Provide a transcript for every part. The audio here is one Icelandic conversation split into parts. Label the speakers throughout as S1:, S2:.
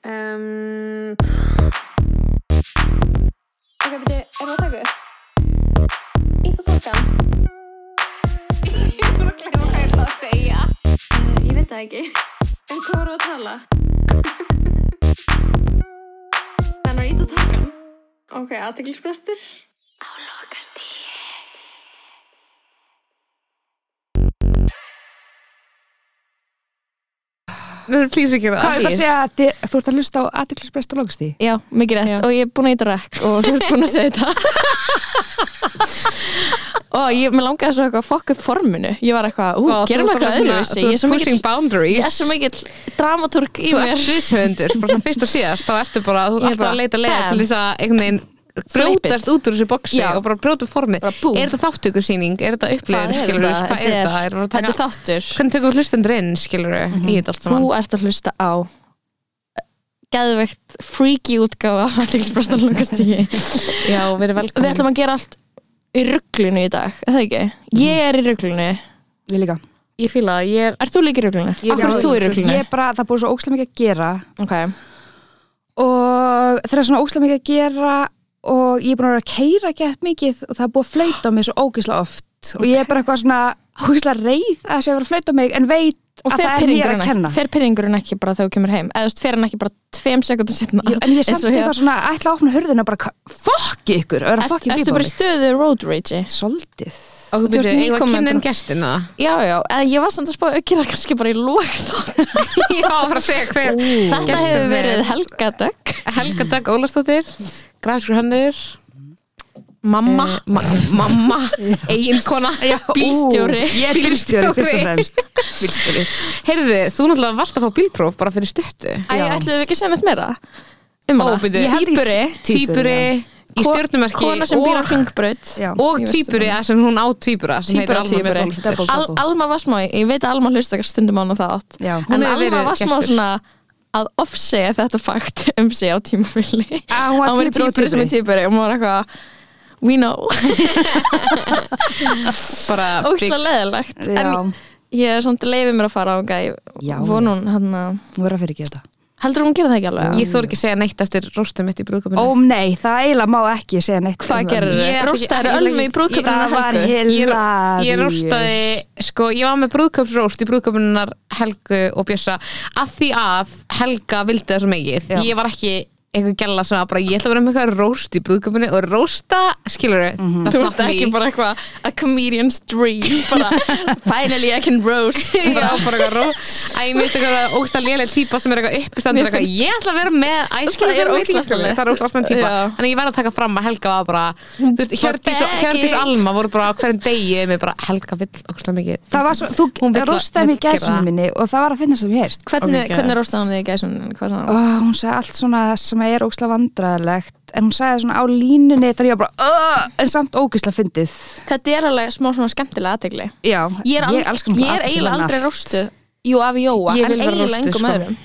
S1: um, Ok, beti, er það að taka upp? Ítt og tókan
S2: Ég er bara að glemma hvað ég ætla að segja.
S1: uh, Ég veit það ekki En hvað voru að tala? Þannig að ítt og tókan Ok, aðteglisbrestur
S2: Á lokastíði.
S3: Nei, please ekki það
S4: Hvað er það að segja að þið, þú ert að hlusta á aðtiklisbrest og logast því?
S3: Já, mikið rétt
S4: Já.
S3: og ég er búin að eitthvað rekk og þú ert búin að segja þetta og ég, mér langaði svo eitthvað að fokka upp forminu ég var eitthvað, ú, gerum við eitthvað öðruvísi ég er svo
S4: pushing
S3: mikill, ég er
S4: boundaries
S3: svo mikill dramatúrk í
S4: Þú
S3: mér
S4: ert sviðshöfundur, bara svona fyrst og síðast þá ertu bara, þú ert
S3: Ég er
S4: alltaf
S3: bara,
S4: að leita leiða
S3: bam.
S4: til þess að einhvern veginn brjótast út úr þessu boksi
S3: Já.
S4: og bara brjóta upp formið
S3: Bara búm.
S4: Er þetta þáttökursýning? Er þetta
S3: Hvað
S4: upplegur? Skilur við, hvað er þetta? Er,
S3: þetta
S4: taka,
S3: er þáttur
S4: hvernig tökum við hlustendur inn, skilur við, í þetta allt
S3: þú
S4: saman?
S3: ert að hlusta á eh, geðveikt freaky útgáfa af aðeinsbrestan langastígi
S4: Já, verið
S3: við
S4: velkomin
S3: ætlum að gera allt í rugglinu í dag, er það ekki? Ég er í rugglinu,
S4: Við líka Ég fíla það, ég er
S3: ert þú líka í rugglinu?
S4: Ég- Já,
S3: Akkur ert þú í
S4: ég-
S3: rugglinu?
S4: Nei. ég
S3: Yep.
S4: er bara-
S5: það búið svo ókslega mikið að gera
S3: Okay.
S5: og það er svona ókslega mikið að gera og ég er búin að vera að keira gett mikið og það er búið að flauta á mig svo ógislega oft og ég er bara eitthvað svona ógislega reið að það sé að vera að flauta á mig en veit
S3: og
S5: að það
S3: fer
S5: er mér að
S3: pyrringurinn
S5: kenna
S3: ekki, fer pyrringurinn ekki bara þegar þú kemur heim eða þú veist, fer hann ekki bara tveim sekundum setna
S5: Jú, en ég er samt
S3: Eins og hjá-
S5: eitthvað svona að ætla að opna hurðina og bara ka- fuck ykkur og vera
S3: Ert-
S5: að fucking bípa
S3: ertu
S5: á
S3: bara í
S5: mig
S3: stöðu road rage
S5: svolítið
S4: Og
S3: þú
S4: þú veit,
S3: ert
S4: ég var
S3: nýkomin
S4: kynninn
S3: bara-
S4: gestina
S3: já, já, en ég var samt að spá að gera kannski bara í lók þetta
S4: Ég var bara að segja hver
S3: þetta
S4: gestur
S3: hefur
S4: er.
S3: verið helgadögg
S4: Helga Dag Ólafsdóttir Grafiskur hönnuður
S3: mamma,
S4: eh, ma Mamma, eiginkona
S3: bílstjóri
S5: ég er bílstjóri fyrst og fremst bílstjóri
S4: Heyrðu, þú náttúrulega varst að fá bílpróf bara fyrir stuttu
S3: Eh, Æ,
S5: já.
S3: ætluðum við ekki að segja nætt meira um hana,
S4: Óbyrðu. Ég held í-
S3: tvíburi
S4: Týpuri í
S3: ko-
S4: stjörnumarki
S3: kona sem býr á
S4: og,
S3: hringbraut
S5: Já.
S4: og
S3: Ég veist
S4: týpuri, það sem hún á týpura sem heitir
S3: Tvíburi,
S4: Alma
S3: tvíburi.
S4: Björn Ólafsdóttir.
S5: Double.
S3: Al Alma Vasmói, ég veit að Alma hlusta stundum án á það átt
S5: Já.
S4: Hún
S3: en
S4: hefur
S3: Alma
S4: verið
S3: Vasmói
S4: gestur.
S3: svona að offsegja þetta fakt um sig á tímafili
S5: Ah, hún var tvíburi og
S3: típuri sem er
S5: tvíburi.
S3: típuri og maður eitthvað we know,
S4: bara big-
S3: ósla leðilegt
S5: já,
S3: en ég er samt leifið mér að fara á
S5: Já.
S3: hún vonun hann að
S5: hún verður að fyrir ekki þetta
S3: heldur hún gera það ekki alveg?
S4: Ég þór ekki að segja neitt eftir rostum mitt í brúðköpunni
S5: ó nei, það eiginlega má ekki segja neitt
S3: Hvað
S5: um
S3: gerir
S4: Ég
S3: þau?
S4: ætla ekki-
S3: Rústaður
S4: ég-
S3: ölmu í brúðköpunum
S5: það var
S3: helgu?
S5: hilaríus
S4: Ég rostaði, sko, ég var með brúðköpsróst í brúðköpunar Helgu og Bjössa að því að Helga vildi það svo mikið.
S5: Já.
S4: Ég var ekki eitthvað gæla svona bara, ég ætla að vera með eitthvað róst í brúðköpunni og rósta, skilur þau, mm
S3: Þú veist ekki bara eitthvað a comedian's dream bara, finally I can roast
S4: bara
S3: bara,
S4: á bara eitthvað ró Æ, ég myndi eitthvað ógsta léleg típa sem er eitthvað uppistandur
S3: Mér
S4: eitthvað,
S3: finnst-
S4: ég ætla að vera með æskilur
S3: Það er
S4: vera með líka,
S3: ógeðslega slæmt.
S4: það er ógsta típa
S3: Já.
S4: þannig ég verð að taka fram að Helga var bara þú veist, Hjördís og,
S3: begging.
S4: Hjördís og Alma voru bara á hverjum degi með bara Helga vill ógsta mikið
S5: Það var svo, þú
S4: Hún vill-
S5: rostaði mig
S4: vill gera
S5: gæsum
S4: það.
S5: minni og það var að finna sem ég hért.
S3: hvernig,
S4: Oh my God.
S3: hvernig rostaði hann þig í gæsunum? Hvað sagði
S5: Ó,
S3: hann?
S5: hún sagði allt svona sem er ógislega vandræðilegt en hún sagði svona á línunni þegar ég var bara "Ugh", en samt ógislega fyndið.
S3: Þetta er alveg smá svona skemmtilega aðtegli
S5: Já,
S3: Ég er,
S5: ég elskar
S3: ég er eiginlega aldrei rostuð Jú, af Jóa,
S4: Ég
S3: en
S4: vil vera
S3: eiginlega
S4: rostuð,
S3: engum
S4: sko.
S3: öðrum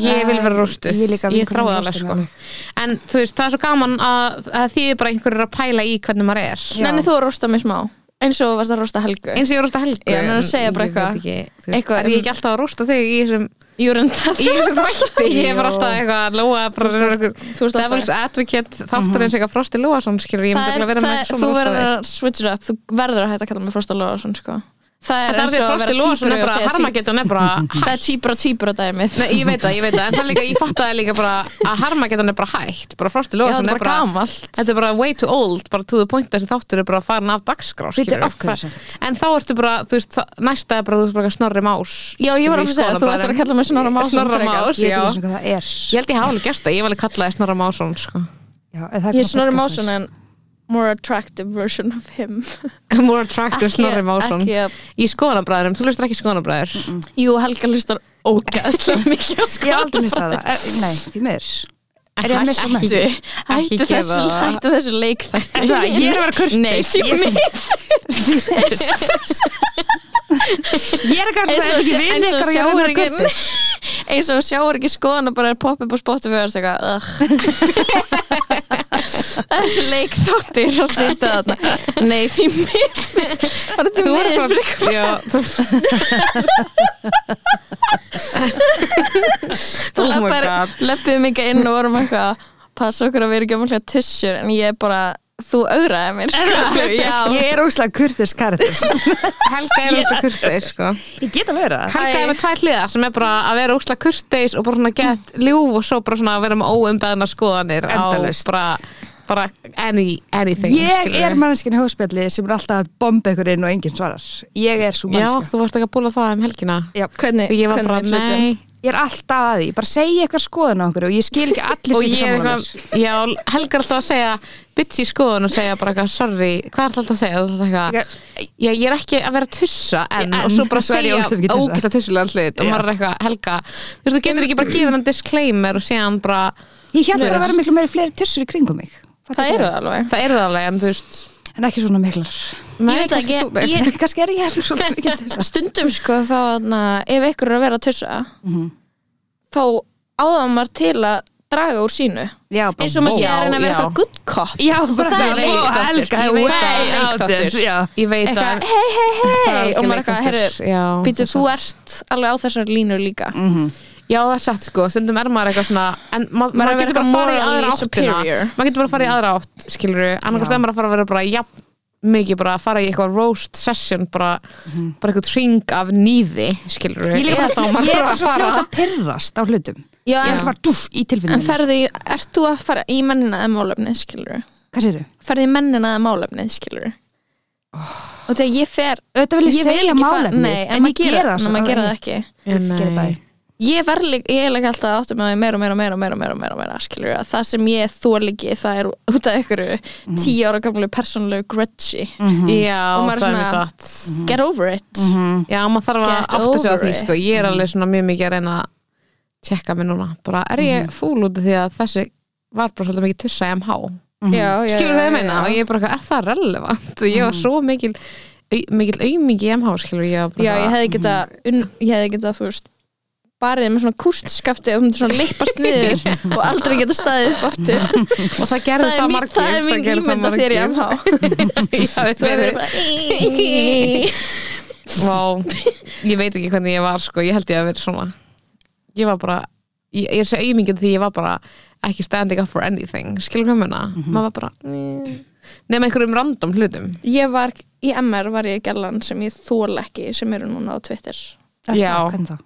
S4: ég vil vera róstuð,
S5: Ég líka,
S4: ég
S5: vinkonur
S4: þrái það
S5: mín
S4: alveg
S5: rosta
S4: sko
S5: mig
S4: en þú veist, það er svo gaman að, að þið er bara einhverjur að pæla í hvernig maður er
S5: Já.
S3: Nenni þú að rosta mig smá eins og þú varst að rosta Helgu
S4: eins og ég rósta Helgu
S3: Já, en að segja bara
S4: ég veit
S3: eitthvað-
S4: ekki, þú veist,
S3: eitthvað
S4: er ég ekki alltaf að rósta þig í þessum
S3: Júrundar
S4: Ég um er þvætti, ég er bara alltaf eitthvað að Lóa er bara
S3: Þú ert
S4: einhver
S3: þú ert alltaf- Mhm.
S4: Devil's Advocate þáttarins eitthvað Frosti Lóasson skilur, ég myndi
S3: Það
S4: alveg
S3: er,
S4: að vera
S3: það,
S4: með svona
S3: þú verður
S4: rostaði.
S3: að switch it up Þú verður að hætta að kalla mig Frosta Lóðarsson sko. Það
S4: En Það
S3: er
S4: er
S3: eins
S4: því
S3: og
S4: að
S3: að
S4: Frosti
S3: vera
S4: Lóasson er
S3: tvíburi og
S4: bara
S3: segja tví-
S4: Harmageddon er bara
S3: Það er tvíbura tvíbura dæmið
S4: Nei, ég veit það, ég veit það, en það er líka, ég fatt að það líka bara að Harmageddon er bara hægt, bara Frosti
S3: Já,
S4: Lóasson er
S3: þetta er bara
S4: bara
S3: gamalt
S4: Þetta er bara way too old, bara to the point þessi þáttur er bara farin af dagskrá
S5: Bíddu,
S4: skilurðu.
S5: af hverju
S4: Hva-
S5: samt?
S4: En þá ertu bara, þú veist, það- næsta er bara, þú veist, bara snorri más
S3: Já, ég var
S4: skilurðu, í
S3: alveg að segja, þú ættir að
S4: skólablaðinu.
S3: kalla mig Snorra Másson
S4: Snorra
S3: frekar.
S4: Más,
S5: Ég veit
S4: já
S5: ekki svona hvað það er.
S4: Ég held ég hafa alveg gert það, ég hef alveg kallaði Snorra Másson sko.
S5: Já, eða það er
S3: Ég er
S5: svona
S3: Snorri
S5: podcastur.
S3: Másson en more attractive version of him
S4: More attractive Snorri Másson
S3: ekki,
S4: Í skoðanabræðurum, þú lustar ekki skoðanabræður mm
S3: Jú, Helga hlustar ógæðslega mikið á
S5: Ég
S3: sko
S5: hef aldrei hlustað á það. Er- Nei, því miður. Er ég að missa með?
S3: Hættu, hættu
S4: Ekki gefa
S3: þessu,
S4: það.
S3: hættu þessu leik þetta
S5: Það, ég er að vera kurteis.
S3: Nei, því miður
S5: Ég er kannski
S3: Eins
S5: það
S3: og
S5: ekki
S3: sjá-
S5: vinni
S3: eins og
S5: ykkar og ég er að
S3: sjáur
S5: vera
S3: ekki
S5: kurtis.
S3: eins og sjáur ekki skoðan og bara er popp upp á Spotify og er eitthvað ugh. þessi leik þáttir að sita þarna nei því mér bara því
S4: Þú
S3: mér
S4: verður
S3: fyrir
S4: bara, já, þú,
S3: þú
S4: Oh my
S3: bara
S4: God.
S3: löpum ekki inn og vorum eitthvað passa okkur að vera ekki umhverja tussur en ég bara, þú augraði mér sko. já,
S5: Ég er óslega kurtis karatis
S4: Helga er úrslega kurteis sko.
S5: Ég get að vera það
S4: Helga
S3: Æ.
S4: er með tvær hliðar sem er bara að vera úrslega kurteis og bara svona gett ljúf og svo bara svona að vera með óumbeðna skoðanir á
S5: Endalaust.
S4: bara, bara any, anything
S5: Ég
S4: skilurðu.
S5: er manneskinn í hóspjalli sem er alltaf að bomba ykkur inn og enginn svarar Ég er svo
S4: Já,
S5: manneskinn
S4: þú varst ekki að búla það um helgina
S5: Já.
S4: og
S3: hvernig
S4: ég var bara,
S3: hvernig hlutum?
S4: nei
S5: Ég er alltaf að því, bara segja eitthvað skoðun á okkur og ég skil ekki allir
S4: og
S5: sem
S4: ég er
S5: saman
S4: eitthvað, já, Helga er alltaf að segja bitch í skoðun og segja bara eitthvað sorry, hvað er alltaf að segja, þú ætlar alltaf eitthvað já, ég er ekki að vera að tussa en,
S5: En,
S4: og svo bara
S5: svo er ég
S4: segja
S5: ógeðslega mikið tussa.
S4: ógæsta tussulega hlut og
S5: Já.
S4: maður er eitthvað, Helga þú veist, þú getur ekki bara að gefa hennan disclaimer og segja hann bara,
S5: Ég held að
S4: Þú
S5: það
S4: veist.
S5: vera miklu meiri fleiri tussur í kringum mig
S3: það eru það alveg
S4: það er það alveg en þú veist,
S5: En ekki svona miklar
S3: ég veit ekki, ég,
S5: Kannski er ég hefnir svolítið mikið tussur
S3: stundum sko þá na, ef ykkur er að vera að tussa þá áða maður til að draga úr sínu
S5: Já, bara
S3: eins og maður sé að reyna að vera
S4: já.
S3: eitthvað good cop
S5: Já, bara
S3: það er
S5: Ó,
S3: leikþáttur.
S5: Helga,
S3: Ég
S5: þú
S3: veit
S5: ert
S3: það er
S5: að-
S3: leikþáttur.
S5: Já.
S4: ég veit
S3: eitthvað,
S4: að
S3: hei,
S4: það
S3: hei, hei
S4: er
S3: og
S4: ekki
S3: maður eitthvað,
S4: leikþáttur. Já,
S3: herru, býtu þú ert alveg á þessar línu líka
S4: já, það er satt sko, stundum er maður eitthvað svona en ma
S3: Maður er
S4: maður getur bara
S3: eitthvað
S4: að fara í
S3: morally
S4: aðra áttina
S3: superior.
S4: maður getur bara að fara í aðra átt, skilur annarkvæmst
S5: Já.
S4: er maður að fara að vera bara, jafn mikið bara að fara í eitthvað roast session bara,
S3: Mhm.
S4: bara eitthvað tring af nýði skilur
S5: Ég
S4: eða
S5: er
S4: þá
S5: svo
S4: maður þarf að
S5: fljóta
S4: fara
S5: að pyrrast á hlutum
S3: já,
S5: Ég
S3: en,
S5: er bara dúf í
S3: en
S5: tilfinningum
S3: ferðu í, ert þú að fara í mennina eða málefni, skilur
S5: Hvað sér þau?
S3: ferðu í mennina eða málefni, skilur og þegar ég fer
S5: Auðvitað vil ég,
S3: ég vil
S5: segja
S3: ekki fara,
S5: málefni
S3: nei, en maður gera, en maður gera það ekki
S5: Ég gera það
S3: ég verð líka, ég er líka alltaf að áttum að ég meira og meira og meira og meira og meira, og meira, meira skilur að það sem ég þóligi það er út af ykkur
S4: Mhm.
S3: tíu ára gamlu persónulegu grudge
S4: já,
S3: Mhm. Og maður er
S4: það er mjög
S3: svona- Mhm.
S4: satt
S3: get over it
S5: Mm.
S4: já, maður þarf að
S3: Get
S4: átta sig á
S3: over
S4: því
S3: it.
S4: sko. ég er alveg svona mjög mikið að reyna að tjekka mig núna, bara er ég
S3: Mm.
S4: fúl út af því að þessi var bara svolítið mikið tussa í MH
S3: já, já,
S4: skilur
S3: já,
S4: það
S3: já,
S4: Mhm. ég meina og
S3: já. Mm.
S4: ég er bara, eitthvað, er það relevant ég var svo mikil au- mikil aumingi í MH skilur ég var bara,
S3: já, ég hefði
S4: Mhm.
S3: geta unn, ég hefði geta, þú veist barið með svona kústskafti og þú myndir svona lippast niður og aldrei geta staðið upp aftur
S4: og það gerði
S3: það
S4: það,
S3: er mín,
S4: margir
S3: það er mín
S4: gerðu það
S3: ímynd af þér í
S4: margir.
S3: MH
S4: Já, það
S3: þú hefur
S4: er-
S3: bara
S4: Vá, ég veit ekki hvernig ég var sko, ég held ég að vera svona ég var bara, ég, ég er sér auðmingin því ég var bara ekki standing up for anything skilur hvað mérna,
S5: Mhm.
S4: maður var bara mm. nema einhverjum random hlutum
S3: ég var, í MR var ég gælan sem ég þól ekki sem eru núna á Twitter
S4: Mm. Já.
S5: Hvernig þá?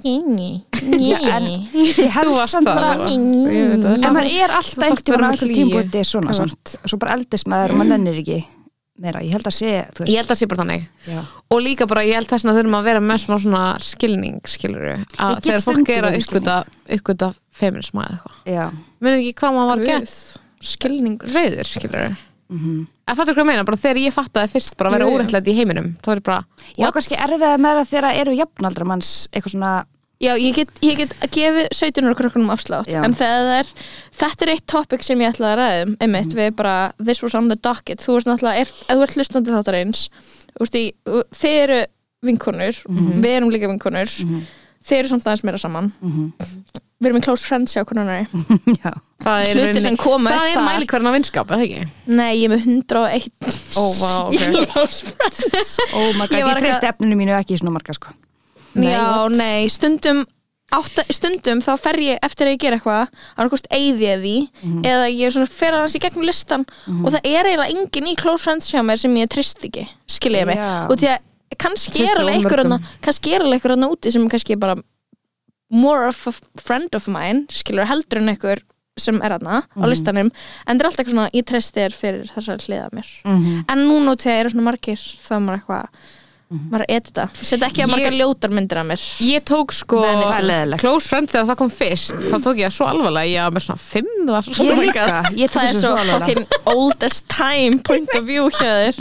S3: Já, en
S5: Ég
S4: Þú
S5: held
S4: varst
S5: samt
S4: það,
S5: bara
S4: Lóa. Ég veit það,
S5: En
S4: samt-
S5: maður er alltaf
S4: þarft
S5: einhvern
S4: að vera
S5: tímann á
S4: með
S5: einhvern
S4: hlýju.
S5: tímpúti svona samt Svo bara eldist maður og maður nennir ekki meira Ég held að sé, þú
S4: ég
S5: veist
S4: held að sé bara þannig
S5: Já.
S4: og líka bara ég held þess að þurfum að vera með smá svona skilning skilur
S5: Ég
S4: að
S5: get
S4: þegar fólk
S5: stundum
S4: er að
S5: verið
S4: ykkuta ykkuta feminisma eða eitthvað
S5: Já,
S4: munið ekki hvað maður var gett
S3: skilningur
S4: rauður skilur mm
S5: Mhm.
S4: að fattu hvað ég meina, bara þegar ég fattaði fyrst bara að vera
S3: Jú, jú.
S4: úrættlætt í heiminum þá er ég bara,
S5: ég á kannski erfið með það þegar það eru jafnaldra manns eitthvað svona
S3: já, ég get, ég get að gefi 17 ára krökkunum afslátt
S5: Já.
S3: en þegar það er, þetta er eitt topic sem ég ætla að ræðum, einmitt,
S4: Mm.
S3: við bara this was on the docket, þú veist náttúrulega er, ef þú ert hlustandi þáttar eins úrst, í, þið eru vinkonur
S4: Mhm.
S3: við erum líka vinkonur þið eru samt aðeins meira saman
S4: Mhm.
S3: við erum í close friends hjá konunari
S5: Já,
S4: það er,
S3: Hlutir
S4: rauninni-
S3: sem koma upp
S4: það er
S3: þar.
S4: mælikvarinn á vinskap, eða ekki?
S3: nei, ég er með 101
S4: Ó, vá, ok
S3: í close friends
S5: oh my god,
S3: Ég
S5: ég,
S3: var
S5: ég
S3: ekki-
S5: treysti efninu mínu ekki í svona marga sko
S4: Nei,
S3: Já,
S4: what?
S3: nei, stundum átta, stundum þá fer ég eftir að ég gera eitthvað annarkost eyði ég því
S4: Mhm.
S3: eða ég svona fer aðeins í gegnum listan og það er eiginlega engin í close friends hjá mér sem ég trist ekki, skilja ég mig
S5: Já.
S3: og því að kannski
S4: Treystir
S3: er alveg
S4: of
S3: einhver
S4: mörgum.
S3: hana kannski er alveg einhver hana úti sem er kannski bara more of a friend of mine skilur heldur en einhver sem er hana
S4: Mhm.
S3: á listanum, en það er alltaf eitthvað svona ég trist þér fyrir þessar hliða mér
S4: Mhm.
S3: en núna út þegar eru svona margir þá er maður eitthvað maður er að edita, setja ekki að margar ljótar myndir af mér
S4: ég tók sko
S5: Það er leiðilegt.
S4: close friend þegar það kom fyrst þá tók ég það svo alvarlega, ég var með svona fimm var
S5: Ég
S4: ég,
S5: líka, ég
S3: Oh það
S5: tók þessu
S3: er
S5: svo
S3: svo
S5: alveg
S3: fucking oldest time point of view hjá þér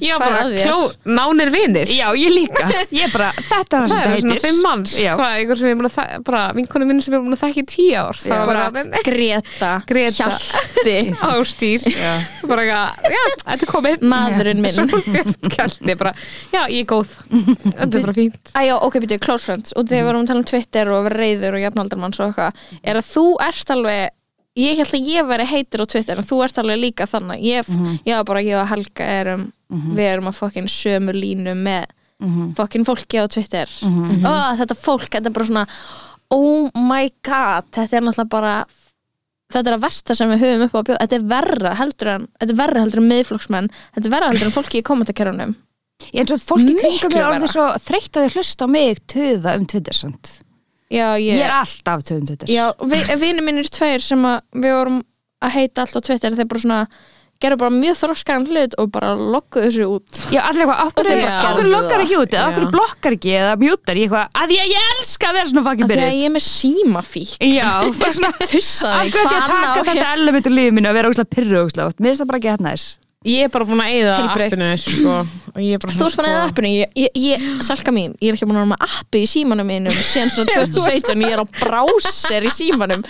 S4: ég var
S3: Hvað
S4: bara
S3: Mhm. að þér?
S4: kló, nánir vinir
S5: Já, ég líka Ég bara, þetta var
S4: það
S5: þetta
S4: eru svona
S5: heitir.
S4: fimm manns
S5: Já.
S4: hvað, einhver sem ég er búin að þa- bara vinkonu minn sem ég er búin að þekka í tíu árs það var bara, nei,
S3: Greta,
S4: Greta.
S3: Hjalti
S4: ástýr bara, eitthvað, já, þetta er komið
S3: maðurinn minn
S4: Svo bjart kjarni bara, já, ég er góð Þetta er bara fínt
S3: Æjá, ok, byrju, close friends og þegar við vorum að tala um Twitter og að vera reyður og jafnaldarmanns og eitthvað er að þú ert alveg ég held að ég veri heitir á Twitter en þú ert alveg líka þannig ég, ég var bara, ég og Helga erum við erum að fokkin sömu línu með fokkin fólki á Twitter mm þetta fólk, þetta er bara svona oh my god þetta er náttúrulega bara þetta er að versta sem við höfum upp á að bjóða þetta er verra heldur en, þetta er verra heldur en miðflóksmenn þetta er verra heldur en fólki í kommentarkerunum
S5: Ég eins og fólki kringum
S3: Miklu
S5: mig orðið
S3: verra.
S5: svo þreytt að þið hlusta á mig töða um Twitter sant?
S3: já, ég,
S5: Ég er alltaf töða um Twitter
S3: Já, vi, vinur mínir tveir sem að við vorum að heita allt á Twitter þeir bara svona, gerðu bara mjög þroskaðan hlut og bara lokkuðu þessu út
S5: Já, allir eitthvað, okkur,
S4: þeir
S5: okkur,
S4: bara
S5: okkur
S4: gerðu það.
S5: lokkar ekki út eða
S4: Já.
S5: okkur blokkar ekki eða mjútar ég eitthvað, að ég, ég elska að vera svona
S3: af
S5: fucking
S3: því að
S5: byrjið
S3: ég er með símafík
S5: Já, bara svona
S3: tussaði, hérna.
S5: Akkur ekki að taka þetta element úr lífið mínu að vera óslega pyrru óslega oft, mér finnst það bara ekki hérna næs
S4: Ég er bara búin að eyða
S3: Heilbrigt.
S4: appinu sko, og ég er bara
S3: Þú ert bara eða appinu, ég, ég, ég, salka mín ég er ekki búin að vera með appi í símanum mínum síðan svona 2017, ég er á browser í símanum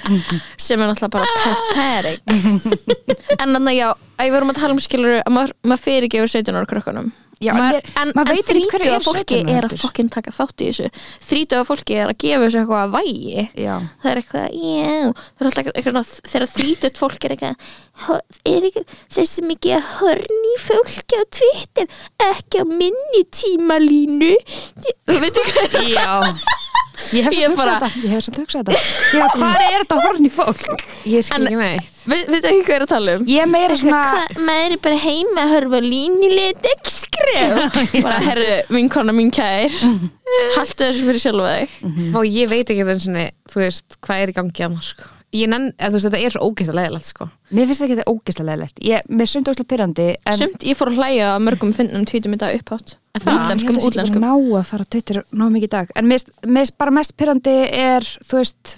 S3: sem er náttúrulega bara pathetic en þannig já, að við vorum að tala um skilur að maður, maður fyrirgefur 17 ára krökkunum
S5: Já,
S3: Ma-
S5: maður-
S3: en,
S5: maður
S3: en
S5: veit ekki hverju
S3: þrítuga
S5: er
S3: fólki
S5: 17 ára
S3: er að
S5: heldur.
S3: fokkin taka þátt í þessu þrítuga fólki er að gefa þessu eitthvað að vægi
S5: Já,
S3: það er eitthvað, já það er alltaf eitthvað, svona- þegar þrítugt fólk er eitthvað "Hö- er eitthvað, þessi mikið að hörni fólki á Twitter ekki á minni tímalínu þú veit ekki hvað
S5: já Ég hef
S3: Ég
S5: samt hugsað
S3: bara-
S5: þetta, ég hef samt hugsað þetta Já, hvað er þetta horfni fólk?
S4: Ég skil ekki neitt
S3: veit, veit ekki hvað er að tala um
S5: Ég er meira svona
S3: Hvað, maður er bara heima að hörfa línilega degskrif bara herru, vinkona mín kær haltu þessu fyrir sjálfa þig
S4: og ég veit ekki einu sinni, þú veist, hvað er í gangi að maður sko. ég nenn, eða, þú veist, þetta er svo ógeðslega leðilegt sko.
S5: Mér finnst ekki þetta ógeðslega leðilegt Ég, mér er sumt óslega pyrrandi en
S3: Sumt, ég fór að hlæja að mörgum fyndnum tvítum í dag upphátt
S5: Ég held
S3: Útlenskum,
S5: að sé ekki
S3: útlenskum
S5: bara ná að fara á Twitter ná mikið í dag en mér finnst- mér finnst bara mest pyrrandi er þú veist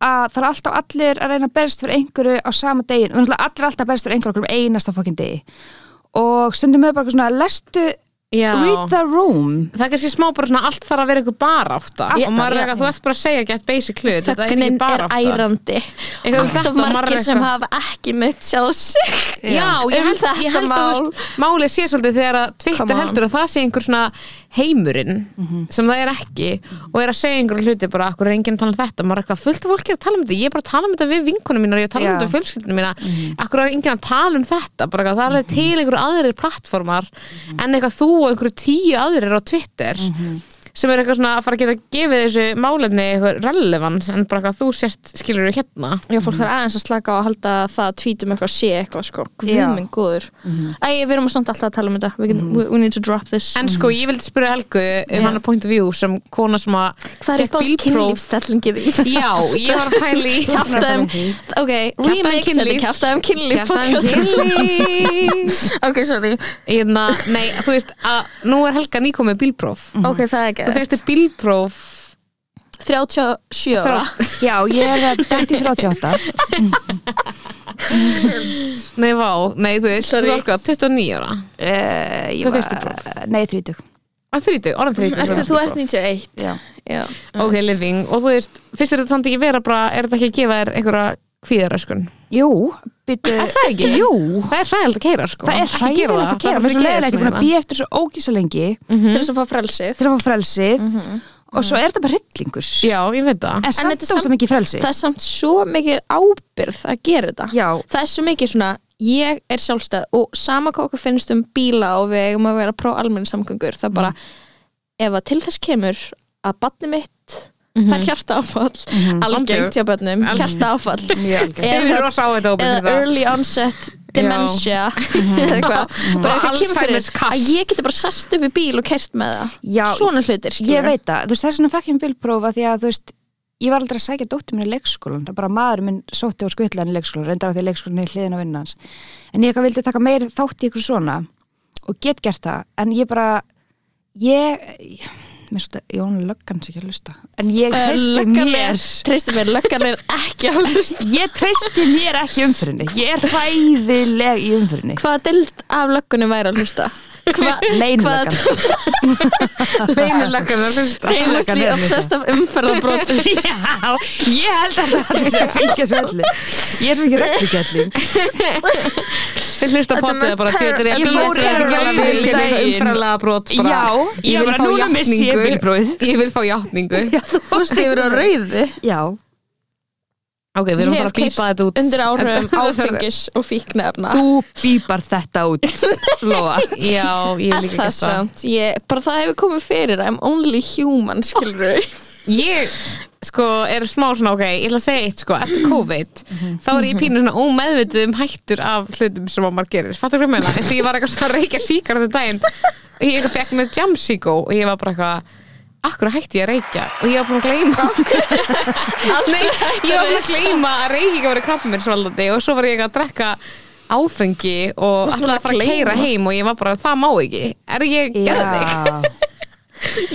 S5: að það er alltaf allir að reyna að berst fyrir einhverju á sama degi og náttúrulega allir alltaf að berst fyrir einhverju okkur um einasta fokkin degi og stundum við bara eitthvað svona lestu
S4: Já.
S5: read the room
S4: það er kannski smá bara svona allt þarf að vera eitthvað barátta
S3: Alltaf,
S4: og maður
S3: já,
S4: er eitthvað, þú ert bara að segja gett basic hlut þetta er ekki
S3: Þögnin er
S4: barátta
S3: ærandi
S4: Eitthvað
S3: Allt
S4: þetta
S3: of
S4: og maður
S3: margir
S4: eitthvað.
S3: sem hafa ekki neitt sjálf um sig
S4: Já, ég
S3: Um
S4: held, ég
S3: þetta
S4: held að þú
S3: mál.
S4: veist, málið sé svolítið þegar að
S3: Come
S4: Twitter
S3: on. Mhm.
S4: heldur að það sé einhver svona heimurinn sem það er ekki og er að segja einhverju hluti bara akkur er enginn að tala um þetta, maður er eitthvað fullt af fólki að tala um þetta ég er bara að tala um þetta við vinkunum mínar, ég er að tala um
S5: Já.
S4: þetta við fjölskyldunum mína,
S3: Mhm.
S4: akkur er enginn að tala um þetta bara eitthvað, það er alveg til einhverju aðrir plattformar
S3: Mhm.
S4: en eitthvað þú og einhverju tíu aðrir á Twitter sem er eitthvað svona að fara að geta að gefa þessu málefni eitthvað relevans en bara eitthvað þú sért skilur hérna
S3: Já, fólk þarf aðeins að slaka á að halda að það tvítum eitthvað sé eitthvað sko
S5: Já.
S3: Guðminn góður Æ, við erum samt alltaf að tala um þetta We, can, we, we need to drop this
S4: En sko, ég vildi spyrja Helgu um yeah. hann point of view sem kona sem að
S3: Hvað er
S4: fékk
S3: eitthvað
S4: bílpróf-
S3: kynlífstellingi því?
S4: Já, ég var að pæli
S3: Kjaftaðum, ok, remix þetta
S4: kynlíf.
S3: Kjaftaðum kynlíf podcast.
S4: kynlíf
S3: Ok, sorry,
S4: Ína, Hérna, Nei, þú veist að nú er Helga nýkomið bílpróf
S3: ok, það er
S4: Þú
S3: ekki
S4: fyrstu bílpróf
S3: 37 ára
S5: já, ég er að dætt í 38
S4: Nei, vá, nei, þú veist, þú
S3: Sorry.
S4: var hvað, 29 ára
S5: uh, ég
S4: Hvað fékkstu próf?
S5: nei, 30
S4: Að 30, orðan 30
S3: Ertu,
S4: þú
S3: þú
S4: fórst
S3: ert 91
S5: já.
S3: Já.
S4: bílpróf. Ok, living, og þú veist, fyrst er þetta samt ekki vera bara, er þetta ekki að gefa þér einhverja kvíðaröskun
S5: jú, byttu
S4: Er það ekki?
S5: Eh, jú,
S4: Það er hræðilegt að keira, sko
S5: það er
S4: Ekki gera
S5: hræðilegt
S4: það,
S5: að gera
S4: það
S5: mér er svo
S4: bara
S5: leiðilegt, ég er
S4: gerist
S5: búin að
S4: núna.
S5: býja eftir þessu ógísa lengi
S3: Til þess að fá frelsið
S5: til að fá frelsið og svo er þetta bara hryllingur
S4: Já, ég veit það
S5: en samt
S3: þetta er
S5: óslega
S3: samt-
S5: mikið frelsi
S3: það er samt svo mikið ábyrð að gera þetta
S5: Já.
S3: það er svo mikið svona ég er sjálfstæð og sama hvað okkur finnst um bíla og við eigum að vera pró almenn samgöngur það er bara
S5: Mhm.
S3: ef að til þess kemur að badni mitt fær hjarta áfall
S5: Mhm.
S3: algengt hjá börnum, hjarta áfall
S4: Ég er rosa á þetta óbyrð
S3: eða early onset dementia
S5: Mhm.
S3: eða eitthvað bara eitthvað kemur fyrir
S4: Alzheimer's kast.
S3: að ég geti bara sest upp í bíl og kert með það
S5: Já,
S3: svona hlutir skilur
S5: ég veit það, þú veist þess vegna fekk ég um bílprófa því að þú veist ég var aldrei að sækja dóttir minni í leikskólan það bara maður minn sótti og skutla hann í leikskólan reyndar á því að leikskólan er hliðin á vinnan hans en ég eitthvað vildi taka meir þátt í ykkur svona og get gert það, en ég bara ég, ég mér svo þetta, Jón Löggan sé ekki að lusta en ég
S3: Eh,
S5: treysti
S3: löggan er-
S5: mér
S3: treysti mér, löggan er ekki að hlusta
S5: ég treysti mér ekki umfyrinni ég er hræðileg í umfyrinni
S3: hvaða dild af löggunni væri að hlusta Hva-
S5: leinlöggan
S4: Leinileggan er fyrst
S3: famously
S5: Löggan er að hlusta.
S3: obsessed af umferðarbrotum
S5: Já, ég held að það er að fylgja svo öllu Ég er svo ekki reglugjalli
S4: Þið hlusta
S3: Þetta er
S4: potið
S3: mest
S4: bara
S3: per-
S4: Þetta er
S3: ég
S4: ekki
S3: fór
S5: hérna um daginn.
S4: umfærlega brot bara.
S5: Já, ég
S4: vil
S5: bara,
S4: fá
S5: núna missi ég
S4: játningu.
S5: bílprófið.
S4: Ég vil fá játningu
S3: fórst yfir á rauði
S5: Já,
S4: ok, við erum
S3: Ég
S4: bara
S3: hef
S4: að býpa þetta út
S3: undir áhrifum áfengis og fíknefna
S5: Þú býpar þetta út Lóa
S4: já, ég hef
S3: Er
S4: líka
S3: það
S4: gert það
S3: samt? Ég, bara það hefur komið fyrir I'm only human, skilur
S4: ég sko er smá svona ok ég ætla að segja eitt sko, eftir COVID þá er ég pínu svona ómeðvitið um hættur af hlutum sem að maður gerir, fattu hvað ég meina eins og ég var eitthvað svona að reykja síkar þetta daginn og ég eitthvað fekk með jamsíkó og ég var bara eitthvað akkur hætti ég að reykja og ég var búin að gleyma Nei, ég var búin að gleyma að reykinga verið krabbin svolítið og svo var ég að drekka áfengi og alltaf að fara að keira heim og ég var bara, það má ekki er ég gerði þig
S5: Já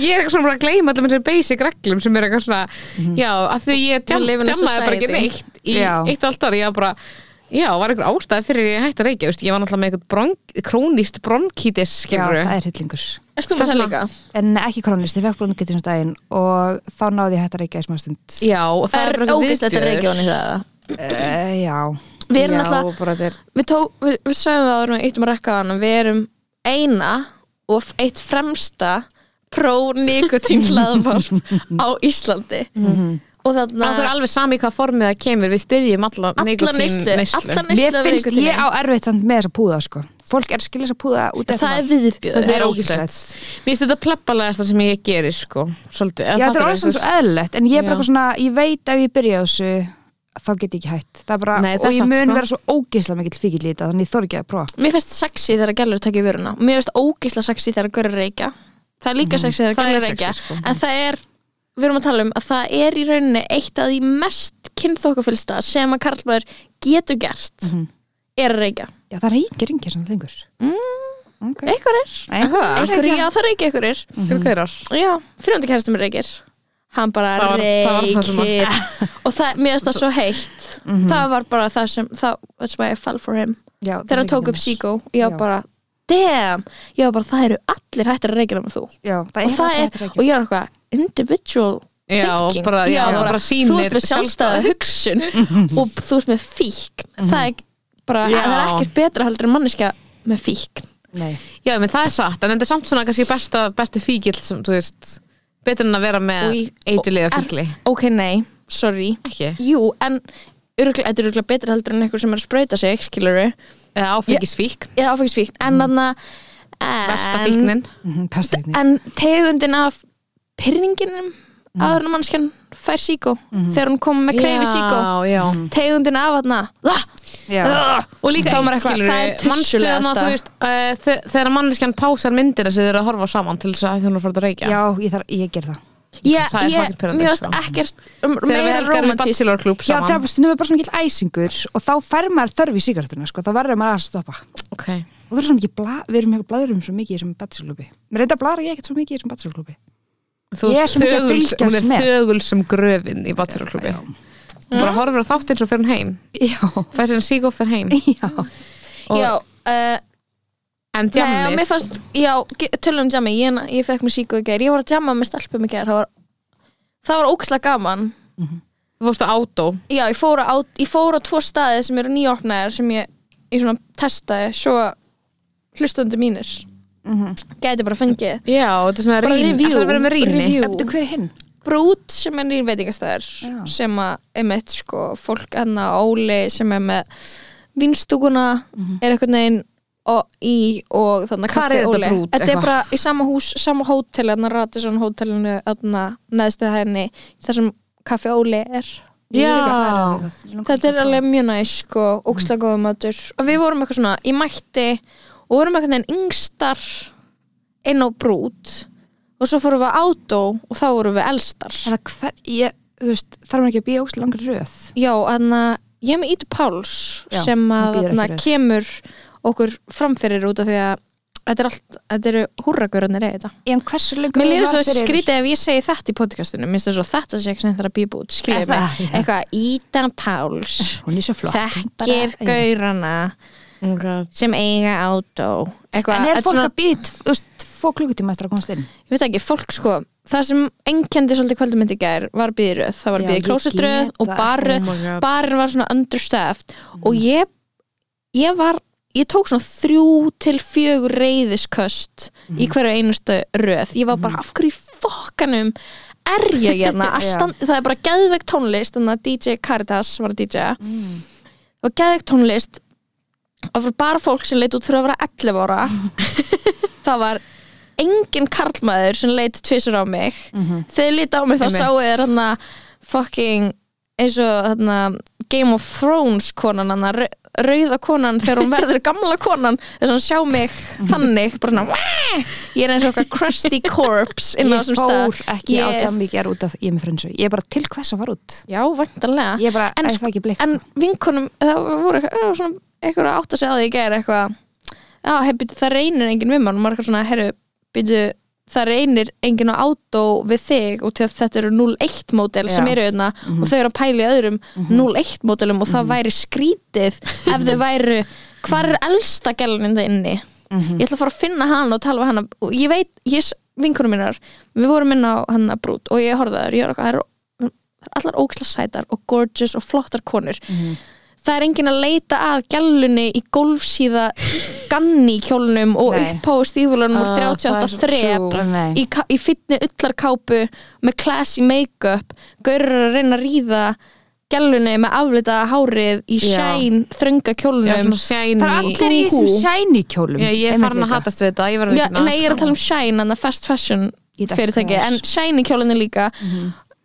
S4: ég er eitthvað svona bara að gleyma allir þessari basic reglum sem er eitthvað svona já, af því ég
S3: We
S4: djam,
S3: live in a
S4: djammaði bara ekki
S3: society.
S4: neitt í
S5: Já.
S4: eitt og allt ári, ég var bara já, var einhver ástæði fyrir ég hætti að reykja veist, ég var náttúrulega með eitthvað bron krónist bronkítis
S5: Já,
S4: skilur
S5: það er hillingur
S3: Erst þú með það
S4: Stelma.
S3: líka?
S5: En ekki krónlist, ég fekk brúnum getur svona daginn og þá náði ég hætt að reykja í smá stund
S4: já, og það
S3: Er
S4: er bara eitthvað
S3: ógæslegt að
S4: viðbjöður.
S3: reykja honum það?
S5: uh, Já
S3: Við erum
S4: já,
S3: náttúrulega-
S4: bara þetta er
S3: Við, tó, við, við sögum það að við eittum að rekka hann Við erum eina og f- eitt fremsta pro-nikotín hlaðvarp á Íslandi og þarna
S4: okkur alveg sami í hvað formið það kemur við styðjum alla
S3: alla
S4: nikótín-
S3: neyslu alla
S5: Mér
S3: neyslu af
S5: finnst
S3: nikotíninu.
S5: ég á erfitt samt með þessa púða sko Fólk er að skilja þessa púða út eftir
S3: það er
S5: allt.
S3: viðbjöður
S5: Það
S4: það
S5: er
S4: er
S5: ógeðslegt.
S4: ógæslegt mér finnst þetta plebbalegasta sem ég gerir sko, svolítið
S5: Já, þetta er alveg svona svo eðlilegt en ég er bara
S4: Já.
S5: eitthvað svona, ég veit ef ég byrja á þessu þá get ég ekki hætt Það er bara,
S4: Nei, það er
S5: og ég
S4: satt,
S5: mun
S4: sko.
S5: vera svo ógeðslega mikill fíkil í þetta þannig ég þor ekki að prófa
S3: Mér finnst sexy þegar gælur takja vöruna Mér finnst ógísla sexy þegar görur reykja Það er líka sexy þegar
S4: það er
S3: gælur
S4: sexy,
S3: reykja
S4: sko.
S3: En það er, við erum að tala um að það er í rauninni eitt af því mest kynþókafylsta sem að karlmaður getur gert er að reykja
S5: Já, það reykir enginn sem það lengur okay.
S3: Ekkur er, ekkur, já það reykja ekkur er
S4: eðlilegt
S3: Já, fríðandi kærastum reykir Hann bara
S4: Það var- það var það sem Mhm. að-
S3: reykir Og það, mér finnst það svo heitt Það var bara það sem, það, that's why I fell for him
S5: Já, það
S3: Þegar
S5: er
S3: hann
S5: ekki
S3: tók upp
S5: mér.
S3: Psycho, ég var
S5: Já.
S3: bara Damn, ég var bara, það eru allir hættir að reykja nema þú
S5: Já, það
S3: og
S5: er
S3: það er,
S5: hægt að reykja.
S3: og ég er eitthvað individual
S4: Já,
S3: thinking
S4: bara- já,
S3: Ég var
S4: bara
S3: þú
S4: sýnir Mhm.
S3: ert með sjálfstæða hugsun og þú ert með fíkn það er bara,
S4: Já.
S3: það er ekkert betra heldur en manneskja með fíkn
S5: Nei.
S4: Já, menn það er satt, en þetta er samt svona kannski besta, besti fíkil sem, þú veist, betur en að vera með
S3: Új,
S4: eitulega
S3: er-
S4: fíkli.
S3: ok, nei, sorry
S4: Ekki?
S3: jú, en örgla, þetta er örgulega betra heldur en einhver sem er að sprauta sig, skiluru
S4: Eða áfengisfík,
S3: eða áfengisfíkn, en þarna
S4: besta Mm.
S3: en,
S4: fíknin.
S5: Mhm, passa þig.
S3: en tegundin af pyrringinum áður en mannskjan fær síkó þegar hún kom með kreifi síkó
S4: Mm. Mhm. Já, já.
S3: tegundin af hana ah,
S5: Já.
S4: Og líka
S3: Þá er maður
S4: eitt,
S3: eitthvað,
S4: skilurðu, manstu
S3: það er
S4: þarna,
S3: tussulegasta.
S4: þú veist, eh, þe- Þegar manneskjan pásar myndir sem þið eru að horfa á saman til þess að þið hún er að fara að reykja.
S5: Já, ég, þarf, ég ger það
S3: ég,
S4: Það er
S3: ég,
S4: fucking pirrandi,
S3: mjög
S4: sko.
S3: ekkert um,
S4: Þegar við
S3: meira
S4: helgar við
S3: romantískt
S4: bachelor club
S5: Já, það
S4: saman.
S5: er bara stundum er bara svona mikill æsingur og þá fer maður þörf í sigarettuna sko, þá verður maður að stoppa og
S4: Ok.
S5: það er svona mikið, bla, við erum eitthvað blaðurum svo mikið í þessum bachelorklúbi Mér reynda að blara ég ekkert svo mikið í þessum bachelorklúbi
S4: Þú
S5: Ég er
S4: veist,
S5: svo mikið að
S4: þögul-
S5: fylgjast
S4: hún er
S5: með.
S4: þögul sem gröfin í bachelorklubi. Bara horfir á þáttinn svo fyrir hún heim.
S5: Já,
S4: Fær sér en sígó fyrir heim.
S5: já,
S4: Og-
S3: já, uh,
S4: En
S3: nei, og mér
S4: djammið,
S3: fannst já, ge- tölum um jammi, ég, ég fekk mér síku í gær ég var að jamma með stelpum í gær það var, það var ókslega gaman
S4: þú fórst á átó.
S3: já, ég fór á, ég fór á tvo staði sem eru nýjóknæðar sem ég, ég svona testaði svo hlustandi mínir gæti bara fengið
S4: Já, þetta er svona
S3: Mhm. bara
S4: rýni.
S3: review,
S4: Það er að vera með rýni.
S3: review.
S5: eftir hver er hinn?
S3: brút sem er nýr veitingastæður
S5: Já.
S3: sem að einmitt sko fólk hann að Óli sem er með vinstúkuna er einhvern veginn og í og þannig
S4: Mhm. Hvar er þetta Brút,
S3: Þetta er
S4: eitthvað?
S3: bara í sama hús, sama hótel hann að Radisson hótelinu hann neðstu hæðinni þar sem kaffi Óli er
S4: Já.
S3: Þetta er alveg mjög næs
S4: Mhm.
S3: sko, ógslag góða matur og við vorum eitthvað svona, ég mætti og vorum eitthvað en yngstar inn á brút og svo fórum við á átó og þá vorum við elstar
S5: Er það hver, ég, þú veist, þarf maður ekki að býja óslega langar í röð
S3: Já, þannig að ég er með Ítu Páls
S5: Já,
S3: sem
S5: hún
S3: að
S5: býður
S3: þarna,
S5: ekki við.
S3: kemur okkur framfyrir út af því að þetta er allt, þetta eru húrragörunir eða þetta.
S5: En hversu lengur
S3: Mér lýður
S5: var
S3: svo
S5: fyrir-
S3: skrítið ef ég segi þetta í podcastinu, minnst þess að þetta sé ekki sem þetta að býba út,
S5: Er
S3: skiljið mig.
S5: það? Já. Eh,
S3: Eitthvað, Íta Páls
S5: Hún er svo flott hún
S3: þekkir
S5: bara-
S3: gaurana
S4: Okay.
S3: sem eiga átó. Eitthvað,
S5: En er
S3: þetta
S5: fólk
S3: svona-
S5: að býja, tv- þú veist, tvo klukkutíma eftir að komast inn?
S3: ég veit ekki, fólk sko það sem enkendi svolítið kvöldumyndi gær var býðröð, það var
S5: Já,
S3: býði
S5: ég
S3: klósetröð
S5: get
S3: og
S5: það. Mm.
S4: Oh
S3: barröð,
S4: my god.
S3: barinn var svona understaffed og ég ég var, ég tók svona þrjú til fjögur
S5: Mm.
S3: reyðisköst í hverju einustu röð, ég var bara af hverju í fokkanum er ég hérna að
S5: Já.
S3: standa, það er bara geðveik tónlist þannig að DJ Caritas var að DJ mm. og geðveik tónlist og fyrir bara fólk sem leit út fyrir að vera 11 ára það var engin karlmaður sem leit tvisur á mig
S5: Mhm.
S3: þegar ég lítið á mig þá
S4: Einmitt.
S3: sáu þér hann fucking eins og hann Game of Thrones konan hann rauða konan þegar hún verður gamla konan þess að hann sjá mig þannig bara svona "Wah!" ég er eins og okkar crusty corpse inn á
S5: ég
S3: þessum
S5: fór
S3: stað
S5: ekki á
S3: Ég-
S5: tjámbíkjar út af ég er með frunsu ég er bara til hvers að fara út
S3: já, vantanlega
S5: ég er bara,
S3: En
S5: en, ég
S3: sko-
S5: fæ ekki blik
S3: en vinkonum, það voru eitthvað- það var svona eitthvað átt að segja á því í gæri eitthvað já, hei, byrju, það reynir enginn við mann og maður er eitthvað svona, herru, byrju það reynir enginn á átó við þig og til að þetta eru 0-1 mótel sem
S5: Já.
S3: eru hérna og þau eru að pæla í öðrum 0-1 mótelum og það væri skrítið ef þau væru hvar er elsta gæluninn það inni ég ætla að fara að finna hana og tala við hana og ég veit, ég, vinkunum mínar við vorum inn á hana brút og ég horfði að þær, ég er okkar, það eru allar ógislega sætar og gorgeous og flottar konur
S5: Mhm.
S3: það er enginn að leita að gælunni í golfsíða ganni kjólnum og
S5: Nei.
S3: upp á stífulunum úr 38 þrep
S5: Nei.
S3: í, ka- í fytni ullarkápu með classy make-up gaurur að reyna að ríða gælunni með aflita hárið í
S5: Já.
S3: shine þrönga
S4: Já,
S3: kjólnum
S4: svona shiny
S5: það er allir í þessum shiny kjólum
S4: Já, ég er
S5: Einmitt
S4: farin að
S5: líka.
S4: hatast við þetta, ég verður
S3: Já,
S4: ekki
S3: nei, ég er að tala um shine, en það fast fashion
S5: Ég dækka
S3: fyrirtæki,
S5: þér.
S3: en shine kjólunni líka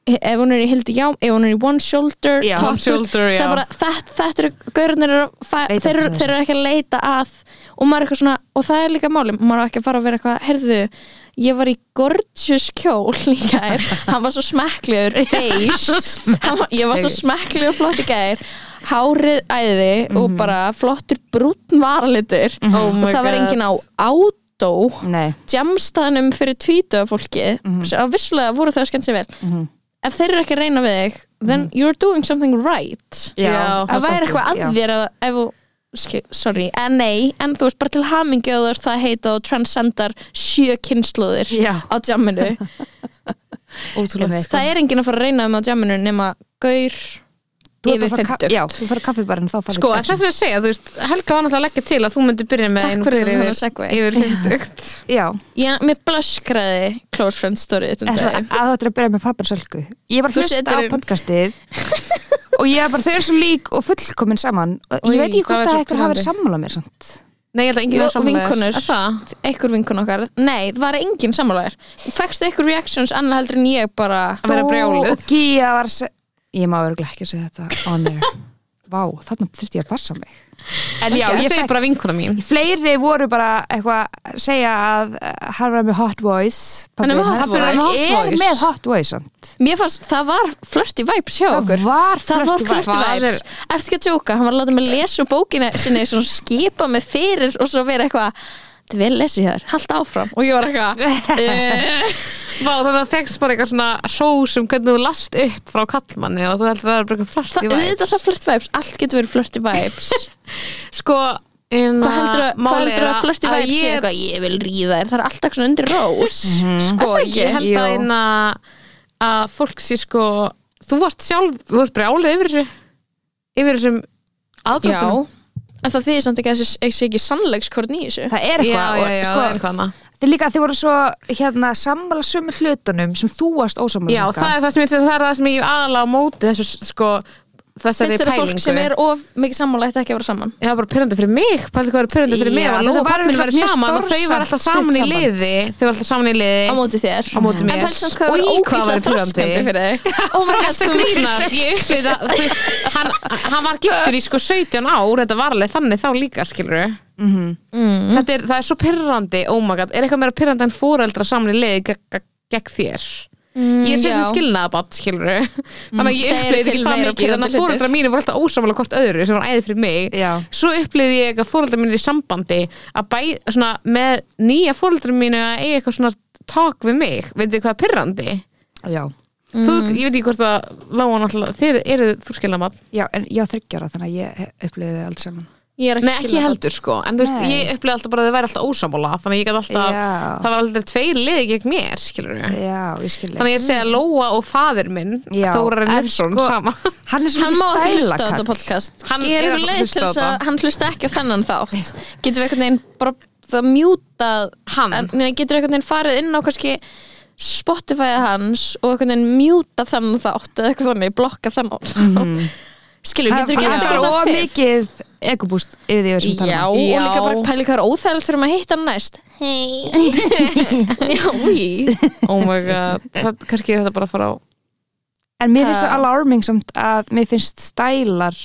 S3: ef hún er í hildi já, ef hún er í one shoulder,
S5: Já,
S3: top,
S5: one
S3: þú veist,
S4: shoulder,
S3: það er
S4: já.
S3: bara, þetta, þetta eru gaurnir eru að fa-
S5: Leita
S3: þeir, eru-
S5: þessu.
S3: þeir eru ekki að leita að og maður er eitthvað svona, og það er líka málum maður er ekki að fara að vera eitthvað, heyrðu ég var í gorgeous kjól í gær hann var svo smekklegur beige, Hann var- ég var svo smekklegur og flott í gær hárið æði og bara flottur brúnn varalitur
S4: Oh
S3: og
S4: my
S3: það var
S4: God.
S3: enginn á átó
S5: nei,
S3: jamstaðnum fyrir tvítuða fólki
S4: Mhm.
S3: að vissulega voru þau að skemmt sér vel ef þeir eru ekki að reyna við þig then you're doing something right
S5: já,
S4: Mhm. Já.
S3: það væri eitthvað að þér að, ef þú skil- Sorry, en nei, en þú veist bara til hamingju að þú ert það heita og transcendar sjö kynnslóðir
S5: Já.
S3: á jamminu.
S4: Ótrúlega
S5: Einmitt.
S4: sko.
S3: Það er enginn að fara að reyna um á jamminu nema gaur
S5: þú
S3: yfir
S5: ert að fara
S3: 50.
S5: ka- já, þú farið kaffibarinn þá farið
S4: Sko, en þess að segja, þú veist, Helga var náttúrulega að leggja til að þú myndi byrja með
S3: Takk
S4: einum
S3: fyrir
S4: gaur
S3: hennar
S4: yfir,
S3: segvei.
S4: yfir 50
S5: já,
S3: Já, mér blöskraði Close Friends Story þetta um
S5: þess að
S3: daginn.
S5: að þú ættir að byrja með papparsölku ég bara
S3: Þú
S5: hlusta á
S3: setur inn.
S5: podcastið og ég er bara, þau eru svo lík og fullkomin saman og ég
S4: Oj,
S5: veit
S4: það
S5: ekki hvort
S4: var
S5: að
S4: svo
S5: eitthvað
S4: pirrandi.
S5: hafa verið sammála mér samt
S4: Nei, ég held að enginn
S3: Jú,
S4: var sammála þér.
S3: vinkonur.
S4: Er það?
S3: einhver vinkun okkar nei, það var engin sammálaðir fækstu einhver reactions annað heldur en ég bara
S4: Að vera brjáluð.
S5: og Gía var se- ég má örgulega ekki að segja þetta on air vá, þarna þurfti ég að passa mig en já,
S4: Já,
S5: ég
S4: ég segi
S5: fekk
S4: bara vinkona mín
S5: fleiri voru bara eitthvað að segja að eh, hann var með hot voice
S3: Hann er með hot
S5: Pabbi
S4: voice.
S5: er
S4: Voice.
S5: með hot voice samt.
S3: mér fannst, það var flirty vibes hjá okkur
S5: var
S3: það var
S5: flirty vibes.
S3: flirty vibes ertu ekki að tjóka, hann var að láta mig lesa úr bókina sinni, svona skipa mig fyrir og svo vera eitthvað þetta er vel lesið hér, halda áfram og ég var eitthvað eh,
S4: Vá, þannig að það fegst bara eitthvað svona sós um hvernig þú last upp frá kallmanni og þú heldur að það er bara eitthvað flart
S3: það,
S4: í væg
S3: auðvitað það flirty vibes, allt getur verið flirty vibes
S4: Sko, um,
S3: hvað heldur að, hvað heldur að flirty vibes sé
S4: ég,
S3: eitthvað, ég vil ríða þér, það er alltaf svona undir rós
S4: Sko,
S3: Er það ekki?
S4: ég held
S5: Jú.
S4: að eina að fólk sé sko Þú varst sjálf, þú varst brjálið yfir þessu Yfir þessum aðdráttum
S3: Já, en það þýðir samt ekki að þessi þessi ekki sannleikskorn í þessu
S5: það er
S4: já, já, já,
S5: eitthvað og,
S4: sko, já,
S5: sko, þið líka þið voru svo hérna, sammála sömu hlutunum sem þú varst ósammála um
S4: já
S5: líka.
S4: það, er það, sem ég, það er það sem ég aðalega á móti þessu sko þessari
S3: Finnst þér að
S4: pælingu
S3: fólk sem er of mikið sammála ætti ekki að vera saman?
S4: Já, bara pyrrandi fyrir mig, pældi hvað er pyrrandi fyrir mig
S5: Já,
S4: var
S5: þetta
S4: Lóa og
S5: var
S4: pappin
S5: örugglega
S4: væri
S5: mjög
S4: saman og þau
S5: stórsamt,
S4: var alltaf saman í
S5: stutt samband.
S4: liði þau var alltaf saman í liði
S3: Á móti þér?
S4: Á móti mér.
S3: En pælst hans hvað
S4: Og í
S3: það var
S4: hvað væri pirrandi?
S3: ógíslega þraskandi fyrir þig
S4: og var alltaf grínast ég upplýði það, þú veist, hann, hann var giftur í sko 17 ár þetta var alveg þannig þá líka, skilur við
S3: Mm.
S4: -hmm. þetta er, það er svo pyrrandi oh my god, er eitthvað meira pyrrandi en fóreldra saman í liði gegn ge gegn þér ég sé sem
S3: Mm, já. Mm.
S4: skilnaðabatt, skilur við þannig að ég
S3: Þeir eru
S4: upplýði
S3: til
S4: ekki það mikið
S3: meira
S4: þannig
S3: pirrandi
S4: að fóreldra mínu voru alltaf ósamála hvort öðru sem var æðið fyrir mig
S5: Já.
S4: svo upplýði ég að fóreldra mínu er í sambandi að bæ, svona, með nýja fóreldra mínu að eiga eitthvað svona talk við mig, veitir hvað er pyrrandi
S5: já.
S4: þú, ég veit ekki hvort að lága náttúrulega, þið eruð þú skilna mann
S5: já, en ég á þryggjara þannig að ég upplöði þið aldrei saman
S3: Ég er
S4: Nei,
S3: ekki
S4: ekki
S3: skilnaðarbarn.
S4: heldur sko, en þú veist,
S5: Nei.
S4: ég upplýði alltaf bara að þið væri alltaf ósamála, þannig að ég gæti alltaf
S5: Já.
S4: það var aldrei tveir liði gegn mér, skilur við
S5: já, ég skilja
S4: þannig að ég segja Lóa og fadir minn
S5: Já,
S4: Þórar
S5: en
S4: Nilsson
S5: sko-
S4: sama
S5: hann er svo
S3: Hann má
S5: mikið
S3: ekki hlusta á
S5: stælakall.
S3: þetta podcast
S4: Hann
S3: Ég
S4: er
S3: er um
S4: að
S3: leið
S4: hlusta á
S3: til þess að
S4: þetta.
S3: hann hlusta ekki á þennan þátt Getur við einhvern veginn bara það mjútað
S4: Hann.
S3: en- Nei, getur við einhvern veginn farið inn á kannski Spotify hans og einhvern veginn mjúta þennan þátt eða eitthvað þannig, blokka þennan
S4: Mhm.
S3: mm -hmm. skilur, getur ekki
S5: Það
S3: eftir
S5: er
S3: eitthvað
S5: of
S3: svona fyrr
S5: mikið ekobúst yfir því sem
S3: Já,
S5: tala um.
S3: og
S4: Já.
S3: líka bara pæli hvað er óþægilegt fyrir maður að hitta hann næst Hei Já, í
S4: oh my god, það, kannski er þetta bara að fara á
S5: En mér finnst það alarming samt að mér finnst stælar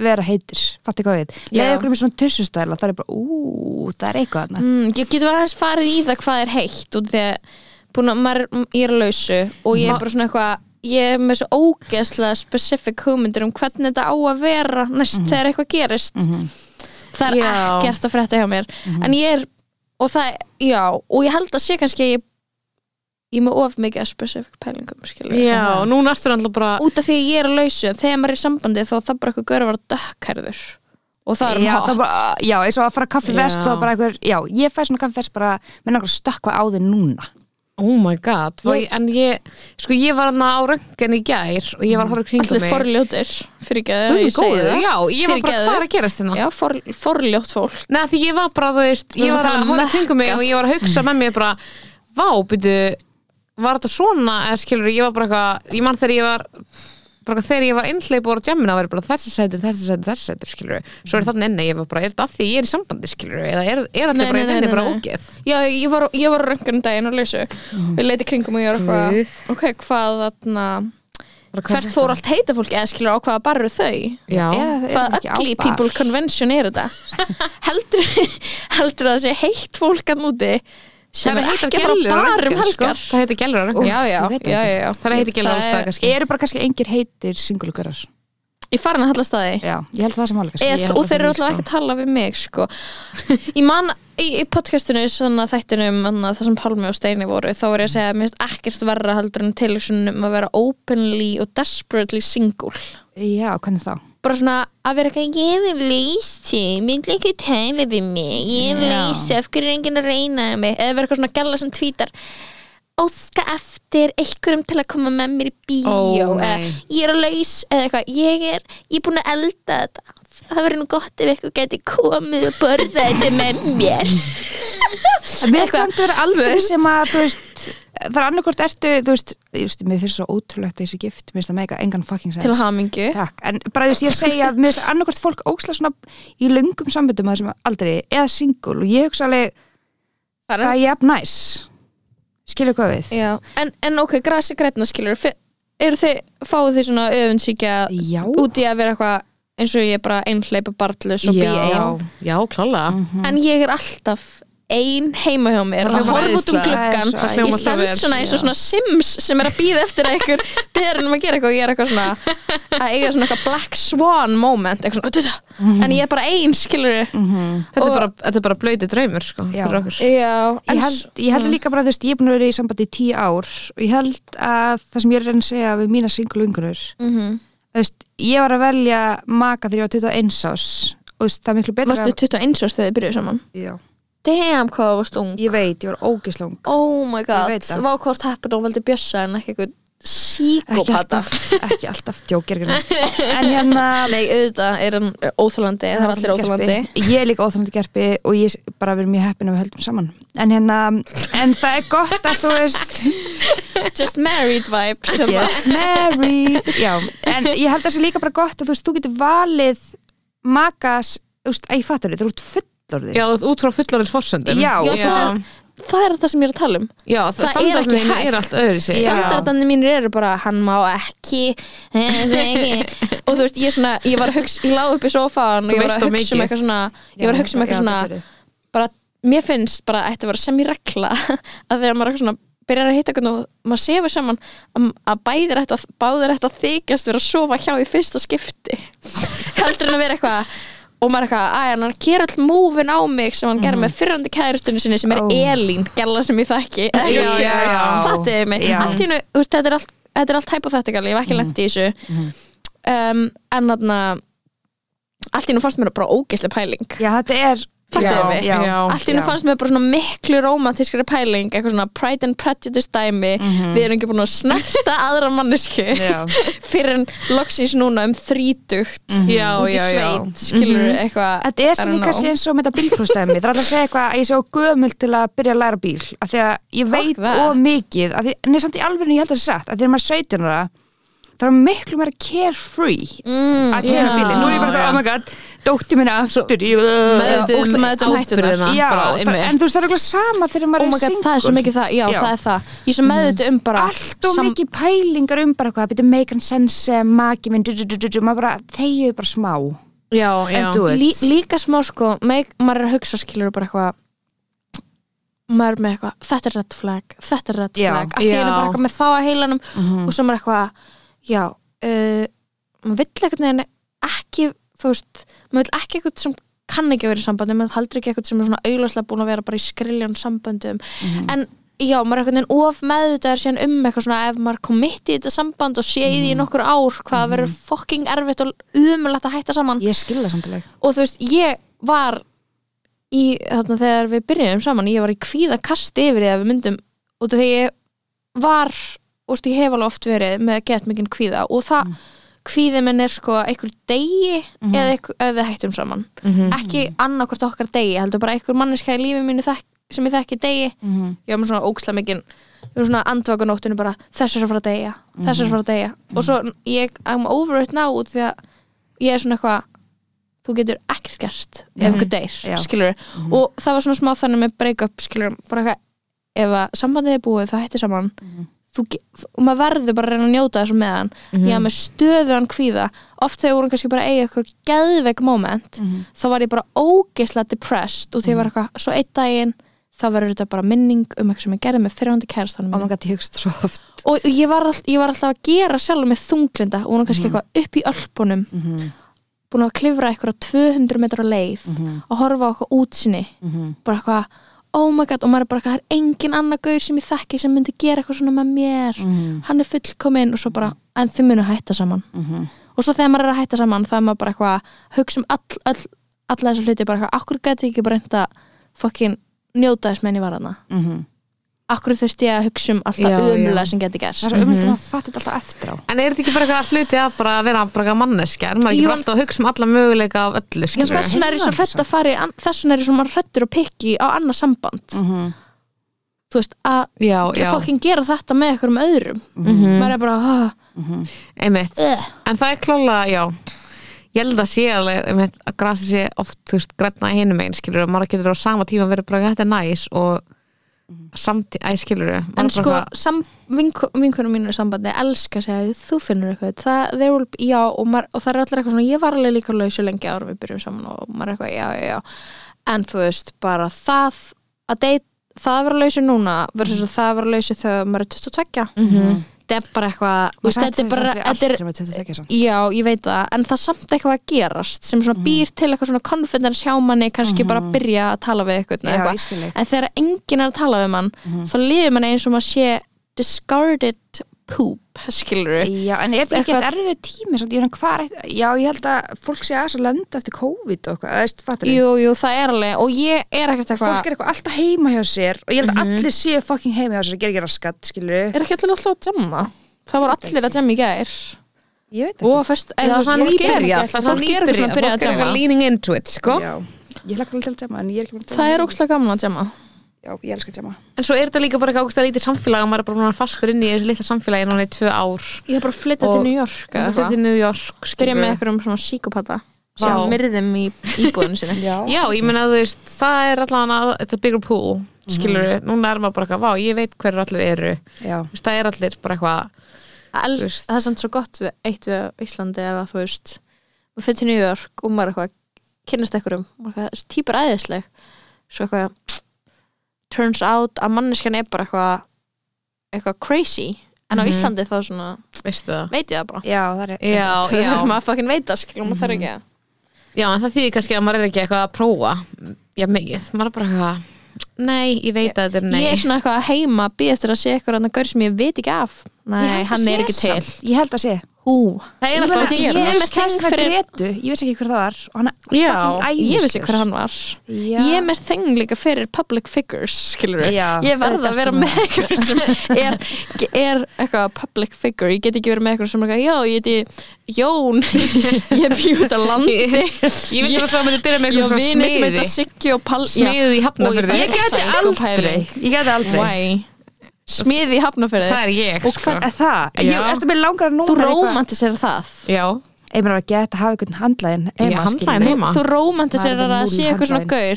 S5: vera heitir, fattu hvað við
S3: Já.
S5: Leða okkur með svona tussustæla, það er bara ú, það er eitthvað þarna
S3: mm, ég- Getum við aðeins farið í það hvað er heitt og því að búin að maður ég er á lausu og ég er bara svona eitthvað ég er með svo ógeðslega specific hugmyndir um hvernig þetta á að vera næst þegar eitthvað gerist það er
S4: Mhm. Já. Mhm.
S3: ekkert að frétta hjá mér en ég er og það, já, og ég held að sé kannski að ég ég er með of mikið af specific pælingum skilur
S4: Já, núna ertu alltaf bara
S3: út af því að ég er að lausu þegar maður er í sambandi þá þarf bara eitthvað gaur að vera dökkhærður og það er um
S5: já,
S3: hot
S5: það bara, já, eins og að fara kaffi vest
S4: Já.
S5: og bara einhver, já, ég fæ svona kaffi vest bara með náttúrulega stökkva á þig núna
S4: Oh my god, ég, en ég sko ég var hann á röngan í gær og ég var að horfa í kringum
S3: allir
S4: mig
S3: forljótir fyrir ekki að
S4: Guð minn
S3: ég segi
S4: góður,
S3: það
S4: Já, ég var bara
S3: Fyrirgefðu.
S4: hvað er að gerast hérna
S3: já, for, forljótt fólk
S4: Nei, því ég var bara, þú veist,
S3: Við
S4: ég
S3: erum
S4: var
S3: að tala
S4: að
S3: um
S4: horfa í kringum mig
S3: mökka.
S4: og ég var að hugsa með mér bara Vá, byrju, var þetta svona eða skilur, ég var bara eitthvað, ég man þegar ég var bara þegar ég var einhleip og var á djamminu að vera bara þessi sætur, þessi sætur, þessi sætur, skilur svo er þannig enni, ég var bara, er þetta af því ég er í sambandi, skilur eða er, er
S3: Nei,
S4: allir bara
S3: nei, nei,
S4: enni
S3: nei,
S4: bara
S3: nei.
S4: ógeð
S3: já, ég var, ég var röngan daginn og lausu mm. við leiti kringum og ég var
S4: Guð.
S3: eitthvað ok, hvað þarna
S4: Bara, hvað er
S3: hvert fór allt heita fólk eða skilur á hvaða barru þau
S4: Já,
S5: Eða þau eru
S3: hvað
S5: ekki á
S3: ugly
S5: bar.
S3: people convention er þetta heldur, heldur það að sé heitt fólk að núti sem
S4: það
S3: er
S4: heitir
S3: ekki að fara á bar um
S4: gellur
S3: helgar
S4: það heitir gellur á röngin,
S3: já, já,
S5: ég veit
S3: já, já, já.
S4: Það er að heita gælur alls
S3: Það
S4: staðar
S3: er-
S4: kannski
S5: Eru bara kannski engir heitir singulugurar
S3: Ég farin að halla staði
S5: Já, ég held að það sem alveg kannski
S3: Eð,
S4: held
S3: og
S4: að
S3: þeir
S4: það
S3: eru alltaf
S4: líka.
S3: ekki að tala við mig sko. ég man í, í podcastinu svona, þættinum annað, þar sem Pálmi og Steini voru þá er ég að segja að mér finnst ekkert verra heldur en til um að vera openly og desperately single
S5: Já, hvernig þá?
S3: bara svona að vera eitthvað ég er leysi, myndi ekki tæla við mig ég er
S5: Já.
S3: leysi, af hverju er enginn að reyna við mig eða vera eitthvað svona gæla sem tvítar óska eftir einhverjum til að koma með mér í bíó
S4: Ó, nei.
S3: eða ég er að laus eða eitthvað, ég er, ég er búin að elda þetta það verður nú gott ef eitthvað geti komið og borða þetta með mér
S5: Mér finnst samt að vera aldrei sem að þú veist, það er annarkort ertu þú veist, þú veist, mér finnst svo ótrúlegt þessi gift, mér finnst það mega engan fucking sens
S3: hamingju
S5: Takk, en bara þú veist, ég segja að mér finnst annarkort fólk óksla svona í lungum sambundum að þessum aldrei, eða singul og ég hugsa alveg,
S3: Það er-
S5: það er jafn næs skilur hvað við
S3: Já, en, en ok, grasi grætna skilur eru þið, fáið þið svona öfundsíkja
S5: Já.
S3: út í að vera eitthvað eins og ég er bara einhleypa barnlaus og bý ein
S4: já, klálega
S3: en ég er alltaf ein heima hjá mér
S4: Það
S3: og
S4: hljómar
S3: horf út um
S4: æðislega.
S3: gluggan
S5: Það er
S4: svo
S3: ég
S4: æðislega
S3: stend
S4: vel.
S3: svona eins og svona sims sem er að býða eftir að einhver beður um að gera eitthvað og ég er eitthvað svona að eiga svona eitthvað black swan moment eitthvað svona, "Dutta." en ég er bara ein skilur
S4: þetta,
S3: Og-
S4: er bara, þetta er bara blöytu draumur sko,
S5: Já.
S4: fyrir okkur
S3: já, en
S5: Ég held, ég held líka bara, þú veist, ég er búin að vera í sambandi í tíu ár og ég held að það sem ég er að reyna að segja við mína singul vingunur þú veist, ég var að velja maka þegar ég var 21 ás og þú veist, það er miklu betra
S3: varstu 21 árs þegar þið byrjuðu saman
S5: Já,
S3: damn hvað það varst ung
S5: ég veit, ég var ógislung
S3: oh my god,
S5: Ég veit það.
S3: vá hvort heppin og veldi bjössa en ekki eitthvað
S5: ekki
S3: síkópata
S5: alltaf, ekki alltaf djók er ekki neitt. en hérna
S3: nei, auðvitað er hann óþólandi það er allir óþólandi
S5: gerpi. ég er líka óþólandi gerpi og ég er bara verið mjög heppin að við höldum saman en hérna, en það er gott að þú veist
S3: just married vibe sem að-
S5: yes, married já, en ég held að það sé líka bara gott að þú veist, þú getur valið makas, þú veist, að ég fattar þau þú ert fullorðið
S4: já, þú ert út frá fullarins forsendum
S5: Já.
S3: Já, það, er, það er það sem ég er að tala um
S4: já það,
S3: það er
S4: standardin
S3: ekki
S4: þín
S3: hægt.
S4: er allt öðru sig
S3: standardandi mínir eru bara hann má ekki og þú veist, ég, er svona, ég var að hugsa ég lág upp í sofán og
S4: Þú
S3: ég var
S4: veist
S3: að
S4: of
S3: hugsa um
S4: mikið.
S3: eitthvað svona ég var að hugsa um eitthvað svona bara, mér finnst bara að þetta vera sem í regla að þegar maður er eitthvað svona byrjar að hitta hvernig og maður sefur saman að- að bæðir þetta, báðir þetta þykjast vera að sofa hjá í fyrsta skipti heldur en að vera eitthvað og maður er eitthvað, að hann ger all múfin á mig sem hann gerir með fyrrandi kæristunni sinni sem er
S5: Mhm. Ó.
S3: Elín, gæla sem ég þekki
S5: Já, já, já.
S3: fattiði mig
S5: Já.
S3: allt í hennu, þetta er allt þetta er allt hypothetical, ég hef ekki lent í þessu
S5: Mhm.
S3: um, en þarna allt í hennu fannst mér bara ógeðslega pæling
S5: já, þetta er
S3: Fattuðu mig?
S5: já,
S3: Allt í henni
S5: já.
S3: fannst mér bara svona miklu romantískari pæling, eitthvað svona pride and prejudice dæmi, við erum ekki búin að snerta aðra mannesku
S5: Mhm. Já. Mhm.
S3: fyrir en loksins núna um þrítugt
S4: Já,
S3: út í
S4: já, já.
S3: sveit, skilur eitthvað
S5: Þetta er sem
S3: I don't
S5: ég kannski
S3: know.
S5: eins og með þetta bílprófstæmi Það er alltaf að segja eitthvað að ég sé á gömul til að byrja að læra bíl af því að ég veit
S3: that.
S5: of mikið af því, en ég samt í alveg ég held að það sé satt að því að maður er 17 ára það er miklu meira carefree
S3: mm,
S5: að kera
S3: já.
S5: bílinn Nú er ég bara, eitthvað, oh my god, dótti minna aftur í uh,
S3: Meðvituð um ábyrgðina,
S5: Já,
S4: bara,
S5: það, en þú veist það er eitthvað sama þegar maður
S3: Oh my
S5: er
S3: god,
S5: single
S3: það er svo mikið það, já,
S5: Já.
S3: það er það Ég er svo meðviti um bara
S5: allt og
S3: sam-
S5: mikið pælingar um bara eitthvað, byrja make sense, eh, maki minn du, du, du, du, du, maður bara þegiðu bara smá
S4: já, já.
S5: and do it
S3: Lí, líka smá sko, meik, maður er að hugsa skilur bara eitthvað maður er með eitthvað, þetta er red flag þetta er red
S5: Já.
S3: flag, allt í einu
S4: Já.
S3: bara eitthvað með þá að heilanum og svo maður eitthvað já, uh, maður vill eitthvað neginn ekki, þú veist maður vill ekki eitthvað sem kann ekki að vera í sambandi maður heldur ekki eitthvað sem er svona augljóslega búin að vera bara í skriljón samböndum en já, maður er eitthvað neginn of meðutaður síðan um eitthvað svona ef maður komitti í þetta samband og sé í því í nokkur ár hvað verður fucking erfitt og umulagt að hætta saman
S5: Ég skil það samtileg
S3: og þú veist, ég var í, þarna þegar við byrjuðum saman ég var í kvíða kast yfir því að við myndum og þegar ég var og þú veist, ég hef alveg oft verið með gett mikinn kvíða og það kvíði minn er sko einhver degi eða einhver, ef við hættum saman ekki annarkvort okkar degi, heldur bara einhver manneska í lífi mínu þekk, sem ég þekki degi
S5: Mhm.
S3: ég var með svona óksla mikinn ég var svona andvakunóttinu bara þess er að fara að deyja, þess er að fara að deyja og svo ég, I'm over it now út því að ég er svona eitthvað þú getur ekkert gert ef ykkur deyr,
S5: Já.
S3: skilur og það var svona smá þannig með break up, skilur bara eitthvað, ef að sambandið er búið þá hættir saman þú, ge- og maður verður bara að reyna að njóta þessu meðan mm. ég hafði með stöðuðan kvíða oft þegar vorum kannski bara að eiga eitthvað geðveik moment, þá var ég bara ógeislega depressed og því var eitthvað svo einn daginn, þá verður þetta bara minning um eitthvað sem ég gerði með fyrirhandi kærastanum
S5: Oh my god, ég hugst svo oft
S3: og og ég var, all, ég var alltaf að gera sjálf með þunglinda og hún var kannski eitthvað upp í ölpunum búin að klifra eitthvað 200 metra leið og horfa á eitthvað útsinni bara eitthvað oh my god og maður er bara eitthvað, það er engin annar gaur sem ég þekki sem myndi gera eitthvað svona með mér hann er fullkominn og svo bara en þau munu hætta saman
S5: Mhm.
S3: og svo þegar maður er að hætta saman þá er maður bara eitthvað að hugsa um all, all, alla þessar hluti bara eitthvað, akkur gæti ég ekki bara reynda fokkin njóta þess menn ég var hana akkur þurfti ég að hugsa um
S4: Já,
S3: alltaf
S4: já.
S3: umlega sem geti gerst
S5: Það er umhverfst að maður fatti þetta alltaf eftir á
S4: En er þetta ekki bara eitthvað hluti að bara vera bara manneskja? Er maður
S3: Jú,
S4: ekki bara
S3: en-
S4: alltaf að hugsa um alla möguleika af öllu?
S3: Já,
S4: skilurðu?
S3: þess vegna er ég svo hrætt að fara í an- þess vegna er ég svo maður hrættur að pikki á annað samband þú veist að
S4: Já, já,
S3: fokkin gera þetta með einhverjum öðrum maður er bara oh,
S4: einmitt
S3: Ugh.
S4: En það er klálega, já Ég held að sé alveg, einmitt, að grasi sé oft, þú veist, grætna hinum einn, skilur og maður getur á sama tíma verið bara, þetta er næs og samt, æ, skilur
S3: Mhm. en sko sam, vinko, vinkunum mínu í sambandi elska að segja þú finnur eitthvað það, there will be, já og, maður, og það er allir eitthvað svona ég var alveg líka lausu lengi ára við byrjum saman og maður er eitthvað já já já en þú veist bara það að deit, það að vera lausu núna versus að það að vera lausu þegar maður er 22 -hmm. það er bara eitthvað þú veist, þetta er bara, þetta er
S5: er
S3: Já, ég veit það, en það er samt eitthvað að gerast sem svona býr til eitthvað svona confidence hjá manni kannski bara að byrja að tala við eitthvað,
S5: Já, ég skil þig.
S3: en þegar enginn er að tala við mann þá lifir mann eins og maður sé discarded poop, skilur við
S5: Já, en er þetta ekki
S3: Eitthvað-
S5: eitthvað erfið tími samt, ég meina, hvað er, eitt- Já, ég held að fólk sé aðeins að lenda eftir COVID og eitthvað, eða fattur
S3: Jú, jú, það er alveg, og ég er
S5: Fólk
S3: ekkert eitthvað
S5: er eitthvað alltaf heima hjá sér og ég held að allir séu fucking heima hjá sér að gera ekki raskat, skilu
S3: Mhm. Er ekki allir alltaf að jamma? Það voru allir að jamma í gær
S5: Ég veit ekki
S3: og fyrst, eða þú
S4: það
S3: veist,
S4: er
S3: fólk er
S4: nýbyrja,
S3: ekki fólk er ekki svona að byrja að jamma
S4: leaning into it, sko
S5: Já, ég hlakka alveg til að djama en ég er ekki búin að
S3: Það er ókslega gaman að jamma
S5: Já, ég elska að djama
S4: En svo er þetta líka bara eitthvað águst að lítið samfélag og maður er bara búin að vera fastur inn í þessu litla samfélagi núna í tvö ár
S3: Ég er bara að flytta til
S4: Og-
S3: New York eða
S4: Þetta
S3: eitthvað.
S4: er til New York,
S3: Byrja með
S4: skilurðu.
S3: eitthvað um svona psíkopata sem
S4: Vá.
S3: myrðum í íbúðinu sinni
S4: Já, ég meina þú veist, það er allan að þetta er bigger pool,
S3: Mhm.
S4: skilur núna er maður bara eitthvað, vá, ég veit hverju allir eru
S5: Já,
S4: Þú veist, það er allir bara eitthvað
S3: El,
S4: Þú veist.
S3: það er samt svo gott við, eitt við Íslandi er að þú veist maður fyrir til New York og maður eitthvað kynnast ekkurum, maður eitthvað, þessi típa er æðisleg svo eitthvað turns out að manneskjan er bara eitthvað eitthvað crazy en
S4: Mhm.
S3: á Íslandi þá svona,
S4: veistu það
S3: veit ég það bara
S5: já, það er
S4: Já, já,
S3: maður fokkin veit það, skilum maður þarf ekki að
S4: já, en það þýðir kannski að maður er ekki eitthvað að prófa Já, mikið, maður er bara eitthvað Nei, ég veit að þetta er nei
S3: ég er svona eitthvað heima, býð eftir að sé eitthvað annar gaur sem ég veit ekki af
S5: Ég
S3: nei,
S5: held að
S3: hann
S5: sé
S3: er ekki til
S5: samt- Ég held að sé
S4: Það er
S5: hérna.
S3: Hú,
S5: Ég
S4: alltaf
S5: meina,
S4: að
S5: ég
S4: gera
S5: er með
S3: þing
S5: þess að
S3: fyrir-
S5: Gretu, ég veist ekki hver það var og hann er
S4: Já,
S5: fucking
S3: ég vissi
S5: æðislegur.
S3: hver hann var
S5: Já.
S3: Ég er með þeng líka fyrir public figures, skilur við
S5: Já,
S3: Ég verð
S5: auðvitað
S3: að vera
S5: ertu
S3: með eitthvað sem er, er eitthvað public figure Ég get ekki verið með eitthvað sem er eitthvað Já, ég heiti Jón Ég bý út að landi
S4: Ég veit ekki að það myndi byrja með
S3: Ég á
S4: eitthvað
S3: vini
S4: svona
S3: sem heita
S4: smiði
S3: Siggi og Pall Já,
S4: Smiði í hafnafyrði
S3: Og
S5: Ég gæti
S3: Psycho
S5: aldrei,
S3: pæling.
S5: ég gæti aldrei
S3: sko, Why? Smiði í hafnafyrði
S4: Það er ég
S3: Og
S4: sko.
S3: hvað-
S5: Er það?
S4: Já.
S5: Ég erstu með langar að núna
S3: Þú rómantisir það
S4: Já,
S5: Ég meina að geta að hafa einhvern handlæðin
S4: Já, handlaginn
S5: skilur.
S4: heima.
S3: Þú rómantisir
S5: Maður er
S3: að
S5: múl í
S3: sé eitthvað svona gaur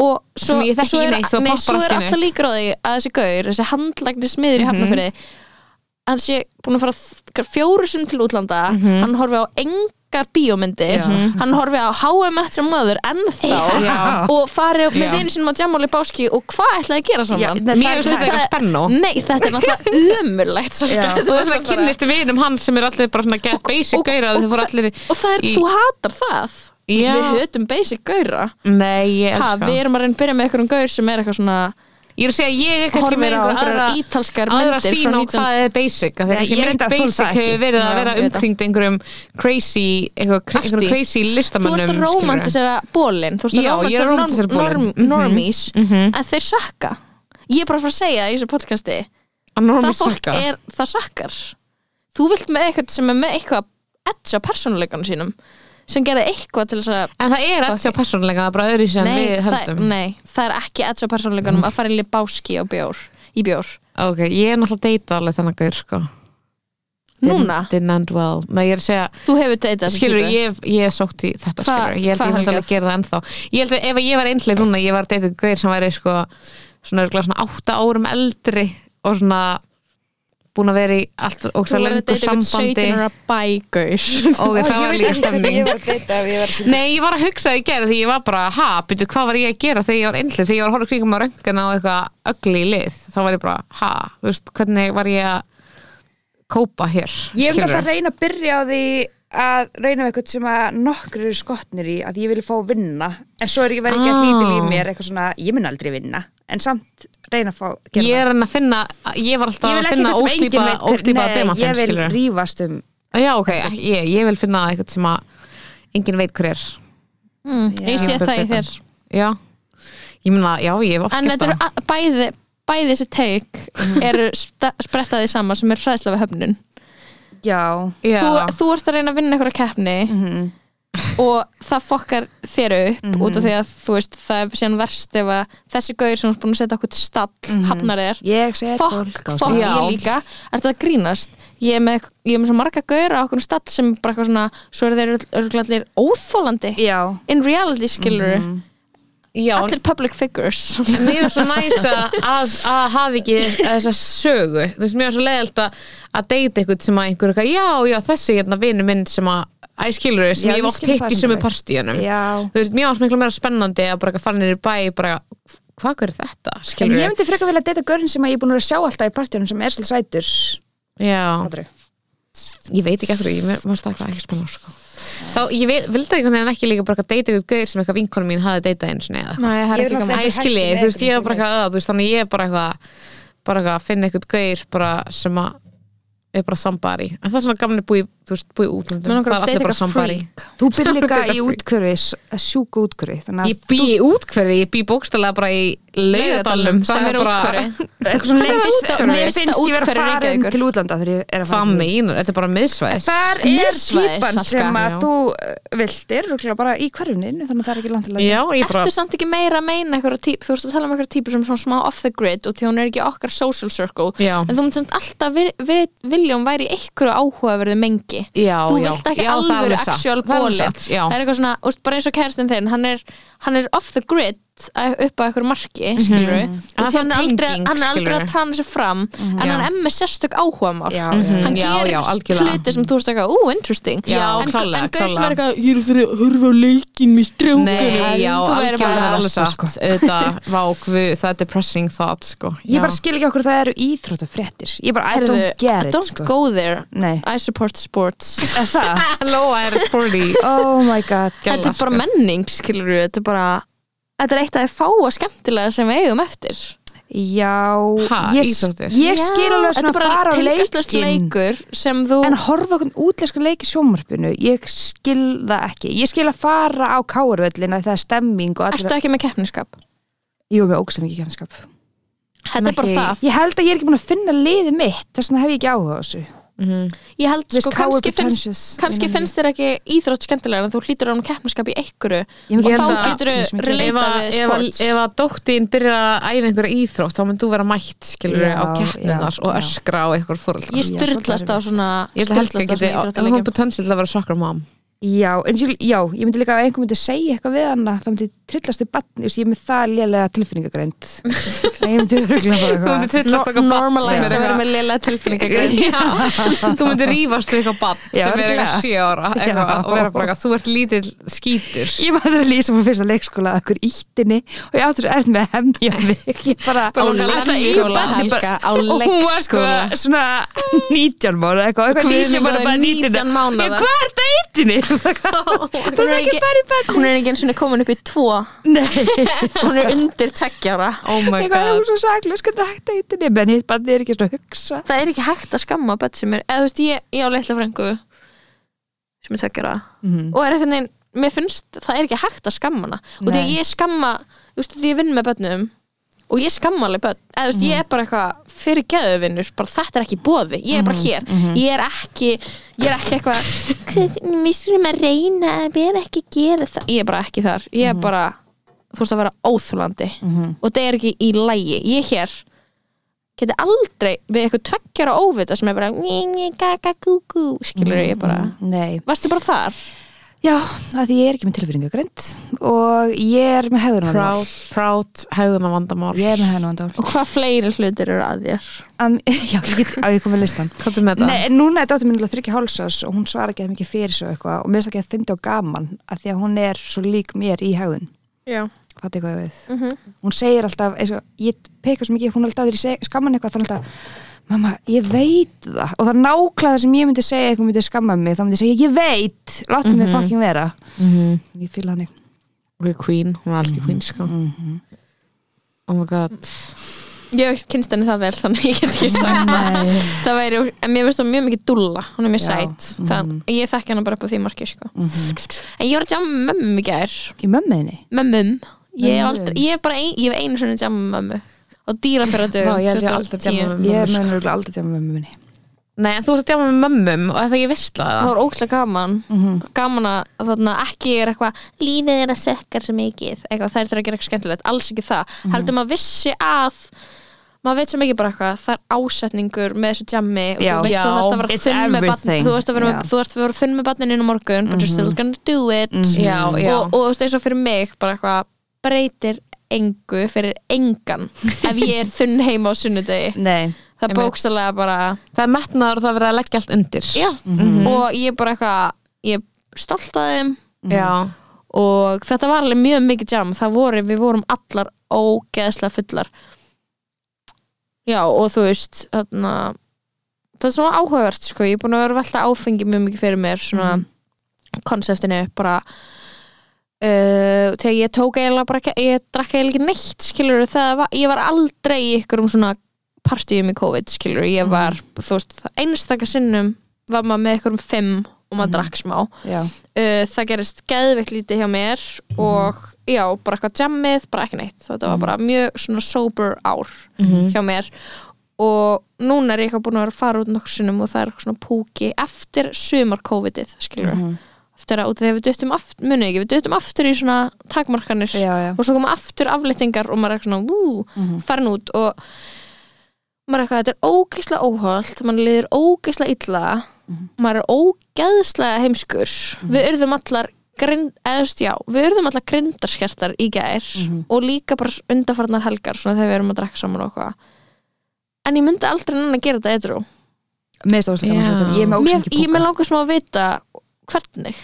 S3: og svo,
S4: Sem ég þekki
S3: svo
S4: ekki
S3: er,
S4: neitt, svo
S3: nei,
S4: poppar
S3: svo
S4: allt í
S3: er
S4: einu. Mhm.
S3: alltaf líkur á því að þessi gaur, þessi handlagni smiður í hafnafyrði hann sé búin að fara þ- fjóru sunn til útlanda
S4: Mhm.
S3: hann horfi á engar bíómyndir hann horfi á H.M. Match and Mother ennþá
S4: Já.
S3: og fari með
S4: Já.
S3: vinu sinum á Jammal í Báski og hvað ætlaði að gera
S5: Já,
S3: saman
S5: nei,
S4: Mér
S5: það er
S4: finnst
S5: það.
S4: þetta eitthvað spennu
S3: Nei, þetta er náttúrulega umurlegt
S5: Já.
S4: Þú veist að kynnist vinum hans sem er allir bara svona get basic
S3: og-
S4: gæra
S3: og
S4: Þau fór allir í-
S3: og það er,
S4: í-
S3: þú hatar það
S4: Já.
S3: við hötum basic gaura
S4: Nei, ég
S3: ha,
S4: elska
S3: við erum að reyna að byrja með eitthvað um gaur sem er eitthvað svona
S4: Ég er að segja, ég er kannski
S3: horfir
S4: með
S3: á
S4: einhver
S3: einhverjar
S4: aðra
S3: ítalskar
S4: aðra
S3: myndir
S4: sín
S3: frá
S4: á
S3: 19...
S4: hvað er basic að það er
S5: Nei,
S4: ekki
S5: ég
S4: mynd
S5: reyndar þoli
S4: basic
S5: það ekki.
S4: hefur verið að
S3: Já,
S4: vera
S3: ég veit það.
S4: umkringd einhverjum crazy eitthvað cra-
S3: Arty.
S4: einhverjum crazy
S3: þú
S4: listamönnum
S3: ert að
S4: skilurðu.
S3: romantisera bólin þú ert
S4: Já,
S3: að
S4: ég er Mhm. að
S3: romantisera
S4: romantisera
S3: norm,
S4: bólinn.
S3: norm, normies
S4: Mhm.
S3: en þeir sökka ég er bara að fara að segja í þessu podcasti
S4: Að normi
S3: það fólk
S4: sakka.
S3: er, það sökkar þú vilt með eitthvað sem er með eitthvað að edja persónuleikanum sínum sem gerði eitthvað til þess að
S4: en það er alls á persónleika það er bara öðru sem við
S3: það,
S4: höldum
S3: nei, það er ekki edja persónuleikanum að fara í báski á bjór, í bjór
S4: ok, ég er náttúrulega að deyta alveg þannig gaur sko Didn't-
S3: núna,
S4: didn't end well, nei ég er að segja
S3: þú hefur deytað þessa
S4: skilur,
S3: típu.
S4: ég, ég hef sótt í þetta
S3: Hva-
S4: skilur, ég held
S3: hvað
S4: ég myndi
S3: helgað?
S4: alveg að gera það ennþá ég held að ef ég var einslega núna, ég var að deyta gaur sem væri sko svona, örugglega svona átta árum eldri og svona búin að vera í allt og
S3: Þú
S4: það
S3: verður að
S4: lengur
S3: deyta einhvern
S4: sambandi
S3: 17 ára bægaur
S4: og það var líka stemning
S5: var að deyta ef ég var að sína
S4: Nei, ég var að hugsa það í gerð því ég var bara, ha, byrju, hvað var ég að gera þegar ég var einhlega, þegar ég var að horfa kringum á röngana og eitthvað ögli lið, þá var ég bara, ha, þú veist, hvernig var ég að kópa hér,
S5: Ég hef alltaf
S4: skilurðu?
S5: að reyna að byrja á því að reyna með eitthvað sem að nokkur eru skotnir í að ég vil fá að vinna en svo er ég verið ekki að
S4: Ah.
S5: lítil í mér eitthvað svona, ég mun aldrei vinna en samt reyna að fá gera
S4: Ég er enn að finna, ég var
S5: það.
S4: alltaf að
S5: Ég vil ekki
S4: finna
S5: eitthvað sem enginn
S4: óslýpa,
S5: veit hver-
S4: óslýpa
S5: Nei,
S4: demantin,
S5: Ég vil
S4: skilur
S5: rífast um
S4: Já, ok, ég, ég vil finna eitthvað sem að enginn veit hver er
S3: mm, Ég sé
S4: Já.
S3: það í þér
S4: Já, ég meina, já, ég hef oft
S3: En
S4: gert
S3: þetta eru
S4: það
S3: a- bæði bæði þessi teik eru sta- sprettaði saman sem er hræðsla við höfnun
S5: Já,
S4: Já.
S3: þú, þú ert að reyna að vinna einhverja keppni og það fokkar þér upp út af því að þú veist það er síðan verst ef að þessi gaur sem er búin að setja okkur til stall hafnar þér
S5: ég set
S3: fokk,
S5: fólk á stað.
S3: fokk, ég líka er þetta að grínast ég er með, ég er með svo marga gaur á okkur stall sem er bara eitthvað svona svo eru þeir örglallir óþólandi
S5: Já,
S3: in reality skilur
S4: Já, en-
S3: allir public figures
S4: En mér er svo næsa að, að hafa ekki þessa sögu þú veist, mér er svo leiðilt að, að deyta eitthvað sem að einhver eitthvað, já, já, þessi hérna vinnu minn sem að, æ, skilur þau sem ég
S5: Já, ég
S4: hef oft
S5: skil
S4: hitt
S5: það
S4: í sömu
S5: samt alveg.
S4: partíunum
S5: já
S4: þú veist, mér var svo miklu meira spennandi að bara eitthvað fara niður í bæ, bara, hvað hver er þetta
S5: En
S4: skilur
S5: ég
S4: þau,
S5: myndi frekar vilja að deyta görn sem að ég er búin að vera að sjá alltaf í partíunum sem er svolítið sætur
S4: já
S5: Andri.
S4: ég veit ekki eitthvað, ég mér- mér varst það eitthvað ekki spennandi sko. þá, ég vil- vildi einhvern veginn ekki líka bara eitthvað deyta eitthvað gauð sem eitthvað vinkonum mín hafi deytað einu sinni eða eitthvað.
S3: Nei, það
S5: Ég
S3: er ekki
S5: vil
S3: gaman
S4: Æ,
S5: alltaf- Þetta er
S4: skilji,
S5: hægt í
S4: þú veist, ég er
S5: leiknum,
S4: bara eitthvað að, þú veist, þannig ég er bara eitthvað bara eitthvað að finna eitthvað gauðir bara sem að er bara sambari en það er svona gaman að búi, þú veist, búi útlöndum
S3: Mér
S4: það
S3: langar að
S4: er allir
S3: deyta
S4: bara
S3: eitthvað
S4: sambari
S3: freak.
S5: Þú byrð líka
S4: Þetta er
S5: í
S4: frí.
S5: útkörfi, sjúku útkörfi Þannig
S4: ég bý í útkverfi, ég bý bókstælega bara í laugadalum,
S3: Laugardalum, sem er útkverfi
S5: að eitthvað svona
S3: Hvað er
S5: leið
S3: útkverfi?
S5: finnst- mér
S3: Fyrsta
S5: finnst ég vera
S3: útkverfi
S5: farin
S3: Reykjavíkur.
S5: til útlanda þegar ég er að
S4: hvað
S5: fara til-
S4: meinar, þetta er bara miðsvæðis
S5: Þar er
S3: Miðsvæðis,
S5: típan
S3: Salka.
S5: sem að
S4: Já.
S5: þú eh, viltir og bara í hverfinu þannig að það er ekki langt til að
S4: já, ég bara
S3: Ertu samt ekki meira að meina eitthvað típ, þú ert að tala um eitthvað típu sem er svona smá off the grid og því hún er ekki í okkar social circle
S4: Já.
S3: en þú myndir samt alltaf vi, vi, vilja hún væri í einhverju áhugaverðu mengi
S4: já,
S3: þú
S4: já.
S3: vilt ekki
S4: Já, það er
S3: alvöru
S4: alveg satt.
S3: actual
S4: Það er alveg
S3: bóli
S4: satt, já.
S3: það er eitthvað svona, úst, bara eins og kærastinn þinn hann er, hann er off the grid að- upp á einhverju marki, skilur mm
S4: Mhm. Hann er
S3: hann er aldrei,
S4: tenging,
S3: hann er aldrei
S4: skilurðu. Mhm.
S3: að tana sér fram en
S4: Já.
S3: hann er með sérstök áhugamál
S5: Já, já, já.
S3: hann
S4: Mm. Já,
S3: gerir
S4: já, algjörlega.
S3: hluti sem þú ert eitthvað, ú, interesting
S4: Já,
S3: en,
S4: klárlega,
S3: en gauð sem
S4: klárlega.
S3: er eitthvað, ég er fyrir að horfa á leikin með strákunum
S4: Nei, já,
S3: Þú verður bara
S4: algjörlega
S3: að
S4: alveg
S5: versta,
S4: satt
S5: sko.
S4: auðvitað, vá, guð, það er depressing thought, sko
S5: Ég
S4: Já.
S5: bara skil ekki okkur það eru íþróttafréttir Ég bara, I
S3: Heyrðu,
S5: don't get it
S3: Don't
S5: sko.
S3: go there
S5: Nei,
S3: I support sports
S5: er það?
S4: Lóa er sporty
S5: Oh my god
S3: Þetta er bara menning, skilur við Þetta er bara Þetta er eitt af því fáa skemmtilega sem við eigum eftir
S5: Já,
S4: Ha,
S5: ég,
S4: íþróttir?
S5: ég skil alveg
S3: Þetta
S5: svona
S3: er bara
S5: fara á
S3: tilgæstlust
S5: leikinn.
S3: leikur sem þú
S5: En að horfa okkur útlenska leik í sjónvarpinu, ég skil það ekki. Ég skil að fara á kárvöllina það er stemming og
S3: ertu
S5: allir...
S3: ekki með keppniskap
S5: Jú, með ógst mikið kemskap.
S3: Þetta er bara það
S5: Ég held að ég er ekki búin að finna liðið mitt, þess vegna hef ég ekki áhuga á þessu.
S3: Ég held
S5: There's
S3: sko
S5: coward
S3: kannski finnst
S5: pretentious
S3: kannski
S5: innan í.
S3: finnst þér ekki íþrótt skemmtilega en þú hlýtur á um keppniskap í einhverju
S5: Ég
S3: og
S5: held
S3: þá
S5: að-
S3: getur
S5: Ég sem
S3: þú
S4: Ef
S5: ekki-
S3: releita
S4: að-
S3: við
S4: ef að-
S3: sports
S4: ef að dóttin byrjar að æfa einhverja íþrótt þá mynd þú vera mætt skilur
S5: Já,
S4: á keppninar
S5: já,
S4: og
S5: já.
S4: öskra á einhver fóröldra
S3: Ég
S5: Já,
S3: styrlast á
S5: svolítið
S3: svona
S4: Ég held að Helga
S3: styrlast á
S4: geti, hún
S3: svona
S4: er
S3: íþróttaleikjum
S4: potential að vera soccer mom
S5: Já, en ég, já, ég myndi líka að einhver myndi segja eitthvað við hana, það myndi trillast í batni, ég er með það lélega tilfinningagreind. Þannig að ég myndi örgulega bara
S4: Þú myndir
S5: eitthvað.
S4: trillast okkar
S3: Normalize
S5: Já.
S3: að vera með lélega tilfinningagrein
S4: Þú myndir rífast við eitthvað bann
S5: Já,
S4: sem er eitthvað
S5: örugglega.
S4: sjö ára eitthvað,
S5: Já.
S4: og vera bara eitthvað, þú ert lítill skítur
S5: Ég maður að lýsa fyrir fyrsta leikskóla að ykkur íttinni og ég áttur erð með að hemja mig. Ég bara,
S3: Á leikskóla,
S5: barni
S3: Helga, á
S5: og hún var sko
S3: leikskóla
S5: svona 19 mánu eitthvað, eitthvað
S3: Guð minn
S5: 19 mánu bara nýttina.
S3: góður, 19
S5: Ég,
S3: mánuða.
S5: Hvað er það eittinni? Þú
S3: Hún
S5: er
S3: er
S5: ekki bara
S3: ekki- Oh
S5: í bæn.
S3: Hún er ekki eins og komin upp í tvo
S5: Nei,
S3: Hún er undir tveggjára
S4: Oh my
S5: eitthvað er hún
S4: god
S5: svo saklaus, hvernig er hægt eittinni? Menn hitt bann er ekki svona að hugsa.
S3: það er ekki hægt að skamma bett sem er, eða þú veist, ég, ég á litla frængu sem er tveggjara
S5: Mhm.
S3: og er eitthvað neginn, mér finnst það er ekki hægt að skamma hana og því að
S5: Nei.
S3: ég skamma þú veist, því ég vinn með bönnum og ég skamma alveg bönn, eða þú veist, ég er bara eitthvað fyrir geðuvinnur, bara þetta er ekki bóði ég er bara hér, ég er ekki ég er ekki eitthvað mér styrum að reyna, mér er ekki að gera það ég er bara ekki þar, ég er bara þú veist að vera óþúlandi og það er ekki í lægi, ég er hér geti aldrei við eitthvað tveggjara óvita sem er bara "Ní, ní, gaga, gú, gú, skilur ég bara
S5: Nei.
S3: varstu bara þar?
S5: Já, að því ég er ekki með tilfyringagrind og ég er með hegðunarvandamál.
S4: Proud, proud, hegðuna vandamál
S5: Ég er með hegðunarvandamál.
S3: og hvað fleiri hlutir eru að þér?
S5: Um, já, ég get á ég komið listan.
S4: Hvað er með það?
S5: Nei, en núna er dóttir minn alveg þryggja hálsas og hún svarar ekki mikið fyrir svo eitthvað og mér finnst ekki að fyndi á gaman að því að hún er svo lík mér í hegðun.
S3: já,
S5: Fattu eitthvað við. Hún segir alltaf, eins og ég peka svo mikið, hún er alltaf þegar ég seg- skamma hann eitthvað, þá er hún alltaf, mamma, ég veit það. Og það er nákvæmlega það sem ég myndi segja, eitthvað myndi skamma mig, þá myndi ég segja, ég veit, láttu mig fucking vera. Ég fýla hann
S4: Hún er queen, hún er
S5: Mhm.
S4: alveg queen sko Oh my god
S3: ég hef ekkert kynst henni það vel þannig ég get ekki
S5: Mm.
S3: sagt það það væri, en mér finnst það mjög mikið dúlla hún er mjög
S5: Já,
S3: sæt, þannig ég þekki hana bara upp á því marki sko. en ég var að jamma með mömmu í gær
S5: í mömmuðinni.
S3: með mömm, ég hef
S5: Mömmu?
S3: aldrei ég hef bara ein, ég hef einu sinni jamma með mömmu og dýra fyrir að
S4: Vá, ég held ég aldrei djama með
S5: Ég
S4: mömmu,
S5: er
S4: sko.
S5: með henni örugglega aldrei tjáma mömmu minni.
S4: Nei, en þú ert að djama með mömmum og það ekki vissla
S3: það
S4: það
S3: var ógslag gaman
S5: Mhm.
S3: gaman að þarna ekki er eitthvað lífið er að sekka sem mikið eitthvað, það er það að gera eitthvað skemmtilegt, alls ekki það
S5: Mhm.
S3: heldur maður vissi að maður veit sem ekki bara eitthvað, það er ásetningur með þessu jammi og
S5: Já.
S3: þú veist að
S5: Já.
S3: þú þarfst að vera
S5: It's
S3: þunn með
S5: everything.
S3: batn þú veist að vera,
S5: Já. Mhm.
S3: með, þú veist að vera þunn með batninu á morgun but you're still gonna do it
S4: Já, já
S3: og, og þú veist eins og fyrir mig bara eitthvað breytir engu fyrir engan ef ég er þunn heima á sunnudegi
S5: Nei.
S3: það er
S4: Einmitt.
S3: bókstælega bara
S4: Það er metnaður og það er verið að leggja allt undir
S3: já, og ég er bara eitthvað ég er stolt að þeim
S4: Já.
S3: og þetta var alveg mjög mikið jam það voru, við vorum allar ógeðslega fullar já og þú veist þarna, það er svona áhugavert sko, ég er búin að vera að velta áfengi mjög mikið fyrir mér svona konseptinu bara uh, þegar ég tók eiginlega bara ekki- ég drakk eiginlega ekki neitt skilur það var, ég var aldrei í ykkur um svona partíum í COVID skilur ég var, þú veist, það einstaka sinnum var maður með ykkur um fimm og maður drakk smá
S5: Já.
S3: uh, það gerist geðveikt lítið hjá mér og já, bara eitthvað jammið bara ekki neitt, þetta var bara mjög svona sober ár hjá mér og núna er ég eitthvað búin að vera að fara út nokkur sinnum og það er eitthvað svona púki eftir sumar COVID-ið, skilur eftir að út af því að við duttum aftur, munið ekki, við duttum aftur í svona takmarkanir
S5: Já, já.
S3: og svo koma aftur aflýtingar og maður er eitthvað svona, vú, farin út og maður er eitthvað, þetta er ógeðslega óholt maður liður ógeðslega illa maður er ógeðslega heimskur við urðum allar grind, eðust, já, við urðum allar grindarskertar í gær og líka bara undarfarnar helgar svona þegar við erum að drekka saman og eitthvað en ég myndi aldrei nann að gera þetta edru
S5: Mér stóðast ekki
S4: Já.
S5: að ég er með
S3: Mér,
S5: ósengi
S3: ég með
S5: búka.
S3: langar smá að vita hvernig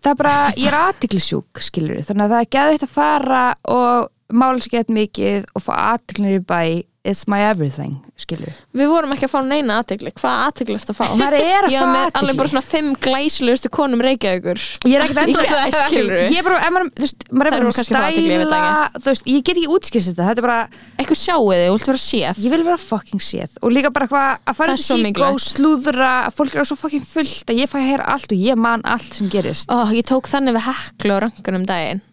S5: Það er bara, ég er aðtiklisjúk, skilur þannig að það er geðvægt að fara og mála sér gett mikið og fá aðtiklinir í bæ it's my everything, skilju
S3: Við vorum ekki að fá neina aðtegli, hvað aðtegli ertu að fá?
S5: Það er að
S3: Ég var
S5: fá
S3: með
S5: athygli.
S3: alveg bara svona fimm glæsilegustu konum reykjaðugur
S5: Ég er ekkert
S3: Í gær,
S5: endilega
S3: skilurðu.
S5: Ég er bara, ef maður, þú veist, maður
S3: Þær
S5: er
S3: voru
S5: bara
S3: kannski að fá athygli, ég veit það
S5: stæla Þú veist, ég get ekki útskjöst þetta Þetta er bara,
S3: Eitthvað sjáu þig, þú vilt vera séð
S5: ég vil vera fucking séð og líka bara eitthvað að
S3: Það
S5: fara
S3: er
S5: til
S3: svo
S5: síkó,
S3: mikilvægt.
S5: slúðra fólk er svo fucking fullt að ég fæ að heyra allt og ég man allt sem gerist
S3: Ó, ég tók þannig við heklu á rangunum daginn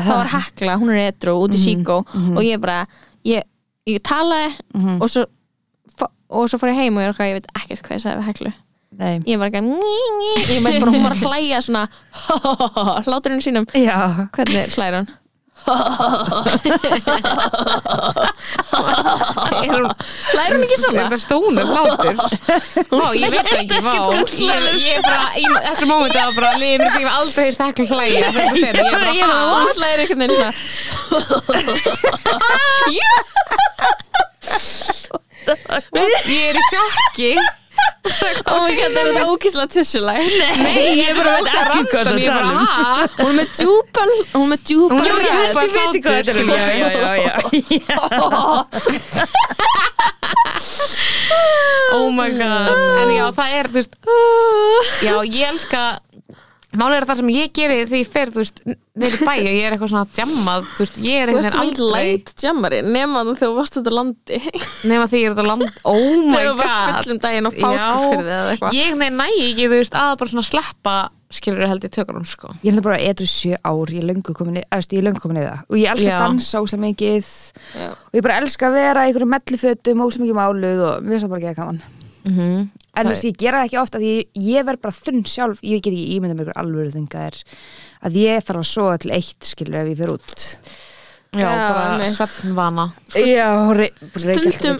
S3: Það var hekla, hún er etru út í
S5: Mhm,
S3: síkó og ég bara, ég, ég talaði
S5: Mhm.
S3: og svo fa- og svo fór ég heim og ég, er eitthvað, ég veit ekkert hvað ég sagði við heklu
S5: Nei.
S3: ég var ekki að ný, ný. ég veit bara hún var að hlæja svona hláturinn sínum
S5: Já,
S3: hvernig hlæra hún
S4: er hún
S3: hlæra hún ekki
S4: er
S3: svona
S4: þetta stóna látur Vá, ég veit það ekki, vá Ég- Ég er bara, í þessu mómentu var bara liðið mér sem ég hef aldrei heyrt ekki hlæja þegar þetta sér, ég er bara, ha?
S3: hún hlæra einhvern veginn svona
S4: Ég er í sjokki
S3: oh my god, það er þetta ókísla tissulæg
S5: Nei, ég bara veit ekki hvað
S4: Rannsókn,
S5: það
S4: ég er bara,
S5: tala um
S4: ha?
S3: hún er með djúpan hún er með djúpan
S4: Hún er með
S3: rödd.
S4: djúpan-
S5: Ég veit ekki hvað þetta er um, já, já, já, já
S4: Oh my god En já, það er, þú veist
S3: Ah.
S4: Já, ég elska Málið er að það sem ég geri því ég fer, þú veist, niður í bæ og ég er eitthvað svona djammað, þú veist, ég er
S3: þú ert
S4: eitthvað
S3: svo mikið
S4: aldrei
S3: læt jammari nema þegar þú varst út á landi
S4: nema því ég er þetta land, oh my
S3: þegar þú varst
S4: god
S3: fullum daginn og fáskursfyrði eða eitthvað
S4: ég nei, næ ekki, þú veist, að bara svona sleppa skilur held í tökunum, sko
S5: Ég er bara etru sjö ár, ég er löngu komin í, æst, ég er löngu komin í það og ég elska
S4: Já.
S5: að dansa óslega mikið og ég bara elska að vera í einhverjum mellifötum óslega mikið máluð og mér finnst það bara ekki að gaman en þú veist, ég gera það ekki ofta því ég verð bara þunn sjálf, ég get ekki ímynda með ykkur alvöru þingar að ég þarf að soga til eitt skilur ef ég fer út
S4: já, bara
S3: einmitt.
S4: svefnvana
S5: Já, hori,
S3: stundum,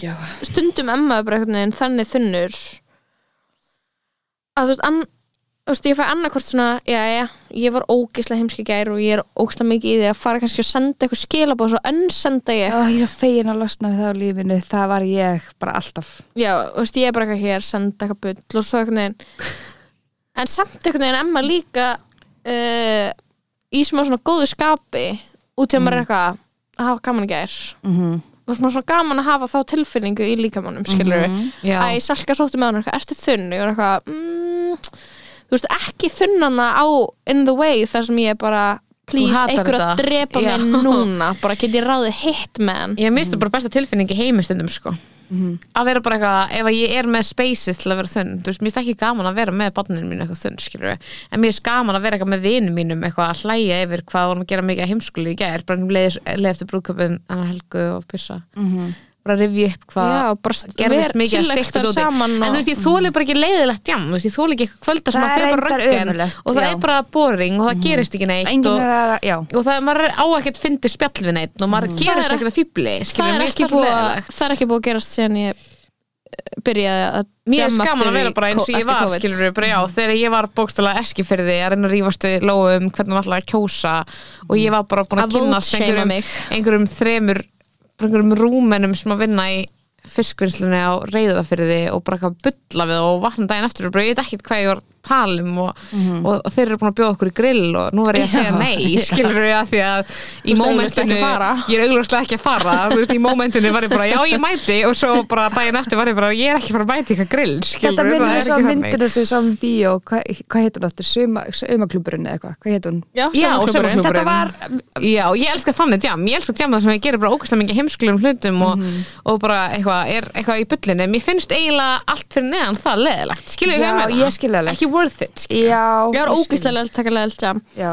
S3: stundum emma er bara einhvern veginn þannig þunnur að þú veist, an, þú veist ég fæ annarkvort svona, já, já, ég var ógislega heimski gær og ég er ógislega mikið í því að fara kannski og senda eitthvað skilabóð og svo önnsenda ég,
S5: Ó, ég er svo fegin að losna við það á lífinu það var ég bara alltaf
S3: já, þú veist, ég er bara eitthvað hér senda eitthvað bull og svo einhvern veginn en samt einhvern veginn emma líka uh, í smá svona góðu skapi út í að
S4: Mm.
S3: maður er eitthvað að hafa gaman í gær
S5: mm
S4: Mhm.
S3: og svona svona gaman að hafa þá tilfinningu í líkamannum, skilur við
S4: Mhm, já,
S3: Æ, Salka sótti með hann eitthvað, ertu þunn? Ég var eitthvað, mm, þú veist, ekki þunnana á in the way þar sem ég er bara, please,
S4: hatar
S3: einhver að
S4: þetta.
S3: drepa
S4: Já.
S3: mig núna, bara get ég ráðið hitt með hann.
S4: ég misti bara besta tilfinning í heimistundum, sko að vera bara eitthvað, ef að ég er með spaces til að vera þunn, þú veist, mér er ekki gaman að vera með barninu mínu eitthvað þunn, skilur við en mér er gaman að vera eitthvað með vinum mínum eitthvað að hlæja yfir hvað vorum að gera mikið að heimskuli í gær, bara um leið, leið eftir brúðköpun annar helgu og pissa
S5: Mm.
S4: bara rifja upp hvað
S3: Já, bara st-
S4: gerðist
S3: vera
S4: mikið að
S3: chillax
S4: stikta
S3: þar
S4: dóti
S3: saman
S4: en
S3: og-
S4: þú veist, ég þóli bara ekki leiðilegt jam, þú veist, ég þóli ekki eitthvað kvölda sem að
S5: Það er
S4: fyrir bara
S5: reyndar
S4: röggen
S5: ömurlegt,
S4: og það
S5: já.
S4: er bara boring og það gerist ekki neitt
S5: engin
S4: og,
S5: er að, já
S4: og það, maður er á ekkert fyndi spjall við neitt og maður mm.
S3: Það
S4: gerist
S3: er-
S4: ekkert að fýbli
S3: Það er, ekki búið, að- það er ekki búið að gerast síðan ég eh, byrjaði að
S4: Mér er
S3: jamma
S4: skaman
S3: aftur
S4: að vera
S3: í
S4: bara eins
S3: ko-
S4: og ég
S3: eftir
S4: var,
S3: COVID.
S4: skilur við, bara já, þegar ég var bókstælega eskifyrði að reyna að rífast við lóum hvernig maður alltaf að kjósa og ég var bara búin Mm. að,
S3: Að
S4: kynnast
S3: vote-shama
S4: einhverjum,
S3: mig.
S4: einhverjum þremur, bara einhverjum rúmenum sem að vinna í fiskvinnslunni á reyðafyrði og bara eitthvað bulla við og vatna daginn eftir og bara ég veit ekkert hvað ég var að tala um og, og, og þeir eru búin að bjóða okkur í grill og nú var ég að segja nei, skilur við að því að í
S3: ert augljóslega
S4: mómentinu,
S3: ekki að fara.
S4: ég er augljóslega ekki að fara þú veist, í mómentinu var ég bara, já ég mæti og svo bara daginn eftir var ég bara, ég er ekki að fara að mæti eitthvað grill, skilur
S5: Þetta minnir
S4: það
S5: mér
S4: er ekki
S5: svo að
S4: þannig
S3: um
S5: myndina sem við sáum í bíó, hvað hva heitur hún aftur? Suma- Saumaklúbburinn eða eitthvað, hvað heitur hún?
S3: Já,
S4: Já,
S3: saumaklúbburinn.
S4: saumaklúbburinn.
S5: Þetta var,
S4: Já, ég elska þannig jam, ég elska jam það sem ég gerir bara ókvæslega mikið heimskulum hlutum og,
S3: Mhm.
S4: og bara eitthvað, er eitthvað í bullinu mér finnst eiginlega allt fyrir neðan það leðilegt skilur
S5: Já,
S4: ég með
S5: ég skil það alveg.
S4: ekki worth it skilur.
S5: já
S3: Ég var ógíslega takilega eldjam.
S5: Já,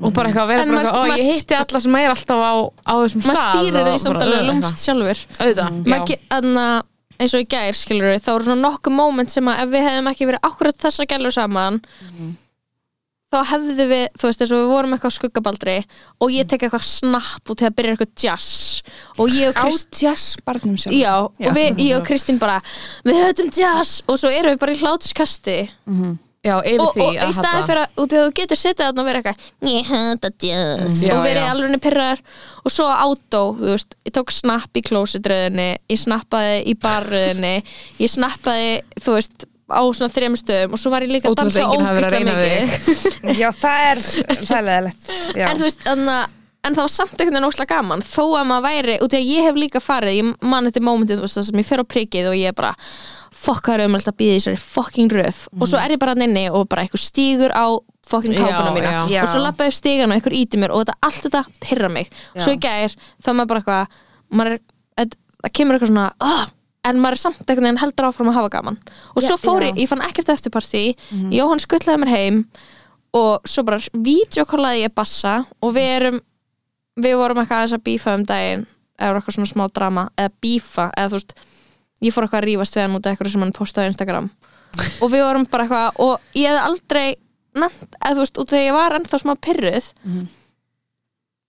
S4: og bara eitthvað að vera
S3: En
S4: bara
S3: maður-
S4: eitthvað, ó ég
S3: maður-
S4: hitti alla sem er alltaf á, á þessum stað
S3: Maður stýrir
S4: og
S3: því samt
S4: bara,
S3: alveg
S4: "Ugh",
S3: lúmst sjálfur.
S4: eitthvað. auðvitað,
S3: Maður ge- þarna, eins og í gær skilur við, þá voru svona nokkuð moment sem að ef við hefðum ekki verið akkurat þessa gælu saman
S4: Mm.
S3: þá hefðu við, þú veist, eins og við vorum eitthvað á skuggabaldri og ég tek eitthvað snapp út þegar byrjar eitthvað jazz og ég og
S5: á
S3: Krist
S5: jazz barnum sjálf
S3: Já, og við, ég og Kristín bara við höfðum jazz og svo erum við bara í hlátuskasti
S4: já, yfir
S3: og,
S4: því
S3: og í staðin fyrir að, og þegar þú getur setið þarna og verið eitthvað ég hata jazz
S4: Já,
S3: og verið
S4: já.
S3: alveg pyrrar og svo átó, þú veist, ég tók snapp í klósitröðinni, ég snappaði í barröðinni, ég snappaði þú veist, á svona þrejum stöðum og svo var ég líka að
S4: Ótrúlegt
S3: dansa
S4: að enginn hafi verið að
S3: ógislega
S4: reyna við
S3: mikið
S5: Já, það er, það er leðilegt
S3: en þú veist, þannig að en það var samt einhvern veginn óslega gaman þó að maður væri, út í að ég hef líka farið ég man þetta momentið þú veist, það sem ég fer á prikið og ég er bara fokk það er um alltaf býðið þessari fucking röð og svo er ég bara nynni og bara einhver stígur á fucking
S4: Já,
S3: kápuna mína
S4: já.
S5: Já.
S3: og svo lappa upp stígan og einhver íti mér og þetta, allt þetta pyrra mig svo í gær þá er maður bara eitthvað maður er, þetta- það kemur eitthvað svona oh, en maður er samt einhvern veginn heldur áfram að hafa gaman og svo fór ég, ég fann ekkert eftirparti Jóhann skuttlaði mér heim og svo bara videokollaði ég bassa og við erum við vorum eitthvað aðeins að bífa um daginn eða voru eitthvað svona smá drama eða bífa, eða þú veist ég fór eitthvað að rífast við hann út af eitthvað sem hann postaði á Instagram og við vorum bara eitthvað og ég hefði aldrei nefnt, eða þú veist, út af því að ég var ennþá smá pyrruð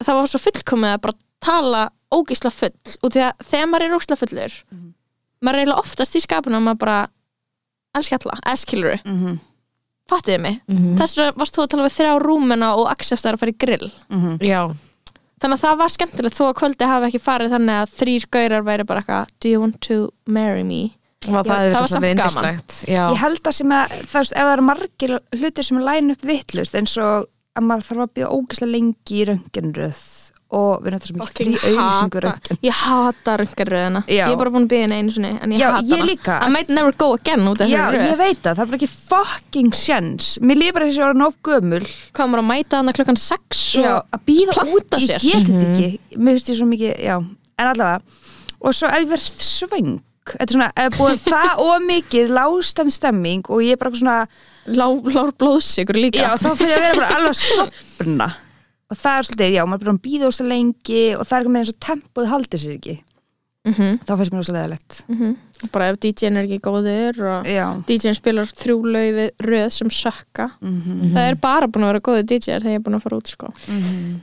S3: það var svo fullkomið að bara tala ógísla full út af því að þegar maður er ógísla fullur maður er eiginlega oftast í skapinu að maður bara elska alla, eskilur mm -hmm. fattiði mig, mm -hmm. þess vegna varst þú að tala við þrjá rúmena og Axel er að fara í grill
S4: já,
S3: þannig að það var skemmtilegt þó að kvöldi hafi ekki farið þannig að þrýr gaurar væri bara eitthvað do you want to marry me
S4: það,
S3: Já,
S4: það
S3: það var
S4: var
S3: samt
S4: samt
S3: gaman.
S4: gaman já,
S5: Ég held að sem að, það, veist, ef það eru margir hlutir sem læna upp vittlust eins og að maður þarf að býða ógeðslega lengi í rönginröð og við erum þetta sem ekki
S3: Fucking
S5: þrý auðvisingur
S3: hata- ég hata rungarröðina
S5: Já.
S3: ég er bara búin að byggja henni einu sinni en ég
S5: Já,
S3: hata
S5: ég
S3: hana
S5: líka.
S3: I might never go again út af
S5: Já,
S3: þessari
S5: ég
S3: röð
S5: veit það, það er bara ekki fucking sjens Mér líður bara þessi orðin of gömul
S3: hvað maður að mæta hana klokkan 6
S5: já,
S3: og
S5: að býða
S3: planta
S5: út, ég
S3: sér.
S5: get þetta ekki mér finnst ég svo mikið, já, en allavega og svo ef ég verð svöng þetta er svona, ef búið það og mikið lástam stemming og ég er bara eitthvað svona
S3: lá, Mm. lár blóðsigur líka
S5: já, þá fyrir ég að vera bara alveg að sopna og það er svolítið, já, maður er bara að býða óslega lengi og það er ekki með eins og tempoð haldið sér ekki
S3: Mhm.
S5: þá finnst mér óslega leðilegt
S3: bara ef DJ-n er ekki góður og
S5: já,
S3: DJ-n spilar þrjú laufi röð sem sökka
S5: Mhm.
S3: það er bara búin að vera góður DJ-r þegar ég er búin að fara út sko.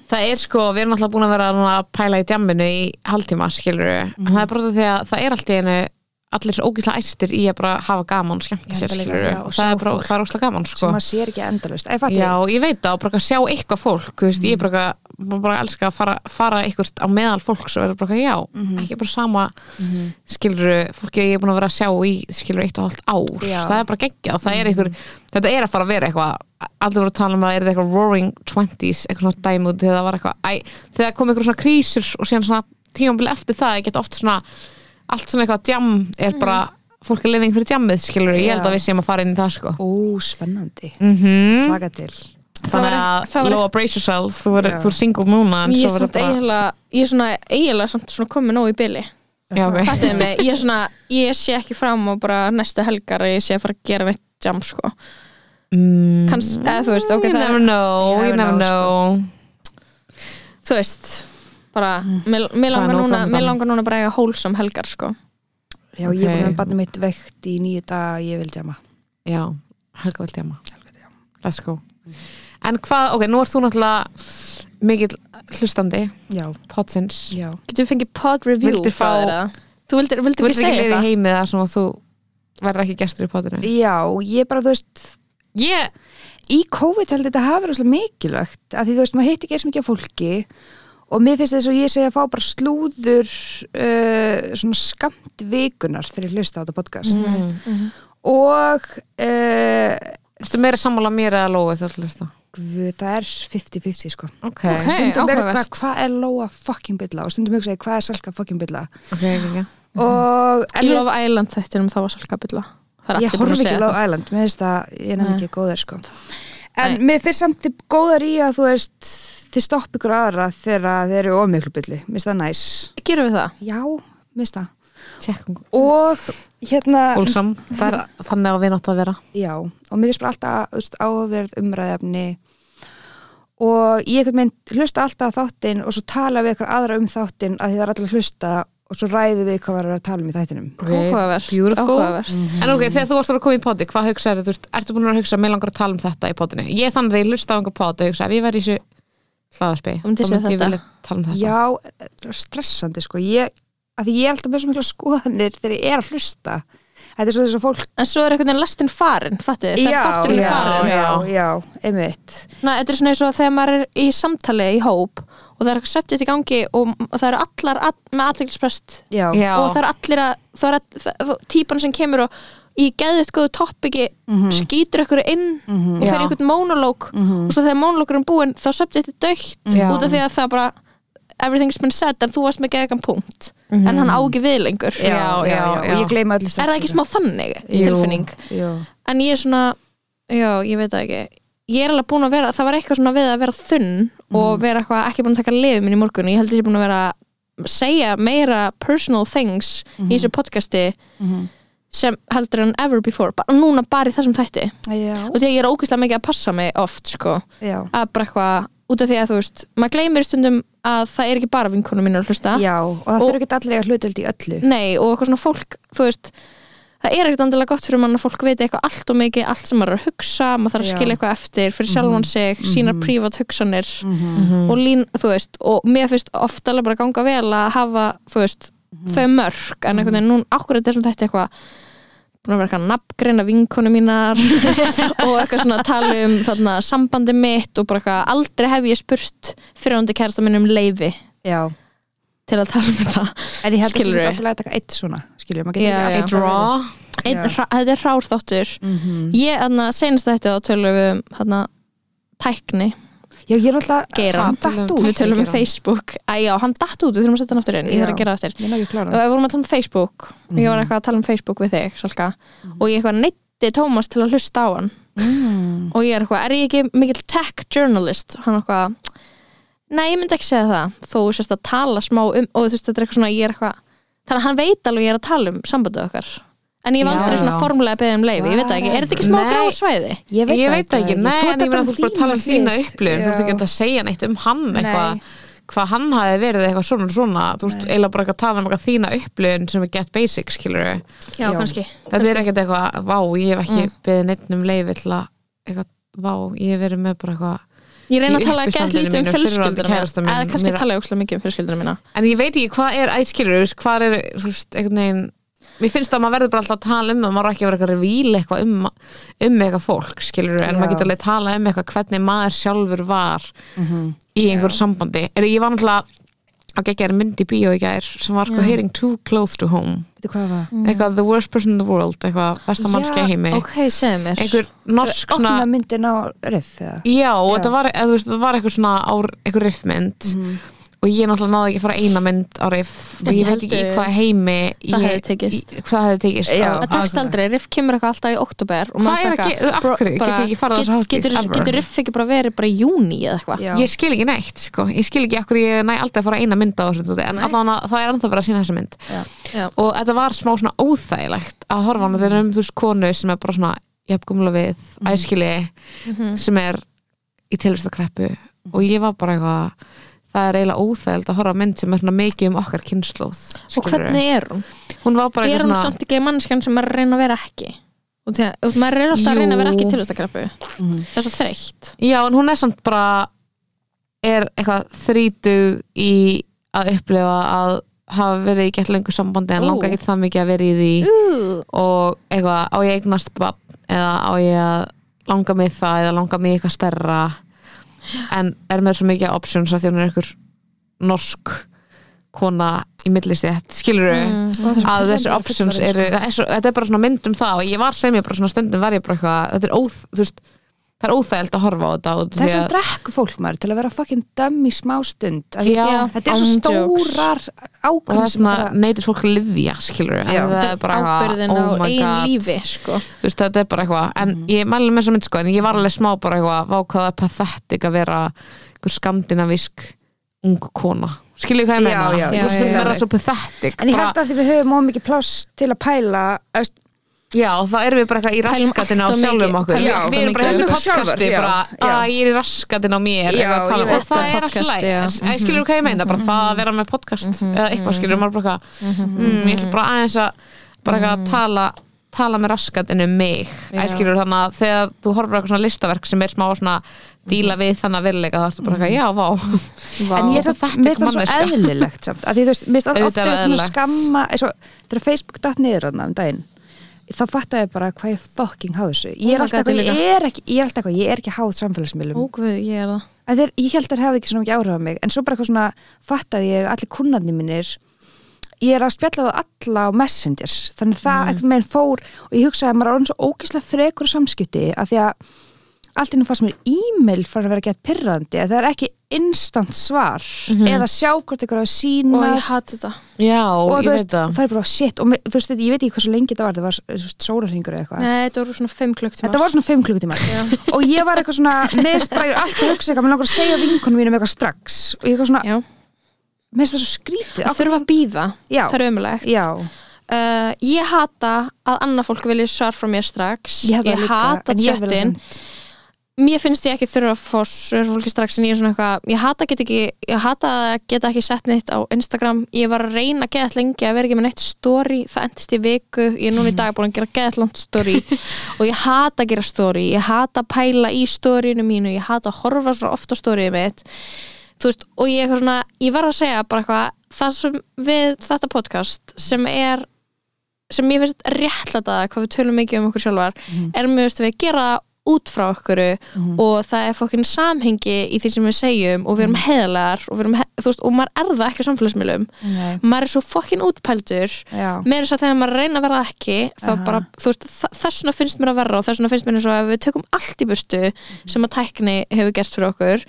S4: það er sko, við erum alltaf búin að vera núna að pæla í djamminu í halvtíma skilur
S5: Mhm.
S4: en það er bara út af því að það er allt í einu allir svo ógíslega æstir í að bara hafa gaman og skemmta
S5: Ég held
S4: sér
S5: það líka,
S4: skilur
S5: já, og
S4: það
S5: sjá
S4: er bara,
S5: fólk.
S4: það er ógíslega gaman sko
S5: sem maður sér ekki endalust ég Mm. fatt
S4: Já,
S5: ég,
S4: ég veit það og bara að sjá eitthvað fólk þú veist, ég bara, bara, bara elska að fara, fara eitthvað á meðal fólks og vera bara eitthvað, já,
S5: Mhm.
S4: ekki bara sama mm -hmm. skilur, fólki ég er búin að vera að sjá í skilur eitt og hálft ár
S5: Já. Mhm.
S4: það er bara geggjað, það er einhver þetta er að fara að vera eitthvað, allir voru að tala um að er þetta eitthvað roaring twenties, eitthvað svona dæmi út þegar það var eitthvað, æ, þegar kom eitthvað svona krísur og síðan svona tímambil eftir það ég get oft svona, allt svona eitthvað djam er bara, fólk er living fyrir djammið skilur, ég held
S5: Mhm. Já.
S4: að við séum að fara inn í það sko
S5: ó, spennandi
S4: mm
S5: plaka til
S4: þannig
S3: Það var-
S4: að
S3: það var-
S4: Lóa brace yourself þú er,
S5: Já.
S4: þú er single núna en
S3: ég er
S4: svo verður
S3: samt eiginlega ég er svona eiginlega samt svona komin nóg í byli
S4: já, okay.
S3: fattuðu mig, ég er svona ég sé ekki fram á bara næstu helgar að ég sé að fara að gera neitt jam sko
S4: mm,
S3: Kans, eða þú veist, ok,
S4: you
S3: það
S4: never
S3: er,
S4: know,
S5: You
S4: you
S5: never
S4: never
S5: know,
S3: sko.
S4: know
S3: þú veist bara, mér mér
S4: Það er nóg
S3: langar núna
S4: framundan.
S3: mér langar núna bara að eiga hólsam helgar sko
S5: já, ég er búin
S4: Ok.
S5: að banna mitt veikt í nýju dag ég vil djama
S4: já, helga vel djama let's go en hvað, ok, nú ert þú náttúrulega mikill hlustandi
S5: já,
S4: potsins,
S5: já
S3: getum við fengið pod review
S4: Vildir
S3: frá
S4: fá-
S3: þér eða? þú vildir, vildir
S4: þú
S3: ekki
S4: ert ekki
S3: segja
S4: liðið í
S3: það
S4: heimi það sem að þú verður ekki gestur í potinu
S5: Já, ég bara, þú veist,
S4: ég,
S5: í COVID held ég þetta hafa verið rosalega mikilvægt að því þú veist, maður hitt ekki eins mikið af fólki og mér finnst þess að ég segja að fá bara slúður uh, svona skamt vikunar þegar ég hlusta á þetta podcast
S3: Mm,
S5: og uh,
S4: ertu meira sammála mér eða Lóa þú ert að hlusta
S5: guð, það er 50-50 sko
S4: ok,
S3: Ok. Hey,
S5: stundum er
S3: áhugavert.
S5: eitthvað, hvað er Lóa fucking bylla og stundum hugsa ég, hvað er Salka fucking bylla
S4: ok, ok,
S5: og en
S3: Mhm. í
S5: við-
S3: Love Island þættinum þá var salkabulla það er
S5: ég
S3: allir búin
S5: horf
S3: að
S5: ekki
S3: segja
S5: á
S3: það.
S5: Love Island mér finnst það, ég nefn ekki góðar sko en
S3: Nei.
S5: mér finnst samt þið góðar í að þú veist þið stopp ykkur aðra þegar þeir eru ómiklu bylli, mér finnst það næs
S3: gerum við það?
S5: já, mér finnst það
S4: tjekkum
S5: og hérna,
S4: Úlsam, það er þannig að við náttu að vera
S5: já og mér finnst bara alltaf þú veist, áverð umræðefni og ég einhvern veginn hlusta alltaf á þáttinn og svo tala við ykkur aðra um þáttinn að þið er alltaf að hlusta og svo ræðum við hvað var að vera að tala um í þættinum
S3: Áhugavert,
S4: beautiful.
S3: áhugavert.
S4: En ok, þegar þú varst að koma í poti, hvað hugsaðu, þú veist, ertu búin að hugsa, mér langar að tala um þetta í potinu? Ég er þannig að ég hlusta á einhver pot og hugsa, ef ég verði í þessu hlaðarspi,
S3: Þú myndir segja
S4: ég
S3: þetta.
S4: vilja tala um þetta.
S5: Já, þetta er stressandi sko ég, að því ég er alltaf með svo mikla skoðanir þegar ég er að hlusta þetta er svo þess að fólk
S3: en svo er einhvern veginn lestin farin fattu, það er þátturinn
S5: já,
S3: er farin
S5: já, já, einmitt
S3: Næ, þetta er svona eins og þegar maður er í samtali í hóp og það er eitthvað söptið í gangi og m- það eru allar að, með aðteglisprest
S5: já,
S4: Já.
S3: og það eru allir að það er að, það, það, típan sem kemur og í geðvitt góðu toppiki skýtur ykkur inn og fer í
S4: Mhm. Já. Mhm.
S3: ykkur mónológ og svo þegar mónolókurinn er búinn þá subjectið er dögt
S4: Já.
S3: út af því að það bara everything's been said en þú varst með geðegan punkt en hann á ekki við lengur
S4: Mhm. Já, já, já.
S5: og ég gleyma öllu
S3: er það ekki smá þannig
S4: Jú.
S3: tilfinning
S5: Jú.
S3: en ég er svona, já, ég veit það ekki ég er alveg búin að vera, það var eitthvað svona við að vera þunn og vera eitthvað ekki búin að taka lifið minn í morgun og ég held að ég er búin að vera að segja meira personal things í þessu podcasti sem heldur en ever before, bara núna bara í þessum þætti
S5: Já,
S3: og því að ég er ógeðslega mikið að passa mig oft sko,
S5: já,
S3: að bara eitthvað út af því að þú veist, maður gleymir stundum að það er ekki bara vinkonum mínu að hlusta
S5: já, og það
S3: Og-
S5: þurfi ekki allir að hlutildi í öllu
S3: Nei, og eitthvað svona fólk, þú veist það er ekkert andilega gott fyrir mann að fólk veit eitthvað allt og mikið, allt sem maður er að hugsa maður þarf að
S5: Já.
S3: skilja eitthvað eftir fyrir sjálfan sig sínar prívat hugsanir og lín, þú veist, og mér finnst oft alveg bara ganga vel að hafa þú veist, þau mörg, en einhvern veginn nú akkurat er sem þetta eitthvað búin að vera eitthvað að nafngreina vinkonu mínar og eitthvað svona að tala um þarna, sambandi mitt og bara eitthvað aldrei hef ég spurt fyrirhandi kærasta minn um leifi
S5: Já,
S3: til að tala um þetta
S5: en ég held að það
S3: Skilurðu?
S5: er alltaf að taka eitt svona skilur, maður
S3: Já,
S5: getur ekki
S3: já.
S4: Eitt raw
S3: Einn
S5: Já. Mhm.
S3: hrá- þetta er rárþáttur mm -hmm. ég, þarna, senast þetta þá tölum við um, þarna, tækni,
S5: Já, ég er alltaf
S3: geiran
S5: Hann datt
S3: við
S5: út.
S3: tölum um
S4: Geirann.
S3: Facebook Æ, já, hann datt út, við þurfum að setja hann aftur inn ég þarf
S5: Já.
S3: að gera það eftir
S5: Ég er ekki
S3: og
S5: klára
S3: við vorum að tala um Facebook og
S4: Mhm.
S3: ég var eitthvað að tala um Facebook við þig Salka, og ég eitthvað neytti Tómas til að hlusta á hann
S4: Mm.
S3: og ég er eitthvað, er ég ekki mikill tech journalist hann eitthvað, nei ég myndi ekki segja það þó þú sérst að tala smá um og þú veist þetta er eitthvað svona, ég er eitthvað þannig að hann veit alveg ég er að tala um sambandið okkar en ég hef
S4: Já,
S3: aldrei svona
S4: já.
S3: formulega beðið um leiði, ég veit það ekki, er þetta ekki smá
S4: Nei.
S3: grá svæði?
S4: Ég veit það ekki, nei, en
S5: Þú
S4: ég meina
S5: ert
S4: þú ert bara að tala um þína upplifun Þú ert ekki
S5: Já.
S4: að segja neitt um hann eitthvað hvað hann hafi verið eitthvað svona og svona þú veist, eiginlega bara eitthvað að tala um eitthvað þína upplifun sem er get basic, skilur
S3: Já,
S5: Já.
S3: kannski
S4: þetta er ekkert eitthvað, vá, ég hef ekki beðið neitt um leiði til að eitthvað, vá, ég hef verið með bara eitthvað
S3: Ég reyna
S4: Í
S3: að tala að gett
S4: uppistandinu
S3: lítið um
S4: mínu, fyrrverandi
S3: fjölskyldunum
S4: kærasta mín,
S3: eða kannski
S4: mér-
S3: tala ég óslega mikið um fjölskyldunum mína
S4: en ég veit ekki hvað er æskilur hvað er, þú veist, einhvern veginn mér finnst að maður verður bara alltaf að tala um það maður á ekki að vera eitthvað revíl eitthvað um, um eitthvað fólk, skilur en
S5: Já.
S4: maður getur alveg að tala um eitthvað hvernig maður sjálfur var í einhver sambandi er, ég var náttúrulega að gegja mynd í bíó í gær sem var eitthvað hearing too close to home
S5: Veitu hvað það var?
S4: eitthvað the worst person in the world eitthvað besta mannskja heimi
S3: Ok, segðu mér
S4: einhver norsk svona
S5: Opna myndin á riff eða?
S4: Já, og þetta var, eða, þú veist, þetta var eitthvað svona á, eitthvað riffmynd og ég náttúrulega náði ekki að fara eina mynd á riff og
S3: Mhm. Ég
S4: ég veit
S3: held
S4: ekki í
S3: ég-
S4: hvað heimi ég,
S3: það hefði tekist.
S4: í- hvað hefði tekist
S5: Já.
S4: á-
S3: Það tekst
S4: á-
S3: aldrei, Riff kemur eitthvað alltaf í oktober og maður
S4: Hvað er
S3: alltaf
S4: að ge- af
S3: bro-
S4: hverju?
S3: bara-
S4: Getur ekki farið á þessa hátíð,
S3: getur-
S4: ever?
S3: Getur Riff ekki bara verið bara í júni eða eitthvað?
S5: Já.
S4: Ég skil ekki neitt, sko Ég skil ekki okkur ég næ aldrei að fara eina mynd á þessu dóti, en allan að það er ennþá verið að sína þessa mynd
S5: Já.
S3: Já.
S4: og þetta var smá svona óþægilegt að horfa hann, þetta er um þú veist konu sem er bara svona jafngumla við,
S3: Mhm.
S4: æskili sem er í tilvistakreppu og ég var bara eitthvað það er eiginlega óþægild að horfa á mynd sem er svona mikið um okkar kynnslóð
S3: Og hvernig er hún?
S4: hún var bara
S3: Er
S4: eitthvað
S3: hún
S4: svona
S3: samt ekki mannskan sem maður er að reyna að vera ekki? Og því að og maður er alltaf að reyna að vera ekki
S4: Jú. Mhm.
S3: tilvistakreppu Það er svo þreytt
S4: Já, en hún er samt bara er eitthvað þrítug í að upplifa að hafa verið í gett lengur sambandi en
S3: Ú.
S4: langa ekki það mikið að vera í því
S3: Ú.
S4: og eitthvað, á ég eignast bann eða á ég að langa mig það eða langa mig í eitthvað stærra en er með svo mikið options að því hún er einhver norsk kona í millistétt, skilur þau
S3: Mm.
S4: að þessi options eru
S5: sko.
S4: það er svo, þetta er bara svona mynd um það og ég var sem ég bara svona stundum var ég bara eitthvað þetta er óþ, þú veist, það er óþægild að horfa á þetta út af því
S5: Þessum
S4: að-
S5: drekku fólk maður til að vera fucking dömm í smástund Af því-
S4: Já,
S5: Þetta er svo
S3: án jokes.
S4: og það
S5: stórar ákvæm
S4: er svona neytir fólk livja skilur
S5: Já.
S4: en það er bara
S3: Ábyrðin á
S4: oh my
S3: eigin
S4: god.
S3: lífi sko.
S4: Þú veist, þetta er bara eitthvað en
S5: Mhm.
S4: ég mæli með þess að mynd sko en ég var alveg smá bara eitthvað vákvæða pathetik að vera einhver skandinavísk ung kona skilur hvað ég
S5: Já,
S4: meina Þú
S5: já, já,
S4: veist,
S5: já,
S4: það
S5: já.
S4: er bara svo pathetik
S5: En ég
S4: bara-
S5: held að því við höfum of mikið pláss til að pæla þú veist,
S4: Já, þá erum við bara eitthvað í
S3: Pælum
S4: raskatinn á
S3: allt of
S4: sjálfum
S3: mikið-
S4: okkur
S3: pælum
S4: Já,
S3: allt of
S4: Við erum bara í
S5: mikið.
S4: þessu
S5: Pælum sjálfar,
S4: podcasti
S5: já,
S4: bara,
S5: já.
S4: að ég er í raskatinn á mér
S5: Já,
S4: eitthvað að tala
S5: ég
S4: um.
S5: veit
S4: og það
S3: það,
S4: er alltaf
S3: podcast,
S4: læg
S3: já.
S5: Mhm.
S4: Ég skilur hvað ég meina, bara það að vera með podcast eða eitthvað skilur, maður bara
S5: Mhm.
S4: eitthvað mm, Ég ætlum bara aðeins að bara eitthvað að tala tala með raskatinn um mig æskilur þannig að þegar þú horfir á eitthvað svona listaverk sem er smá svona díla við þannig að virðleika þá ertu bara eitthvað, já, vá
S5: Mhm. En ég er
S4: Þetta
S5: samt, mér
S4: ekki
S5: finnst það svo
S4: manneskja.
S5: eðlilegt samt, að því þú veist, mér finnst það
S4: Auðvitað
S5: ofta
S4: er það
S5: eitthvað
S4: eðlilegt.
S5: skamma eins og þegar Facebook datt niður hann um daginn þá fattar ég bara hvað ég fucking háð þessu ég
S3: Oh my
S5: er alltaf
S3: God, ég
S5: eitthvað, ég
S3: líka.
S5: er ekki ég er alltaf eitthvað, ég er ekki háð samfélagsmiðlum
S3: Ógvöð, ég er það
S5: að þeir, ég held að þeir hefði ekki svona ekki áhrif á mig en svo bara eitthvað svona fattaði ég að allir kunnarnir mínir ég er að spjalla við alla á Messenger
S4: Mm.
S5: þannig að það einhvern veginn fór og ég hugsaði að maður er orðin svo ógeðslega frekur á samskipti að því að allt innum fannst mér e-mail fann að vera gett pyrrandi að það er ekki instant svar
S4: Mhm.
S5: eða sjá hvort ykkur hafa
S3: og
S5: sína
S3: ég hatt þetta
S4: Já,
S5: og
S4: ég
S5: þú
S4: veit
S5: veist,
S4: það
S5: það er bara shit og mér- þú veist, þetta- ég veit ekki hversu lengi þetta var, það var sólarhingur eða
S4: Ah.
S5: eitthvað
S3: Nei, þetta voru svona 5 klukktíma
S5: Þetta var svona 5 klukkutímar og ég var eitthvað svona, mér spræði alltaf hugsa eitthvað, mér langar að segja vinkunum mínum eitthvað strax og ég eitthvað svona,
S3: Já.
S5: mér finnst það svo skrítið
S3: að þurfa að býða,
S5: Já.
S3: það er ömulegt
S5: Já,
S3: uh, Ég hata að annað fólk vilja svar frá mér strax
S5: ég hef það líka
S3: hata
S5: en ég verð að
S3: tjöttin Mér finnst ég ekki þurfa að fá svör frá fólki strax en ég er svona eitthvað, ég hata get ekki ég hata að geta ekki sett neitt á Instagram ég var að reyna að geta lengi að vera ekki með neitt story, það endist í viku ég er núna í dag búin að gera geta langt story og ég hata að gera story ég hata að pæla í storyinu mínu ég hata að horfa svo ofta storyið mitt þú veist, og ég, eitthvað svona, ég var að segja bara eitthvað, það sem við þetta podcast sem er sem ég finnst réttlæta hvað við tölum mikið um okkur sjálfar er mjög veist við gera það út frá okkur og það er fokkin samhengi í því sem við segjum og við erum heiðlegar og, við erum he þú veist, og maður er það ekki á samfélagsmiðlum
S5: Nei.
S3: maður er svo fokkin útpældur
S5: Já.
S3: með þess að þegar maður reyna að vera það ekki þá bara, þú veist, þa- þess vegna finnst mér að verra og þess vegna finnst mér eins og að við tökum allt í burtu
S4: Mhm.
S3: sem að tækni hefur gert fyrir okkur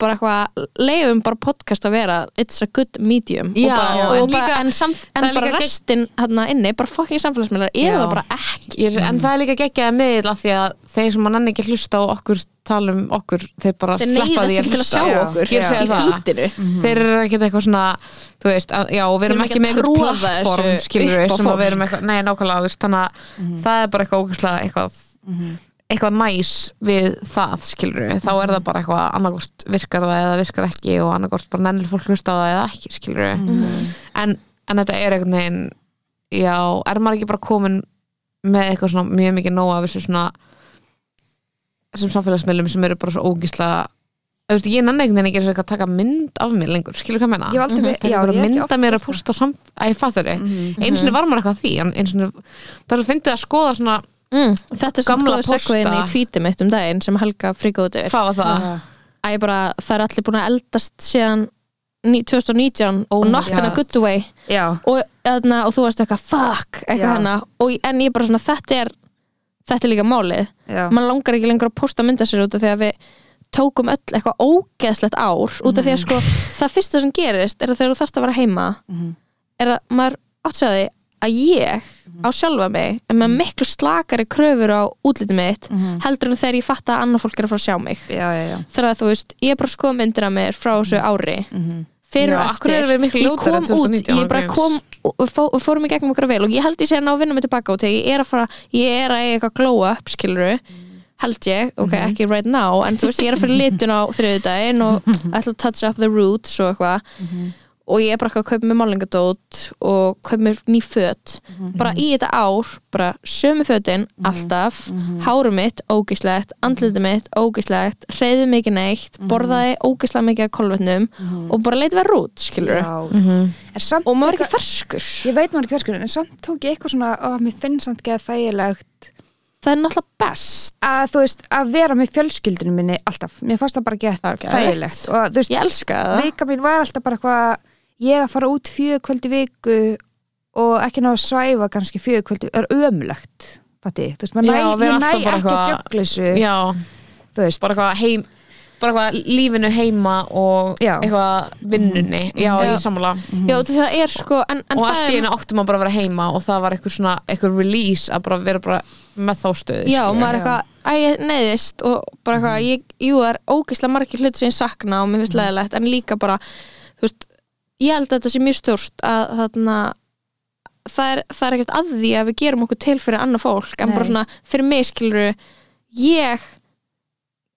S3: bara eitthvað, leiðum bara podcast að vera it's a good medium
S4: Já,
S3: og bara,
S4: en
S3: og bara,
S4: líka-
S3: en, samf,
S4: það er
S3: en bara
S4: líka gegn-
S3: restin hérna inni, bara fucking samfélagsmiðlar
S4: Já.
S3: eða bara ekki
S4: Ég, er- en það er líka geggjaði miðill af því að þeir sem mann enn ekki að hlusta á okkur tala um okkur, þeir bara
S3: þeir
S4: sleppa því
S3: neyðast
S4: að
S3: ekki til að sjá
S4: hlusta
S5: Já.
S3: okkur
S4: Ég segi
S3: í
S4: það.
S3: fítinu
S4: þeir eru ekkert eitthvað svona þú veist, að, já, og við erum ekki
S3: Þeir eru ekki
S4: með
S3: að
S4: eitthvað
S3: troða
S4: plattform
S3: þessu
S4: skilur
S3: upp á
S4: sem að við
S3: fólk. Mhm.
S4: erum eitthvað, nei, nákvæmlega þú veist, þannig að það er bara eitthvað ógæslega eitthvað, eitthvað næs við það skilur þá er
S3: Mhm.
S4: það bara eitthvað annarkort virkar það eða virkar ekki og annarkort bara nennir fólk hlusta á það eða ekki skilur
S3: Mhm.
S4: en, en þetta er eitthvað neginn já, er maður ekki bara komin með eitthvað svona mjög mikið nóg af þessu svona þessum samfélagsmiðlum sem eru bara svo ógísla Þú veist, ég nenni einhvern veginn ekki eins og eitthvað að taka mynd af mér lengur, skilur hvað ég meina?
S5: Ég hef
S3: Mhm.
S5: aldrei verið-
S4: Taka
S5: já,
S4: bara
S5: ég Mhm. hef ekki
S4: mynd
S5: oft
S4: af mér að
S5: gert það.
S4: posta samt, að ég fattur þau. Einu sinni var maður eitthvað að því, en einu sinni, það er svo fyndið að skoða svona,
S3: mm. þetta er svona
S4: Gamla
S3: góðu segveðin í
S4: posta.
S3: tvítið mitt um daginn sem Helga fríkóti
S4: hvað var það?
S5: Ah.
S3: að ég bara, það er allir búin að eldast síðan ní- 2019 og
S4: Oh my
S3: not in a
S4: God.
S3: good way
S5: Já,
S3: og, eðna, og þú varst eitthvað fuck eitthvað
S5: Já.
S3: hana, og, en ég bara svona þetta er þetta er líka málið,
S5: já,
S3: mann langar ekki lengur að posta mynda sér út af því að við tókum öll eitthvað ógeðslegt ár út af því
S5: Mhm.
S3: að sko, það fyrsta sem gerist er að þegar þú þarft að vera heima
S5: Mhm.
S3: er að maður áttsaði að ég
S5: Mhm.
S3: á sjálfa mig er með miklu slakari kröfur á útlitið mitt
S5: Mhm.
S3: heldur en þegar ég fatta að annað fólk er að fara að sjá mig
S5: já, já, já.
S3: þegar að þú veist, ég er bara að skoða myndir af mér frá þessu ári fyrir
S4: Já,
S3: og
S4: af hverju erum við miklu
S3: eftir, ég
S4: ljótari
S3: kom
S4: en 2019
S3: út ég bara
S4: ángríns?
S3: kom og, og, fó, og fórum í gegnum okkur vel og ég held ég sé að ná vinnum mig tilbaka út þegar ég er að fara, ég er að eiga eitthvað glow up skiluru, held ég ok, ekki right now, en þú veist, ég er að fyrir litun á þriðudaginn og ætla að touch up the roots og eitthvað og ég er bara eitthvað að kaupa mér málingadót og kaupa mér ný föt
S4: Mhm.
S3: bara í þetta ár, bara sömu fötin alltaf,
S4: Mhm.
S3: hárum mitt ógislegt, andlitið mitt ógislegt reyðu mikið neitt,
S4: Mhm.
S3: borðaði ógislega mikið af kolvetnum og bara leit verið út, skilur
S5: já. En samt,
S3: Mhm. og maður er ekki ferskur
S5: ég veit maður ekki hverskunum, en samt tók ég eitthvað svona, ó, mér finnst samt ekki að þægilegt
S3: það er náttúrulega best
S5: að þú veist, að vera með fjölskyldunum minni alltaf, mér fannst það bara ekki
S3: Það er geðveikt.
S5: þægilegt og þú veist,
S3: ég elska
S4: Ah.
S3: það
S5: vika mín var alltaf bara eitthvað ég að fara út fjögur kvöldi viku og ekki ná að svæfa kannski fjögur kvöldi er ömulegt Patti, þú veist, maður
S4: Já,
S5: næ,
S4: vera
S5: ég næ
S4: alltaf bara
S5: ekki að
S4: eitthvað-
S5: jökla þessu
S4: Já,
S5: þú veist,
S4: bara eitthvað heim, bara eitthvað lífinu heima og
S5: Já.
S4: eitthvað vinnunni, já,
S3: Já.
S4: ég sammála.
S3: já, út af því það er sko en, en
S4: Og
S3: það
S4: allt í
S3: er,
S4: einu áttum maður bara að vera heima og það var eitthvað svona, eitthvað release að bara vera bara með þá stöðu.
S3: já,
S4: skilurðu.
S3: maður er eitthvað að ég neyðist og bara eitthvað ég, jú, það er ógislega margir hlut sem ég sakna og mér finnst leðilegt, en líka bara þú veist, ég held að þetta sé mjög stjórst að þarna það er, það er ekkert að því að við gerum okkur til fyrir annað fólk, en
S5: Nei.
S3: bara svona fyrir mig skilur ég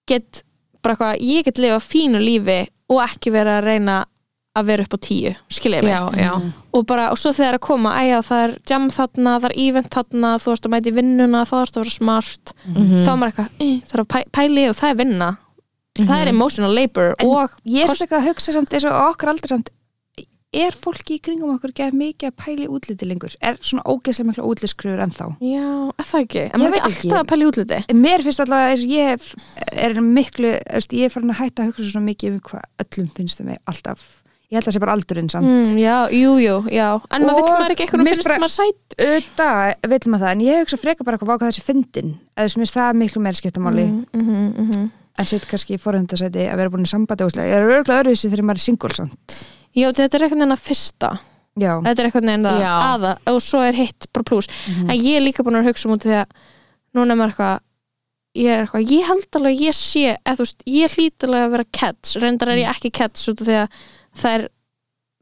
S3: get bara eitthvað, ég get lifa fínu lífi og ekki vera að reyna að vera upp á tíu, skilja mig
S4: Já, já.
S3: og bara, og svo þegar að koma, æja það er jam þarna, það er event þarna þú varst að mæti vinnuna, þá varst að vera smart
S5: Mhm.
S3: þá er maður eitthvað, "Eh, það er að pæ- pæli og það er vinna, það er emotional labor
S5: Mhm. En
S3: og
S5: ég er
S3: kost-
S5: svona eitthvað að hugsa samt eins og okkur aldrei samt er fólki í kringum okkur gef mikið að pæli útliti lengur er svona ógeðslega mikla útlitskröfur ennþá
S3: já, er það ekki,
S5: Ég
S3: en maður er
S5: veit
S3: ekki
S5: ekki.
S3: alltaf að pæli útliti
S5: En mér finnst allavega eins og ég f- er miklu, þú veist, ég er farin að hætta að hugsa svona mikið um hvað öllum finnst um mig alltaf ég held að það sé bara aldurinn samt
S3: mm, já, jú, jú, já en maður
S5: Og
S3: vill maður ekki eitthvað
S5: mér
S3: finnst
S5: bara-
S3: maður sætt
S5: auðvitað vil maður það, en ég hugsa frekar bara hvað þessi fyndin, eða sem er það miklu meira skiptamáli,
S3: mm, mm
S5: Mhm,
S3: -hmm, mm -hmm.
S5: en sitt kannski í forhundasæti að vera búin í sambandi úslega, ég er örgulega öðruvísi þegar maður er single samt,
S3: já, þetta er eitthvað en að fyrsta
S5: já,
S3: þetta er eitthvað neginn það
S4: Já.
S3: aða og svo er hitt bara plus en ég er líka búin að hugsa um út af því að núna er maður eitthvað ég er eitthvað, ég held alveg að ég sé eða þú veist, ég hlýt alveg að vera cats reyndar er ég ekki cats út af því að það er,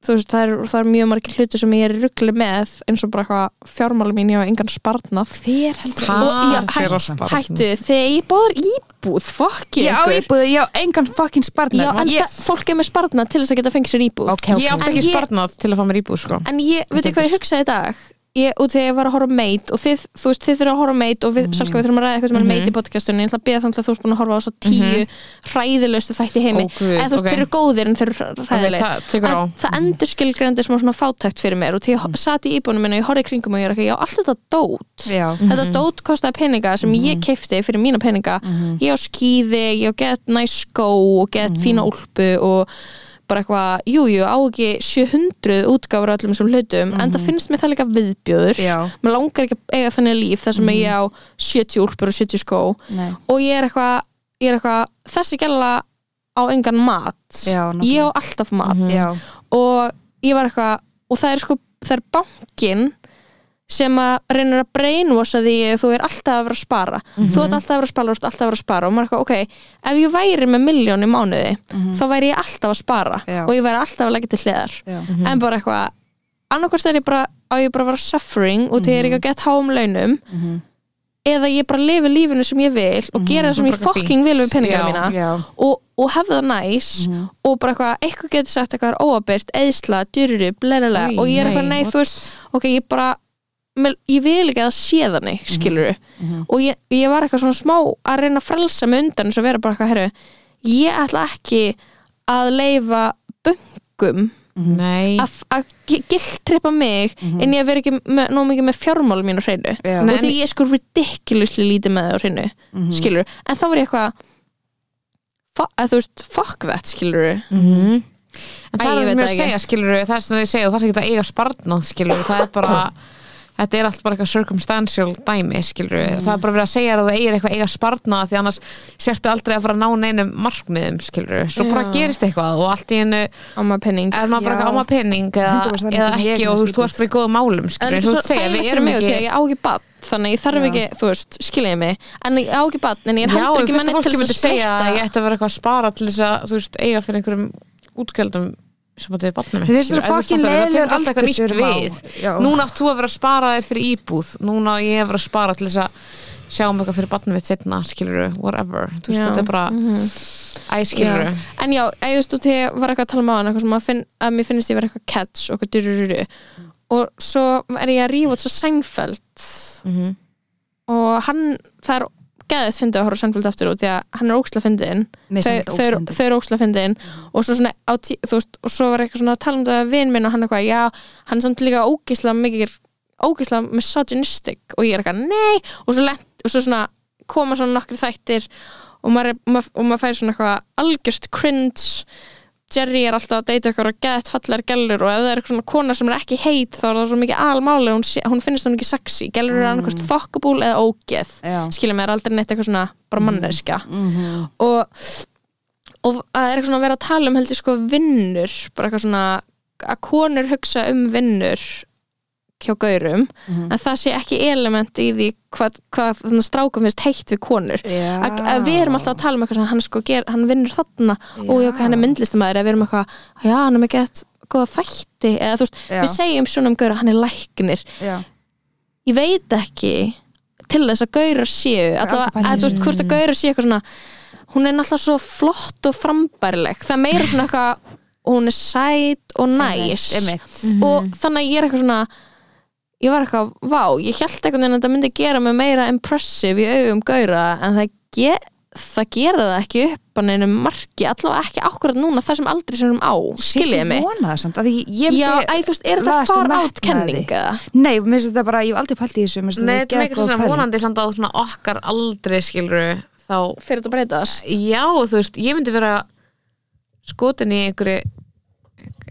S3: þú veist, það er, það er mjög margir hluti sem ég er ruggli með eins og bara eitthvað fjármáli mín, ég hafa engan spartnað
S5: hver heldur
S4: Ha,
S3: Og- já,
S4: þeirra
S3: hæ-
S4: sparnað.
S3: hættu, þegar ég bóður íbúð fokk
S5: ég á íbúðu, ég á engan fucking sparnar
S3: já, en
S5: ég,
S3: það, fólk er með spartnað til þess að geta fengið sér íbúð
S5: ok, ok,
S4: Ég átti ekki
S3: En ég-
S4: sparnað til að fá mér íbúð sko
S3: en ég, veit þið hvað ég hugsaði í dag ég, út þegar ég var að horfa á meit og þið, þú veist, þið þurfa að horfa á meit og við, mm. við þurfum að ræða eitthvað sem er meit
S4: Mhm.
S3: í podcastunni ég ætla að beða þannig að þú ert búin að horfa á svo tíu mm þætti í heimi
S4: Ó, guð,
S3: eða þú veist,
S4: ok.
S3: þeir eru góðir en þeir eru
S4: okay,
S3: ræðilegir
S4: Það tekur á Mhm.
S3: en það endur skilgrandi smá svona fátækt fyrir mér og því ég mm. sat í íbúinu minna og ég horfði í kringum og ég er ekki, já, allt þetta dót
S5: já,
S3: þetta dót kostaði peninga sem
S5: Mhm.
S3: ég keipti fyrir mína peninga ég á skýði, ég á gett næs skó og gett
S5: Mhm.
S3: fína úlpu og bara eitthvað, jújú, á ekki 700 útgáfur af öllum sem hlutum en það finnst mér það líka viðbjöður
S5: Mhm. Já. Mhm.
S3: mér langar ekki að eiga þannig líf þar sem ég á 70 úlpur og 70 skó
S5: nei
S3: og ég er eitthvað, ég er eitthvað þessi gæla á engan mat
S5: Já, nákvæmlega.
S3: ég á alltaf mat
S5: já,
S3: og ég var eitthvað og það er sko, það er bankin sem að reynir að brainwasha því að þú er alltaf að vera að spara þú ert alltaf að vera að spara, þú ert alltaf að vera að spara og maður er eitthvað, ok, ef ég væri með miljón í mánuði, þá væri ég alltaf að spara
S5: Já.
S3: og ég væri alltaf að leggja til hliðar
S5: já,
S3: en bara eitthvað, annarkvist er ég bara á ég bara að vera suffering og því ég er ekki að gett háum launum
S5: Mhm.
S3: eða ég bara lifi lífinu sem ég vil og gera það sem
S4: bara
S3: ég
S4: eitthvað
S3: fucking vil við peningana
S4: Já,
S3: mína
S5: já, Mhm.
S3: og, og hefði það næs og bara eitthvað, eitthvað getur sagt eitthvað er óabyrt, eðsla, dyrru, blæðilega
S4: Oj,
S3: og ég er eitthvað,
S4: nei,
S3: nei,
S4: what?
S3: þú veist ok, ég bara, mel- ég vil ekki að það sé þannig
S4: Mhm,
S3: skilur og ég, ég var eitthvað svona smá að reyna að frelsa mig undan eins og vera bara eitthvað, herru ég ætla ekki að leifa böngum
S4: Nei
S3: að, að gildtrippa mig
S4: Mhm.
S3: en ég að vera ekki með, nóg mikið með fjármálum mínu hreinu
S5: Já.
S3: og
S4: Nei,
S3: því ég er sko ridiculously lítið með það á hreinu
S4: Mhm.
S3: skilur, en þá var ég eitthvað fu- að þú veist, fuck that skilur
S4: Mhm. En
S3: Æ,
S4: það er
S3: ég
S4: það
S3: veit
S4: sem ég er
S3: það
S4: að
S3: ekki.
S4: segja skilur það er sem ég segja og það er ekki að eiga sparnað skilur það er bara
S3: Hm.
S4: þetta er allt bara eitthvað circumstantial dæmi skilur
S3: Hm.
S4: það er bara verið að segja þér að það eigir eitthvað að eiga sparnað því annars sértu aldrei að fara að ná neinum markmiðum skilur svo bara
S3: Já.
S4: gerist eitthvað og allt í hennu
S3: á maður penning
S4: eða maður bara
S5: Já.
S4: ekki á maður pening eða,
S5: 100% það er
S4: eða
S5: mikið
S4: ekki
S5: ég
S4: og þú veist, þú
S5: eignast
S4: ert bara í góðum málum
S3: en
S4: skilur
S3: þetta
S4: eins
S3: er
S4: og
S3: svo
S4: þú segja
S3: þægilegt
S4: við
S3: fyrir
S4: erum
S3: mig og því að
S4: ekki
S3: ég á ekki bann þannig ég þarf
S5: Já.
S3: ekki, þú veist, skiljiði mig en ég á ekki bann, en ég er
S4: Já,
S3: heldur ekki
S4: fullt af
S3: manni til
S4: fólki
S3: þess
S4: myndi
S3: að
S4: segja að ég
S3: splitta
S4: ætti að vera eitthvað að spara til þess að, þú veist, eiga fyrir einhverjum útgjöldum sem að þau er barnum
S5: Mér finnst þetta fucking leiðilegur
S4: alltaf nýtt
S5: aldursvörmá.
S4: við
S5: Já.
S4: Núna átt þú að vera að spara þér fyrir íbúð Núna á ég að vera að spara til þess að sjá um eitthvað fyrir barnum mitt setna, skilur whatever, þú veist,
S3: Já.
S4: þetta er bara
S5: Mhm.
S4: æ, skilur
S3: Já. en já, ég veist, og þegar var eitthvað að tala um á hann eitthvað sem að, finn, að mér finnst ég vera eitthvað cats og eitthvað durururu og svo er ég að rífa út svo sænfælt
S4: Mhm.
S3: og hann, það er geðið fyndið að horfa sænfjöld aftur út því að hann er óksla fyndin
S5: Mér finnst
S3: þau
S5: hann
S3: þau eru-
S5: ógeðslega
S3: þau eru óksla fyndin og svo svona á tí, þú veist, og svo var eitthvað svona að tala um þetta við vin minn og hann eitthvað, já, hann er samt líka ógisla mikið, ógisla misogynistic og ég er eitthvað, nei og svo, lent, og svo svona koma svona nokkri þættir og maður, er- maður, og maður fær svona eitthvað algjört cringe Jerry er alltaf að deyta ykkur og gett fallegar gælur og ef það er eitthvað svona kona sem er ekki heit þá er það svo mikið almáli hún, sé- hún finnst hún ekki sexy, gælur eru annarkvæmst fuckable eða ógeð,
S5: Já.
S3: skilja mig, það er aldrei neitt eitthvað svona bara manneskja og og það er eitthvað svona að vera að tala um heldur sko vinnur, bara eitthvað svona að konur hugsa um vinnur hjá gaurum
S5: Mhm.
S3: en það sé ekki element í því hvað, hvað þannig strákum finnst heitt við konur
S5: Já.
S3: að, að við erum alltaf að tala um eitthvað sem hann sko ger, hann vinnur þarna og já, ok, hann er myndlistamæður eða við erum eitthvað, já, hann er með gett góða þætti, eða þú veist,
S5: Já.
S3: við segjum svona um gaur að hann er læknir
S5: já,
S3: ég veit ekki til þess að gaurar séu
S5: aldrei
S3: allavega,
S5: pælt í
S3: að þú veist, hvort að gaurar séu eitthvað svona hún er náttúrulega svo flott og frambærileg það er meira svona eitthvað hún er sæt og næs
S5: einmitt. Mhm.
S3: og þannig að ég er eitthvað svona ég var eitthvað, vá, ég held eitthvað en þetta myndi gera mig meira impressive í augum gaura en það, ge það gera það ekki upp að neinu marki allavega ekki akkurat núna þar sem aldrei sem erum á skiljiði mig
S5: Ég vona það samt, af því ég
S3: Já,
S5: myndi-
S3: æ, þú veist, er þetta
S5: Lagast og
S3: far átt
S5: metnaði.
S3: kenninga?
S5: Nei, mér finnst þetta bara, ég hef aldrei pælt í þessu mér finnst
S4: Nei,
S5: þetta
S4: þetta er
S5: geðgóð
S4: ekki svona
S5: pæling.
S4: vonandi samt á svona okkar aldrei skilur þá
S3: Fyrir þetta breytast
S4: já, þú veist, ég myndi vera skotin í einhverju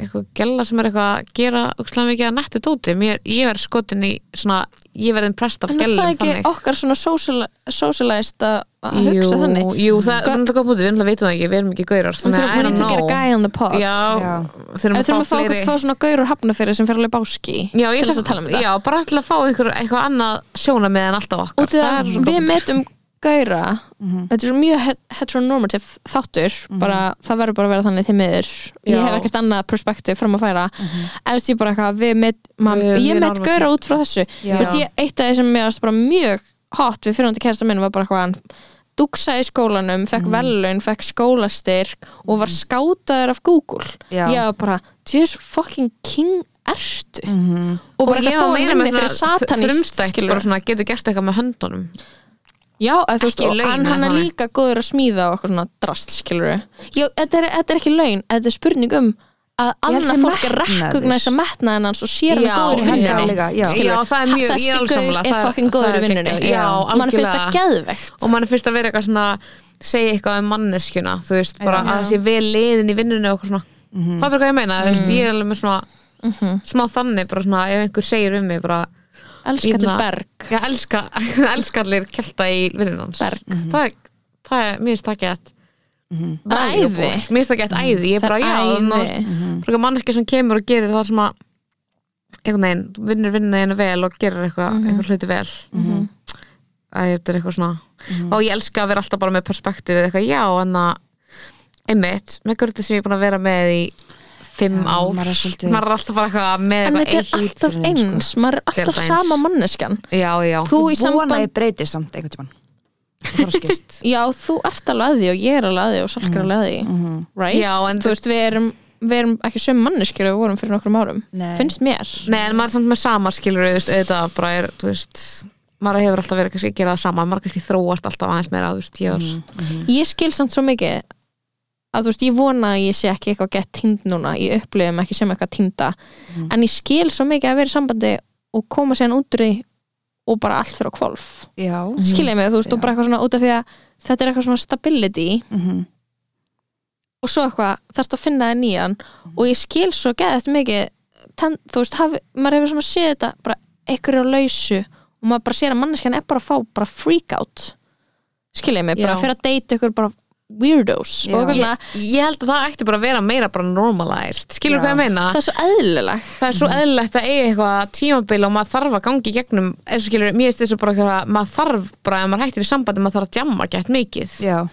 S4: eitthvað gæla sem er eitthvað að gera ókslega mikið að nettu dóti Mér, ég verð skotin í svona ég verð impressed af
S3: En er
S4: gælum
S3: það ekki okkar svona social, socialized að að hugsa þannig?
S4: jú, það er náttúrulega góð mútið, við náttúrulega veitum það ekki, við erum ekki gaurar
S3: Við
S4: þannig
S3: þurfum
S4: að I
S3: we need
S4: don't
S3: to get a
S4: know
S3: guy on the pod.
S4: já,
S5: Já.
S4: þurfum
S3: En
S4: að
S3: þurfum að
S4: fá
S3: fá okkur
S4: fleiri
S3: að fá svona gaur úr hafnafyrir sem fer alveg báski
S4: já, ég
S3: til þess
S4: þekki-
S3: að tala um þetta.
S4: já, bara alltaf að fá einhver, eitthvað annað sjóna meðan alltaf okkar
S3: Útið
S4: Það
S3: að
S4: er Mhm. svona
S3: við
S4: gott.
S3: metum gaura, þetta er svo mjög het- heteronormative þáttur, bara það verður bara að vera þannig því miður. Ég
S4: Mhm. Já. Mhm.
S3: hef ekkert annað perspektíf fram að færa. En þú veist ég bara eitthvað, við met, man,
S4: Við-
S3: ég
S4: mjög
S3: met
S4: normative.
S3: gaura út frá þessu.
S5: Já.
S3: Þú veist ég, eitt af því sem mér varst bara mjög hot við fyrirhandi kærasta minn var bara eitthvað hann duksa í skólanum, fekk
S4: Mhm.
S3: mm. velun, fekk skólastyrk og var skátaður af Google.
S5: Já.
S3: Ég var bara, Jesus fucking king ertu. Og bara
S4: Mhm. og ég
S3: eitthvað
S4: var
S3: þó að
S4: meira
S3: minni
S4: með
S3: fyrir
S4: svona
S3: satanist,
S4: frumstætt bara svona getur gert eitthvað með höndunum
S3: Já, eða þú veist,
S4: Ekki
S3: og
S4: laun
S3: hann,
S4: eða
S3: hann er
S4: þannig.
S3: líka góður að smíða og eitthvað svona drast, skilur við. Já, þetta er, þetta er ekki laun, þetta er spurning um að
S5: held
S3: annað
S5: sem
S3: fólk er
S5: metnaður.
S3: rekkugnæsa metnaðan hans og sér
S4: Já,
S3: hann góður
S4: ég
S3: í
S4: held það
S3: vinnunni.
S5: líka, já.
S3: skilurðu.
S4: Já, það er mjög- ég er alveg
S3: Þessi
S4: sammála,
S3: gaur er
S4: það-
S3: fucking
S4: það
S3: góður
S4: er
S3: í vinnunni.
S4: geggjað. Já,
S3: mann finnst það
S4: algjörlega.
S3: geðvegt.
S4: og mann finnst að vera eitthvað svona segja eitthvað um manneskjuna þú veist, bara
S3: Já. Mhm.
S4: að það sé vel liðin í vinnunni og eitthvað svona, mm -hmm. hvað er hvað ég meina þú veist, ég er alveg með svona smá þannig, bara svona, ef einhver segir um mig bara,
S3: Elskar til
S4: Ína.
S3: berg.
S4: ég elska elska allir kelta í vinnunni hans
S3: Berg. Mhm.
S4: það, er, það er, mér finnst það gett
S3: Æði. Mhm.
S4: mér finnst það gett æði, ég er
S3: Það
S4: bara,
S3: er
S4: já
S3: æði. Mhm.
S4: þú veist, bara manneskja sem kemur og gerir það sem að einhvern veginn, vinnur vinnuna einu vel og gerir eitthvað,
S3: Mhm.
S4: einhver hluti vel að þetta er eitthvað svona
S3: Mhm.
S4: og ég elska að vera alltaf bara með perspektífið eitthvað, já, en að einmitt, með görðu sem ég er búin að vera með í fimm
S5: Já,
S4: ár
S5: maður er svolítið-
S4: maður er alltaf bara eitthvað með
S3: En þetta
S4: eitthvað
S3: er alltaf
S5: eitrun, sko.
S3: eins, maður er
S4: er
S3: alltaf
S4: alltaf eins.
S3: sama manneskjan.
S4: já, já,
S3: Þú í
S5: Ég vona að
S3: samband...
S5: ég breytir samt einhvern tímann. Það þarf að skist.
S3: Já, þú ert alveg að því og ég er alveg að því og salkar alveg að því. Right?
S4: Mm. Mm-hmm. Já, en-
S3: þú veist, við erum, við erum ekki söm manneskjur og við vorum fyrir nokkrum árum.
S5: Nei.
S3: Finnst mér.
S4: Nei, en maður er samt með sama skilur auðvitað bara er, þú veist maður hefur alltaf verið kannski að gera það sama maður kannski þróast alltaf aðeins meira, þú veist, ég var
S3: Mhm. Ég skil samt svo mikið að þú veist, ég vona að ég sé ekki eitthvað gett tind núna, ég upplifum ekki sem eitthvað tinda
S5: Mm.
S3: en ég skil svo mikið að vera í sambandi og koma sér út úr því og bara allt fyrir á kvolf
S5: Já.
S3: skil ég mig, þú veist,
S5: Mhm.
S3: og
S5: Já.
S3: bara eitthvað svona út af því að þetta er eitthvað svona stability
S5: Mhm.
S3: og svo eitthvað, þarfst að finna það nýjan
S5: Mhm.
S3: og ég skil svo geðið mikið ten, þú veist, hafi, maður hefur svona séð þetta bara einhverju á lausu og maður bara sér að manneskjan er bara að fá bara freak out skil ég mig, bara
S4: Já.
S3: fyrir að deyta ykkur bara weirdos
S5: Já.
S3: og eitthvað
S4: ég, Ah,
S3: svona,
S4: ég held að það ætti bara að vera meira bara normalized, skilur
S5: Já.
S4: hvað ég meina
S3: það Mhm. er svo eðlilegt
S4: það er svo eðlilegt að eiga eitthvað tímabil og maður þarf að gangi gegnum eins og skilur, mér finnst þessu bara eitthvað að maður þarf bara ef maður hættir í sambandi, maður þarf að jamma gett mikið
S5: Já.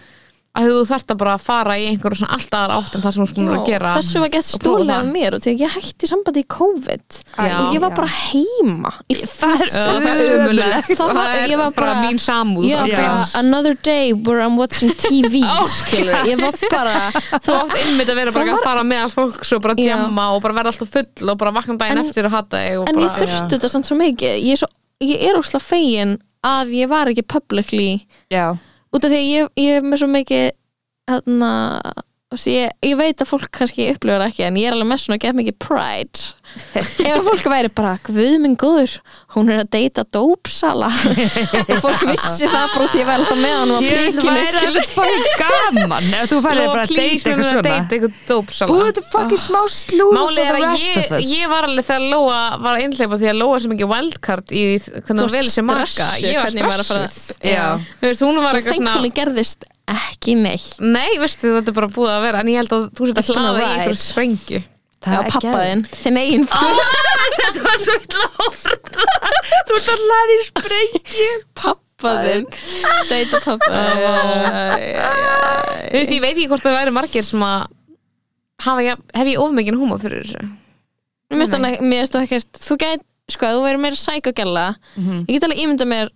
S4: að þú þarft að bara fara í einhverju svona alltaf aðra átt en það sem þú skoðum að gera
S3: þessu var gett
S4: og prófa
S3: stúlega af
S4: það.
S3: mér og því að ég hætti sambandi í COVID
S4: Já.
S3: og ég var
S5: Já.
S3: bara heima í
S4: það er ömulegt
S3: Það var- ég var bara-
S4: mín samúð
S3: Ég var
S4: Já.
S3: bara, another day where I'm watching TV skilur, ég var bara
S4: þú átt einmitt að vera bara að fara með all fólks og bara
S3: Já.
S4: djamma og bara vera alltaf full og bara vakna daginn
S3: En-
S4: eftir og hata þig og
S3: en
S4: bara,
S3: ég þurfti þetta samt svo mikið ég er, svo, ég er óslega fegin að ég var ekki publicly
S5: Já.
S3: út af því að ég, ég er með svo mikið hérna þú veist, ég, ég veit að fólk kannski upplifur það ekki en ég er alveg með svona að gefa mikið pride ef fólk væri bara guð minn góður, hún er að deyta dópsala og fólk vissi það bara út í að vera alltaf með hann og prikinu skilur
S5: fæði gaman ef þú
S4: Lóa, please, við erum að deyta eitthvað dópsala
S5: Búið þetta fucking smá slúð
S4: Málið er að ég, ég var alveg þegar Lóa var einhleipa því að Lóa sem ekki wildcard í því hvernig
S3: Þú
S4: hún velur
S3: varst
S4: sér marga
S3: stressuð,
S4: ég var
S3: hvernig ég var að fara-
S4: stressuð
S5: Já.
S4: Þú veist, hún var eitthvað
S3: Thankfully
S4: svona
S3: gerðist ekki neitt
S4: Nei, veistu þetta er bara búið að vera en ég held að þú sétt
S3: It's
S4: að
S3: been a
S4: hlaða í
S3: ride.
S4: einhverju sprengu
S3: Já, pappa þinn, þinn eigin
S4: Ah, Þetta var svo illa orðað.
S5: Þú ert að hlaði sprengi
S3: Pappa þinn Deita pappa
S4: Ah, Þú veist, ég veit ekki hvort það væri margir sem að hafa, ja, hef ég ofmikinn húma fyrir þessu
S3: Mér finnst þannig, mér finnst þú ekkert Þú gæt, sko, ef þú verður meira sækogella Ég get alveg ímyndað mér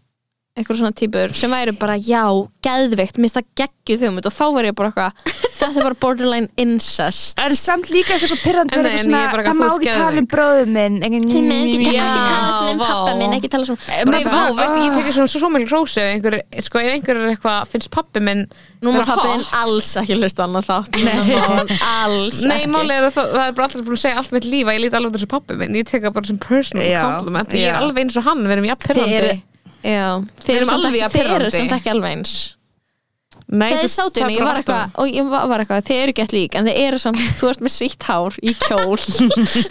S3: eitthvað svona típur sem væri bara, já, geðveikt Mér finnst það geggju þjómynd og þá verður ég bara eitthvað Þetta er bara borderline incest
S5: En samt líka eitthvað svo pyrrandi
S4: En nei, en ég er bara
S5: Það
S4: eitthvað,
S5: má
S4: þú
S5: ekki
S4: ert
S5: tala um
S4: geðveik.
S5: bróðum minn
S3: Nei, nei, ekki,
S4: Já,
S3: ekki tala svona um
S4: vá.
S3: pappa minn, ekki tala svona "Ah."
S4: Bara, Eh, vá, veistu, ég tekið svona svo, svo mjög hrósi ef einhver, sko, ef einhver er eitthvað, finnst pappi minn
S3: Nú
S4: vera
S3: maður pappi þinn
S4: hot.
S3: alls ekki hlusta annað þátt Alls
S4: Nei,
S3: ekki.
S4: málið er að það, það er bara alltaf búin að segja allt mitt líf að ég líti alveg út þessu pappi minn, ég tek það bara sem personal
S5: Já,
S4: compliment, ég
S5: já.
S4: er alveg eins og hann, við erum jafn
S3: Þið
S4: pyrrandi
S3: eru- Já, þeir
S4: erum
S3: eru samt
S4: alveg
S3: ekki-
S4: að
S3: þeir eru
S4: pirrandi.
S3: samt ekki alveg eins
S4: Nei,
S3: Þegar
S4: þú-
S3: þið sátu henni,
S4: það
S3: ég var
S4: brast á.
S3: eitthvað og ég var var eitthvað, þið eru gett lík en þið eru samt, þú ert með sítt hár í kjól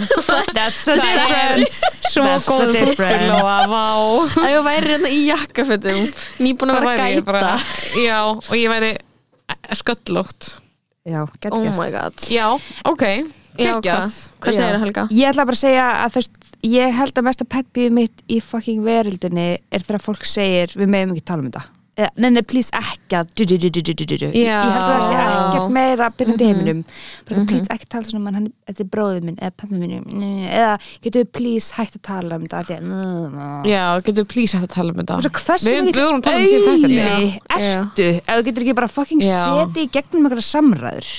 S2: That's the difference
S4: Svo
S2: That's the
S4: góð
S2: difference.
S4: Lóa, vá
S3: að ég væri hérna í jakkafötum nýbúin að
S4: Það
S3: vera
S4: væri
S3: að
S4: ég bara,
S3: gæta
S4: já, og ég væri eh, sköllótt
S5: Já, gett
S3: Oh
S5: gæst.
S3: my god
S4: Já, ok,
S3: Já,
S4: geggjað
S3: hvað, hvað segir það Helga?
S5: Ég ætla bara að segja að þú veist, ég held að mesta petbíð mitt í fucking verildinni er þegar fólk segir við meðum ekki tala um þetta. Eða, Nei, nei, please ekki að du, du, du, du, du, du, du, du. Ég
S4: Já. Mhm.
S5: held að það sé ekkert meira byrjandi mm heiminum bara please ekki tala svona um hann, hann- þetta er bróðið minn eða pömmu minn eða getur við please hægt að tala um þetta af því að
S4: Já, getur please hægt að tala um
S5: Og svo
S4: þetta
S5: hversu
S4: Við höfum-
S5: mikill
S4: við vorum talað um síðan þetta
S5: aumi ertu ef þú getur ekki bara fucking
S4: Já.
S5: setið í gegnum einhverja samræður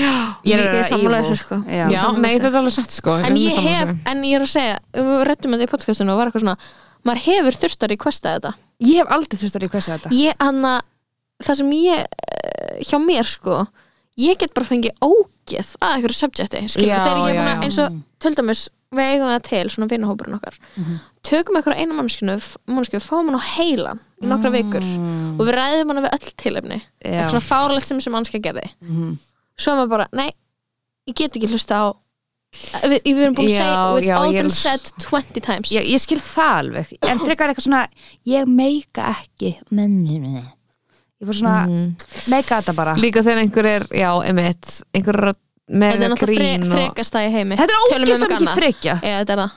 S4: Ég er
S3: Ég er
S5: að
S3: sammála
S5: evil.
S3: þessu, sko.
S5: Já.
S4: Já, nei, þetta er alveg satt sko
S3: En
S4: við
S3: ég
S4: erum
S3: hef,
S4: saman
S3: en ég er að segja við rettum þetta í podcastinu og var eitthvað svona maður hefur þurft að requesta þetta
S5: Ég hef aldrei þurft að requesta þetta
S3: ég, anna, það sem ég eh, hjá mér sko ég get bara fengið ógeð að einhverju subjecti skilur,
S4: Já,
S3: þegar
S4: já,
S3: ég er búin
S4: já.
S3: að eins og til dæmis við eigum það til, svona vinahópurinn okkar
S4: Mhm.
S3: tökum einhverja eina mannskinu mannskinu, fáum hann á heilan í nokkra
S4: Mm.
S3: vikur
S5: Mm.
S3: og við ræðum hann við öll tilefni eitthvað svona fárlegt sem sem mannska gerði svo er maður bara, nei ég get ekki hlusta á við, við erum búin að
S4: Já,
S3: segja, og it's
S4: já,
S3: all
S4: ég
S3: been
S4: er-
S3: said 20 times
S5: ég, ég skil það alveg en frekar eitthvað svona ég meika ekki menni minni ég bara svona
S4: Mm.
S5: meika þetta bara
S4: Ah. Líka þegar einhver er, já, emitt einhver er að- með
S3: þetta er náttúrulega
S4: grín
S3: fre,
S4: og
S3: frekasta í heimi
S5: þetta er
S3: Tölum um
S5: ógeðslega
S3: eitthvað
S5: mikið
S3: annað.
S5: frekja
S3: Já, þetta er það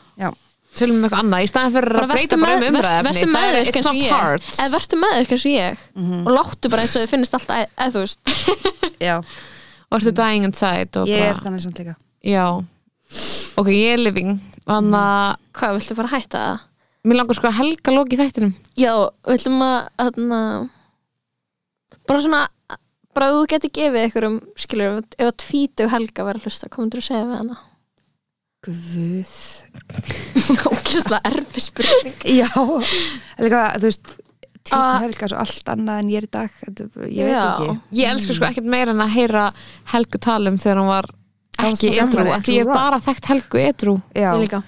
S4: tölum um eitthvað annað í staðan fyrir
S3: bara
S4: að breyta
S3: vertu
S4: bara um
S3: með-
S4: umræðefni
S3: vertu
S4: Það er-
S3: meðvirk
S4: it's
S3: eins og
S4: not
S3: ég.
S4: hard.
S3: eða verður með þér eins og ég og láttu bara eins og þið finnist alltaf eða þú veist
S5: já,
S4: og ertu dying inside og
S5: ég er
S4: bara-
S5: þannig samt líka
S4: já, ok, ég er living þannig að
S3: hvað viltu fara að hætta það?
S4: mér langar sko að helga loki þættinum
S3: já, villum að þarna, bara svona bara ef þú getur gefið einhverjum skilur, ef að tvítu helga verður að hlusta komum þú að segja við hana
S5: guð
S3: ógislega erfi spurning
S5: já, líka þú veist títa
S3: Ah.
S5: helga svo allt annað en ég er í dag þetta, ég veit
S3: Já.
S5: ekki
S4: ég elskar
S3: Mm.
S4: sko ekkert meira en að heyra helgu tala um þegar hún var
S5: var
S4: ekki
S5: svo
S4: edru,
S5: samari,
S4: af því ég er
S5: true
S4: bara þekkt helgu edru
S5: já,
S3: ég líka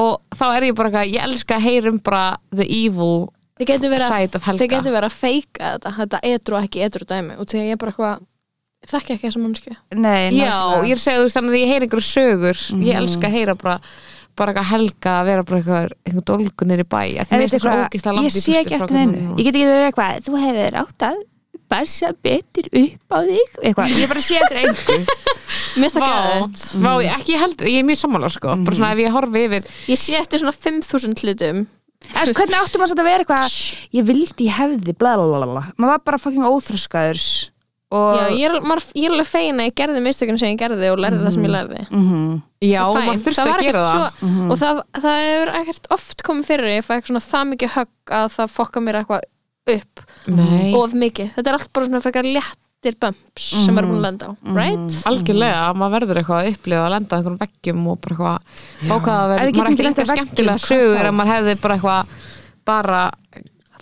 S4: og þá er ég bara eitthvað, ég elska að heyra um bara the evil
S3: Þið getur verið að,
S4: Side of Helga.
S3: þið getur verið að feika þetta, þetta edru og ekki edru dæmi og því að ég er bara eitthvað, þekki ekki þessa mannskju.
S5: nei,
S4: já,
S5: nákvæmlega.
S4: ég er segið þú veist þannig að ég heyri einhverju sögur ég
S5: Mhm.
S4: elska að heyra bara bara eitthvað helga að vera bara eitthvað einhver dólgun er í bæ af því mér
S5: En veitu
S4: finnst það svo
S5: hvað,
S4: ógislega langt
S5: ég
S4: í
S5: sé
S4: burtu
S5: ekki
S4: frá
S5: eftir
S4: hvernig
S5: neinu
S4: hún var.
S5: ég get ekki verið eitthvað, þú hefur áttað bæsa betur upp á þig eitthvað, ég bara sé eftir einhver
S3: Mér finnst það
S4: Vá,
S3: geðvægt.
S4: vá,
S5: Mhm.
S4: ég- ekki ég held, ég er mjög sammála sko, bara svona ef ég horfi yfir
S3: Ég sé eftir svona 5.000 hlutum
S5: en hvernig áttum maður samt að vera eitthvað ég vildi ég hefði blalalala maður var bara fucking óþröskaður og
S3: Já, ég er, maður, ég er alveg fegin að ég gerði mistökun sem ég gerði og lærði það sem ég lærði
S5: Mhm.
S4: Já,
S3: Fæn.
S4: maður þurfti
S3: var
S4: að gera
S3: ekkert
S4: það
S3: svo, og það, það hefur ekkert oft komið fyrir að ég fæ eitthvað svona það mikið högg að það fokka mér eitthvað upp
S4: Nei,
S3: of mikið, þetta er allt bara svona fækkar léttir bumps sem maður er búin að lenda á right?
S4: algjörlega, maður verður eitthvað að upplifa að lenda á einhverjum veggjum og bara eitthvað bákað að
S5: Ef við
S4: verður, maður
S5: getum
S4: er ekki
S5: ekki lent á
S4: eitthvað
S5: veggjum,
S4: skemmtilega
S5: hvað
S4: sögur
S5: þá?
S4: að maður hefði bara eitthvað bara,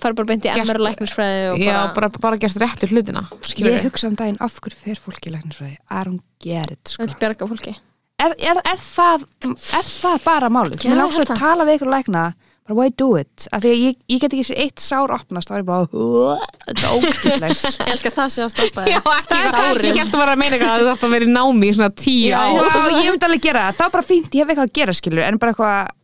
S3: fara bara beint í
S4: Gert-
S3: MR læknisfræði og
S4: já,
S3: bara,
S4: bara, bara gerst réttu hlutina skilurðu.
S5: ég hugsa um daginn af hverju fer fólki læknisfræði I don't get it sko.
S3: vill bjarga fólki
S5: er, er, er, það, er það bara málið
S3: Já,
S5: mér
S3: ég
S5: langar
S3: held
S5: svo
S3: það.
S5: að tala við ykkur lækna bara why do it af því að ég, ég get ekki sér eitt sár opnast þá er ég bara þetta er ókvæslegt
S3: ég elska það sem að stoppa
S4: Já, það er það sem ég held að vera að meina eitthvað að þú þarfst að vera í námi í svona tíu
S3: Já.
S4: ár
S5: Vá, ég myndi alveg gera það, það er bara fínt, ég hef eitthvað að gera skilur en bara eitthvað,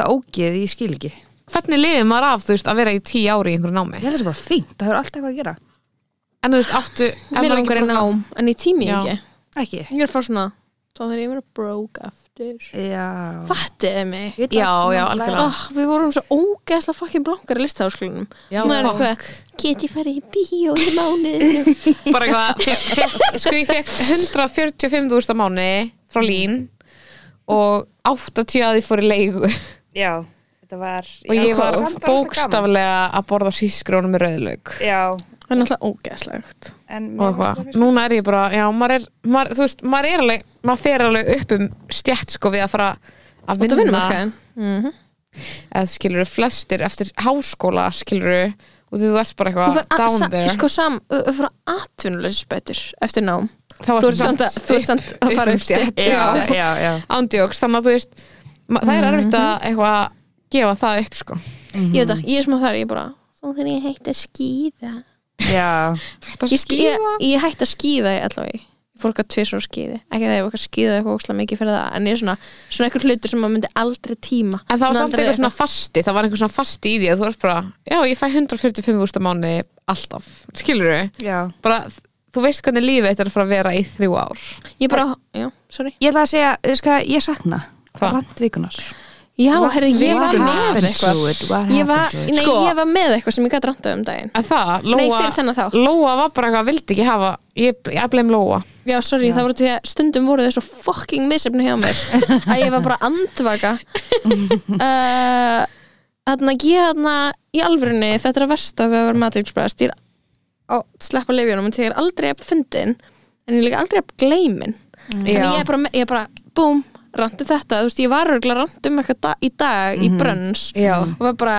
S5: það ógeð, ég skil ekki ég
S4: Hvernig lifið maður af, þú veist, að vera í tíu ári í einhverju námi?
S5: held það sé bara fínt, það hefur alltaf eitthvað að gera
S4: En þú veist, áttu ef
S3: mér
S4: maður
S3: langar í
S4: ekki-
S3: nám, en ég tími
S4: Já.
S3: ekki
S5: ekki,
S3: ég er að fá svona, þá þegar ég verið broke aftur
S5: já
S3: fattiði mig
S5: Ég
S4: Já,
S5: veit ekki,
S4: já,
S5: maður
S4: algjörlega.
S5: lærir.
S3: oh, við vorum svo ógeðslega fucking blankar í listaháskólinum
S4: Já,
S3: maður er
S4: fuck.
S3: eitthvað get ég farið í bíó í mánuðinu
S4: bara eitthvað fe- fe- sko ég fekk 145.000 á mánu frá lín og 80 að ég fór í leigu og
S5: Já, þetta var
S4: ég
S5: Já,
S4: var
S5: samt þetta gaman.
S4: bókstaflega að borða sískrónu með rauðlaug
S5: Já,
S3: það er náttúrulega ógeðslegt
S5: en
S4: og eitthvað, núna er ég bara já, maður er, maður, þú veist, maður er alveg maður fer alveg upp um stjætt sko við að fara að
S3: þetta vinnum
S4: vinna
S3: ekki
S4: eða þú skilur flestir eftir háskóla skilur og því þú ert bara
S3: þú
S4: eitthvað
S3: fyrir að,
S4: down
S3: sa,
S4: there
S3: sko sam, þú fyrir atvinnulegis spætur eftir nám
S4: þá
S3: þú
S4: ertu
S3: ert samt að- þú ert samt að
S4: upp-
S3: fara
S4: upp
S3: upp stétt.
S4: stétt, já.
S5: Já, já, já
S4: ándjóks, þannig að þú veist ma- það er erfitt
S3: Mhm.
S4: að eitthvað gefa það upp sko
S3: ég veit að, ég er smá þar, ég er bara þá þegar ég hætti að skýða
S5: Já,
S4: Hætt að
S3: ég, sk- ég,
S4: skýra
S3: ég hætti að skýða allavega ég fór eitthvað tvisar á skýði ekki það ég var eitthvað að skýða eitthvað óslega mikið fyrir það en ég er svona, svona eitthvað hlutur sem maður myndi aldrei tíma
S4: En það var
S3: Myndi
S4: samt
S3: aldrei
S4: eitthvað svona fasti, það var einhver svona fasti í því að þú varst bara, já, ég fæ 145.000 mánu alltaf, skilur
S5: já.
S4: Bara, þú veist hvernig lífið þetta er að fara að vera í þrjú ár.
S3: ég bara, já, sorry
S5: Ég ætla að segja, þú veist hvað, ég sakna
S4: Hvað?
S5: Randvíkunar
S3: já, herri, ég var með eitthvað ég var,
S5: eitthvað
S3: nei,
S4: Sko-
S3: ég var með eitthvað sem ég gæti randað um daginn
S4: En það, Lóa,
S3: Nei, fyrir þennan þátt.
S4: Lóa var bara eitthvað, vildi ekki hafa Ég, ég bleim Lóa
S3: já, sorry, það voru til að stundum voru þau svo fucking misefni hjá mér að ég var bara andvaka uh, þarna, ég þarna í alvörunni, þetta er að versta við að vera matriksbræðast, ég er að sleppa lifjónum, en ég er aldrei að fyndin en ég er líka aldrei að gleymin
S4: Já.
S3: Þannig ég er bara, með- ég er bara búm, rantum þetta, þú veist, ég var örgulega rantum eitthvað da, í dag í brönns
S4: Mhm. Já.
S3: og var bara,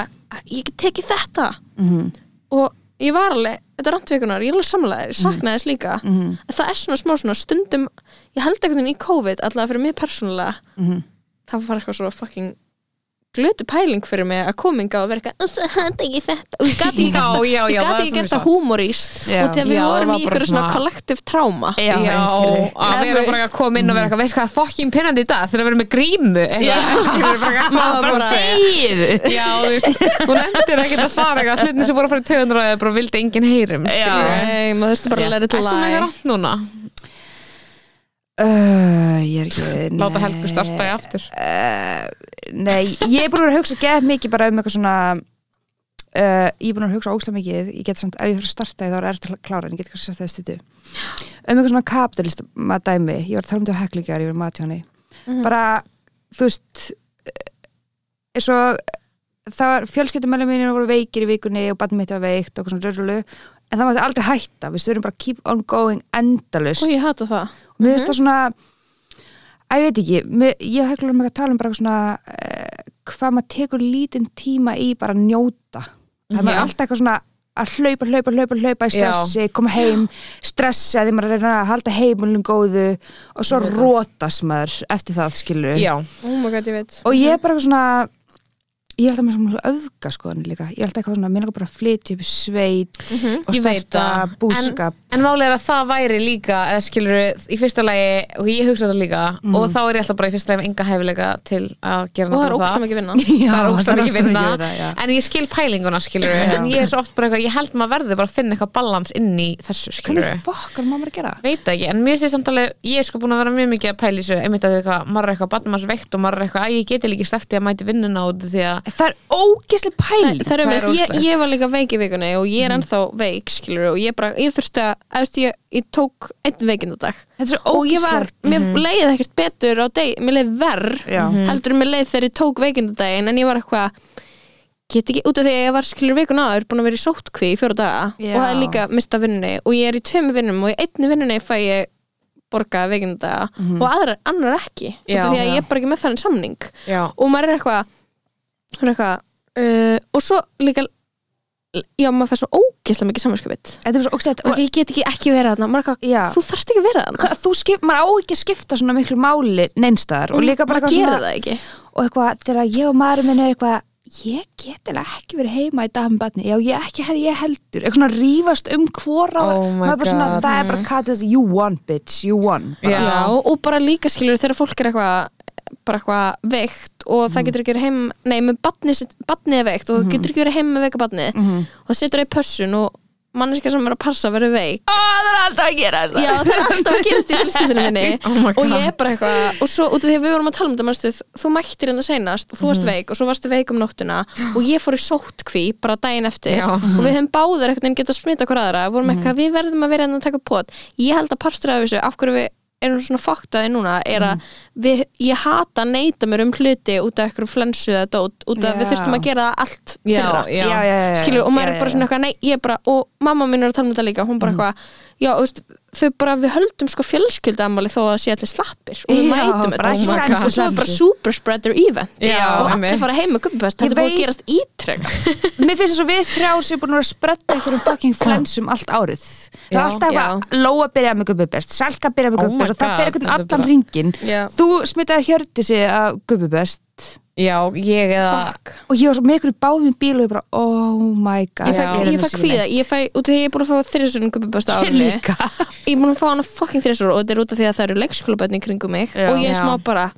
S3: ég get tekið þetta
S5: Mm-hmm,
S3: og ég var alveg þetta randvikunar, ég er alveg samlega,
S4: Mhm.
S3: ég saknaði þess líka það er svona smá svona stundum ég held einhvern veginn í COVID allavega fyrir mig persónulega
S5: mm-hmm.
S3: það var eitthvað svo fucking glötu pæling fyrir mig að kominga og vera eitthvað það er ekki þetta og ég gati ekki gert
S4: Já,
S3: það-
S4: já, já,
S3: ég
S4: það er
S3: gat ekki
S4: svo
S3: gert það
S4: satt.
S3: humorist
S5: Já.
S3: og þegar við
S4: Já,
S3: vorum
S4: það var
S3: í
S4: bara
S3: ykkur svona
S4: svona-
S3: kollektiv tráma
S5: Já,
S4: Já,
S5: ég skil þig.
S4: að
S3: Eða
S4: vera
S3: þú
S4: bara að koma inn og vera eitthvað Veist Mm. hvað, fokkin pinnandi í dag þegar við erum með grímu
S3: Maður
S4: eitthvað
S3: bara-
S4: um Já, þú veist, hún endir ekkert að fara eitthvað Hlutin sem voru að fara í töðundur og bara vildi enginn heyrum skilurðu.
S3: Nei, maður þurfti bara að
S4: Er
S3: læra þetta
S4: svona
S3: lag
S4: eitthvað rátt núna?
S5: Uh, ég er ekki
S4: Láta
S5: nei.
S4: Helgu starta í aftur
S5: Nei, ég er búin að vera að hugsa gett mikið bara um eitthvað svona uh, Ég er búin að vera að hugsa óslega mikið Ég get samt, ef ég fyrir að starta þá er erfitt að klára en ég get kannski sagt það í stuttu Um eitthvað svona kapitalist dæmi Ég var að tala um þetta heklíkjar, ég var mati honni Bara, þú veist eh, eins og það var fjölskyldumæli mínir voru veikir í vikunni og barnum mitt var veikt og eitthvað svona rörlu en það mátti aldrei hætta, við stöðum bara keep on going endalust
S3: og ég hata það
S5: mér
S4: Mhm.
S5: finnst það svona að ég veit ekki, mér, ég hef hljóðum ekki að tala um bara eitthvað svona uh, hvað maður tekur lítinn tíma í bara að njóta það er maður
S4: Mhm. Já.
S5: alltaf eitthvað svona að hlaupa, hlaupa, hlaupa, hlaupa í stressi, koma heim stressa því maður reyna að halda heimilum góðu og svo rótast maður eftir það skilur
S4: Já, Mhm.
S3: oh my god, ég veit
S5: og ég er bara eitthvað svona ég er alltaf með svona öfga skoðan líka ég er alltaf eitthvað svona, mér er bara að flytja upp í sveit og
S4: Mhm. Ég veit
S5: starta
S4: það.
S5: búskap
S4: En málið er að það væri líka, eða skilur í fyrsta lagi, og ég hugsa þetta líka og þá er ég alltaf bara í fyrsta lagi með enga hæfilega til að gera um
S3: og það er
S4: nákvæmlega
S3: ógstæm ekki vinna
S5: Já,
S4: það er ógstæðan ekki
S5: það er ógeðslega
S4: vinna
S5: mikið vinna, já.
S4: en ég skil pælinguna skilur en ég er svo oft bara eitthvað, ég held maður verði bara að finna eitthvað balans inn í þessu skilur
S5: hvernig fokk er maður að gera?
S4: veit það ekki, en mér finnst samtalið ég er sko búin að vera mjög mikið að pæla í þessu einmitt að eitthvað, maður er eitthvað, barnum hans veikt og maður er eitthvað, að ég geti líka slefti að mæti vinnuna út af því að
S5: Það er ógeðslega pæling
S3: það er
S4: Það er
S3: umveld, ég,
S4: ógeðslegt.
S3: ég var líka veik í vikunni og ég er
S5: Mhm.
S3: ennþá veik, skilur og ég bara, ég þurfti að, eðst, ég, ég tók einn veikindadag
S5: Þetta er svo
S3: og ég var,
S5: ógeðslegt. Mhm.
S3: mér leiði ekkert betur á deg, mér leiði verð
S5: Já.
S3: heldur en mér leið þegar ég tók veikindadaginn en ég var eitthvað get ekki, út af því að ég var skilur vikun áður búin að vera í sótkví í fjóra daga
S5: Já.
S3: og það er líka mista vinnunni og ég er í tveimu vinnum og í einni vinnunni fæ ég borga veikindaga
S5: Mhm.
S3: og aðrar, annar ekki út
S4: Já.
S3: af því að ég er bara ekki með þannig samning
S4: já,
S3: og maður er eitthvað hún er eitthvað uh, og svo líka já, maður fær svo ógeðslega mikið samanskapit
S5: Þetta er svo ógeðslega
S3: og
S5: okay.
S3: ég get ekki ekki verið þarna maður er
S5: Já.
S3: eitthvað, þú þarft ekki að vera þarna
S5: Þú skip, maður á ekki að skipta svona miklu máli neinstæðar og líka bara
S3: Mm, maður
S5: eitthvað
S3: gerir
S5: svona
S3: það ekki
S5: og eitthvað þegar ég og maður minn er eitthvað ég get eða ekki verið heima í dag með barni já ég ekki hefði ég heldur eitthvað svona rífast um hvora
S4: Oh my
S5: maður er bara svona,
S4: God.
S5: það er bara kattis you won bitch, you won
S4: Já.
S3: já. og bara líka skilur þegar fólk er eitthvað bara eitthvað veikt og
S5: Mm.
S3: það getur ekki verið heim nei, með batni, batni er veikt og
S5: Mhm.
S3: það getur ekki verið heim með veika batni og það setur það í pössun og manneska sem er að passa verið veik
S5: Ó, það er alltaf að gera þetta
S3: Já, það er alltaf að gerast í fjölskyldinu minni
S4: Oh my God.
S3: og ég er bara eitthvað og svo út af því að við vorum að tala um þetta manstu, þú mættir hérna seinast og þú
S4: Mhm.
S3: varst veik og svo varstu veik um nóttina og ég fór í sótkví bara daginn eftir
S4: Já. Mhm.
S3: og við höfum báður eitthvað en geta smita hver aðra vorum eitthvað, við verðum að vera hérna að taka pot ég held að partur af þessu, af hverju við erum svona foktaði núna er
S4: Mhm.
S3: að við, ég hata að neita mér um hluti út af eitthvað flensuða dót út af
S5: Já.
S3: við þurftum að gera það allt
S4: já,
S3: fyrra
S4: já,
S5: já, já, já,
S3: skilur, og maður
S5: já, Mhm.
S3: er bara svona eitthvað, nei, ég er bara og mamma mín er að tala um þetta líka, hún bara eitthvað já, þú veist, þau bara, við höldum sko fjölskyldaamali þó að það sé allir slappir og
S5: Já,
S3: við mætum
S5: bara
S3: þetta
S5: sensu,
S3: og svo er
S5: sensu.
S3: bara super spreader event
S4: Já,
S3: og allir
S4: einmitt.
S3: fara heim með gubbipest,
S5: Ég
S3: þetta er búið
S5: veit-
S3: að gerast ítrekka
S5: Mér finnst þess að við þrjá sem búin að vera að spretta einhverjum fucking flensum allt árið Það er
S4: Já.
S5: alltaf eitthvað Lóa byrja með gubbubest, Salka byrja með
S4: Oh my
S5: gubbubest og það
S4: God,
S5: fer einhvern
S4: þetta er
S5: allan
S4: bara-
S5: ringin
S3: Já.
S5: Þú smitaði hjördi sig af gubbubest mitt
S4: já, ég eða
S5: og ég var svo með ykkur í báðum bíl og ég bara, oh my god
S3: Ég fæk,
S5: gerði
S3: ég
S5: mig
S3: fæk
S5: svo
S3: kvíða,
S5: leitt.
S3: ég fæ, út af því ég er búin að fá þrisun gubbibösta
S5: Ég
S3: árunni
S5: líka
S3: Ég er búin að fá hana fucking þrisur og þetta er út af því að það eru leikskólabönni kringum mig
S4: Já.
S3: og ég er
S4: Já.
S3: smá bara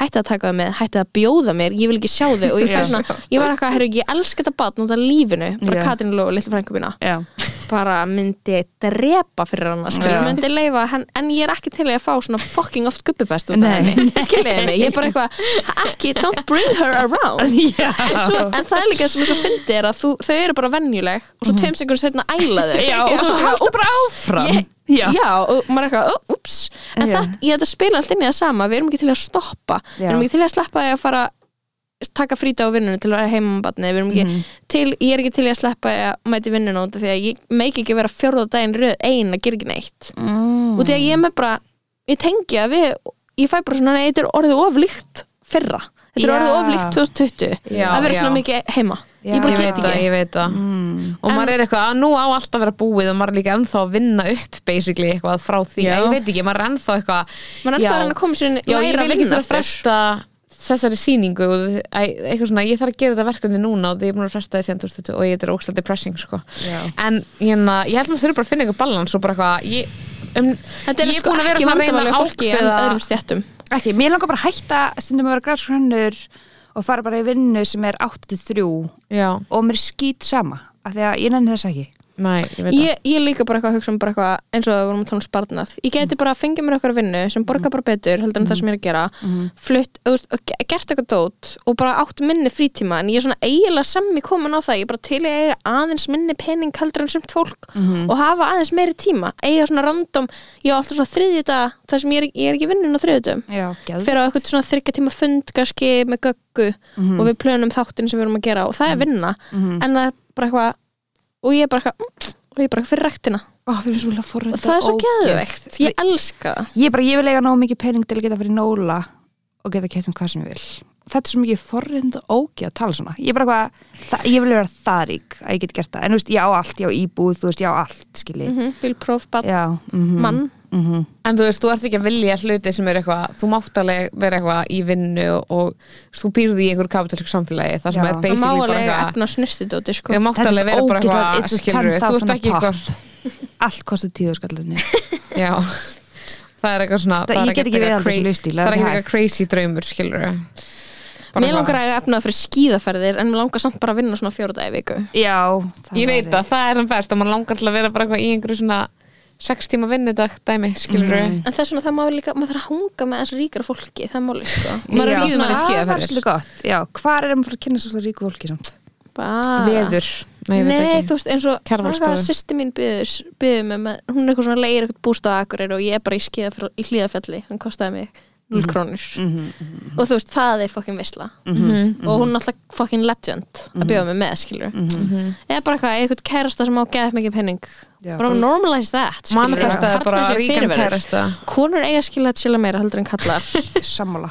S3: hætti að taka það með, hætti að bjóða mér ég vil ekki sjá þau og ég fæ
S4: Já.
S3: svona ég var eitthvað, herru, ég elska þetta batn út af lífinu bara
S5: Já.
S3: Katrin Ló og litla frænku mína
S5: Já.
S3: bara myndi ég drepa fyrir hana skilur,
S4: Já.
S3: myndi leifa, en, en ég er ekki til í að fá svona fucking oft gubbibest út af
S5: Nei.
S3: henni, skiljiði mig, ég er bara eitthvað ekki, don't bring her around
S5: Já.
S3: en, svo, en það er líka sem svo fyndi er að þú, þau eru bara venjuleg og svo tveim sekund setna æla þau
S5: Mhm. Já, og svo
S3: haldur bara
S5: áfram.
S3: ég,
S5: Já.
S3: já. og maður er eitthvað, ups en
S5: Já.
S3: það, ég þetta spila allt inn í það sama við erum ekki til að stoppa,
S5: Já.
S3: við erum ekki til að sleppa því að fara taka fríta á vinnunni til að vera heimabatni við erum ekki
S4: Mhm.
S5: Mhm.
S3: til, ég er ekki til í að sleppa því að mæti vinnunni út af því að ég meik ekki vera fjórða daginn röð ein að gera ekki neitt
S5: Mm.
S3: út af því að ég er með bara ég tengi að við, ég fæ bara svona nei, þetta er orðið oflíkt fyrra þetta er
S5: Já.
S3: orðið oflíkt 2020
S4: Já,
S3: að vera
S4: já.
S3: svona mikið heima
S5: Já.
S3: ég
S4: ég
S3: bara
S4: veit
S3: get
S4: það,
S3: ekki
S4: ég veit það
S5: Mm.
S4: og maður er eitthvað að nú á allt að vera búið og maður er líka ennþá að vinna upp basically eitthvað frá því,
S5: Já.
S4: ég veit ekki, maður er ennþá eitthvað
S3: maður er
S4: Já.
S3: ennþá að koma sér
S4: Já, ég
S3: læra
S4: vil
S3: að
S4: ekki
S3: vinna
S4: þarf að
S3: aftur
S4: fresta þessari sýningu og þi- æ, eitthvað svona, ég þarf að gera þetta verkefni núna og því ég er búin að fresta þessi endur stuttu og ég þetta er ógstlega depressing sko. en hérna, ég held maður þurfi bara að finna eitthvað balans og bara eitthvað ég, um,
S3: þetta er
S4: ég
S3: sko
S4: búin að vera
S3: ekki
S4: svona að reyna
S3: vandamáli
S4: að
S3: fólki en
S4: ákveða-
S3: öðrum stjættum
S5: ekki, mér langar bara að hætta stundum að vera græskrönnur og fara bara í vinnu sem er 8-3 og
S4: já,
S5: mér skýt sama af því að ég nenni þess ekki
S4: næ, ég veit
S3: ég, ég líka bara eitthvað að hugsa um bara eitthvað eins og það vorum að tala um sparnað ég geti
S4: Mm.
S3: bara að fengja mér eitthvað vinnu sem borga bara betur heldur en það sem ég er að gera
S4: Mm.
S3: flutt, þú veist, og ge- gert eitthvað dót og bara átt minni frítíma en ég er svona eiginlega semmi komin á það ég er bara til í að eiga aðeins minni pening heldur en sumt fólk
S4: Mhm.
S3: og hafa aðeins meiri tíma eiga svona random, ég á alltaf svona þriðjudag þar sem ég er, ég er ekki vinnun á þriðjudagum
S5: Já, geð
S3: fyrir á eitthvað svona þryggja tíma fund kannski með göggu
S4: Mhm.
S3: og við plönum þáttin sem við erum að gera og það er vinna en það er bara eitthvað og ég er bara eitthvað mm, og ég er bara eitthvað fyrir rektina
S5: Ó, við erum svolítið að forrita
S3: og það er svo geðveikt, ég elska það
S5: Ég bara, ég vil eiga nóg mikið pening til að geta fyrir nóla og geta kætt um hvað sem ég vil Þetta er svo mikið forrind og ógeð að tala svona Ég bara hvað, það, ég vil vera það rík að ég get gert það, en þú veist, ég á allt, ég á íbúð þú veist, ég á allt, skilji
S4: Mhm.
S3: mm -hmm. bílpróf, barn,
S5: Já, mhm,
S4: mm.
S3: mann
S5: mhm,
S4: En þú veist, þú ert ekki að vilja hluti sem er eitthvað, þú mátt alveg vera eitthvað í vinnu og, og þú býrði í einhver kapitalík samfélagi, það sem
S5: Já.
S4: er
S3: það má
S4: basically bara
S3: alveg
S4: eitthvað
S3: efna snustidóti sko.
S4: Ég mátt
S5: Þetta er
S4: alveg vera bara
S5: ógeðlega- it's
S4: eitthvað,
S5: just
S4: skilur þú
S5: 10,000
S4: ert ekki eitthvað,
S5: allt kostar tíðu skallunni
S4: já, það er eitthvað svona,
S5: Það- ég
S4: er ekkert
S5: get ekki viðhaldið
S4: cra-
S5: þessum lífstíl,
S4: það er
S5: það er
S4: ekki
S5: ekki
S4: eitthvað crazy draumur, skilur
S3: mér langar að eiga efna fyrir skíðaferðir en mér langar samt bara að vinna svona fjóra daga í viku
S5: Já,
S4: Ég veit að það er sem best og maður langar alltaf að vera bara eitthvað í einhverju svona sex tíma vinnudag dæmi, skilur
S3: en þess vegna það má líka, maður þarf að hanga með þess ríkara fólki, það er máli sko.
S4: Maður er
S5: Já,
S4: líður manni
S5: það var
S4: skíðaferðir.
S5: svolítið gott já, hvar er maður að kynna svo ríku fólki samt
S3: Bara-
S4: Veður, nei,
S3: Nei,
S4: ég veit ekki.
S3: þú veist, eins og
S4: Kjarvalsstofu.
S3: hvað sýsti mín byður, byður mig með, hún er eitthvað svona leir eitthvað búst á Akureyri og ég er bara í, skíðafjall- í hlíðafelli, hann kostaði mig 0
S4: Mhm.
S3: krónur og þú veist, það er fokkin visla
S4: Mhm,
S3: og hún er alltaf fokkin legend að bjóða mig með, skilur
S4: Mhm.
S3: eða bara eitthvað, eitthvað kærasta sem á geðið mikið penning
S5: Já,
S3: bara
S5: bara-
S3: normalize that, skilur
S4: Manifesta er bara ríkan kærasta.
S3: konur eiga skilja að chilla meira heldur en kallar
S5: sammála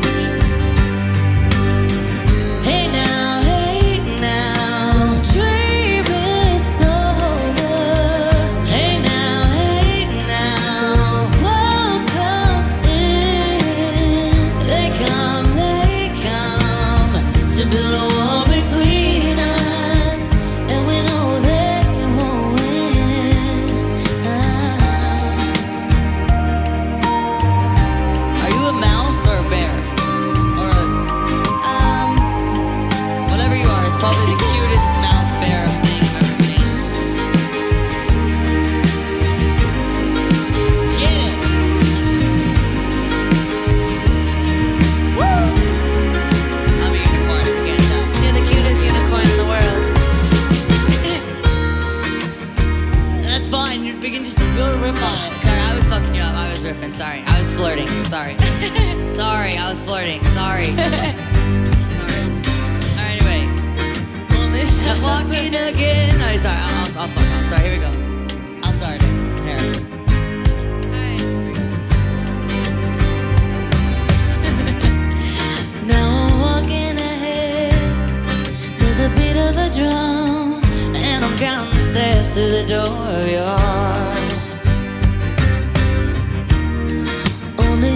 S6: Hey now, hey now, don't dream it's over. Hey now, hey now, what comes in? They come, they come to build a wall between us, and we know they won't win. Are you a mouse or a bear or a? Um, Whatever you are, it's probably the cutest mouse bear thing I've ever seen. Get it! Woo! I'm a unicorn if you can't tell. You're the cutest unicorn in the world. That's fine, you're beginning to build a riff on it. Sorry, I was fucking you up. I was riffing, sorry. I was flirting, sorry. sorry, I was flirting, sorry. Alright, anyway. I'm walking again. Oh, sorry, I'll, I'll, I'll fuck off. Sorry, here we go. I'll start it. Here. Alright, here we go. now I'm walking ahead to the beat of a drum. And I'm counting the steps to the door of your heart. Only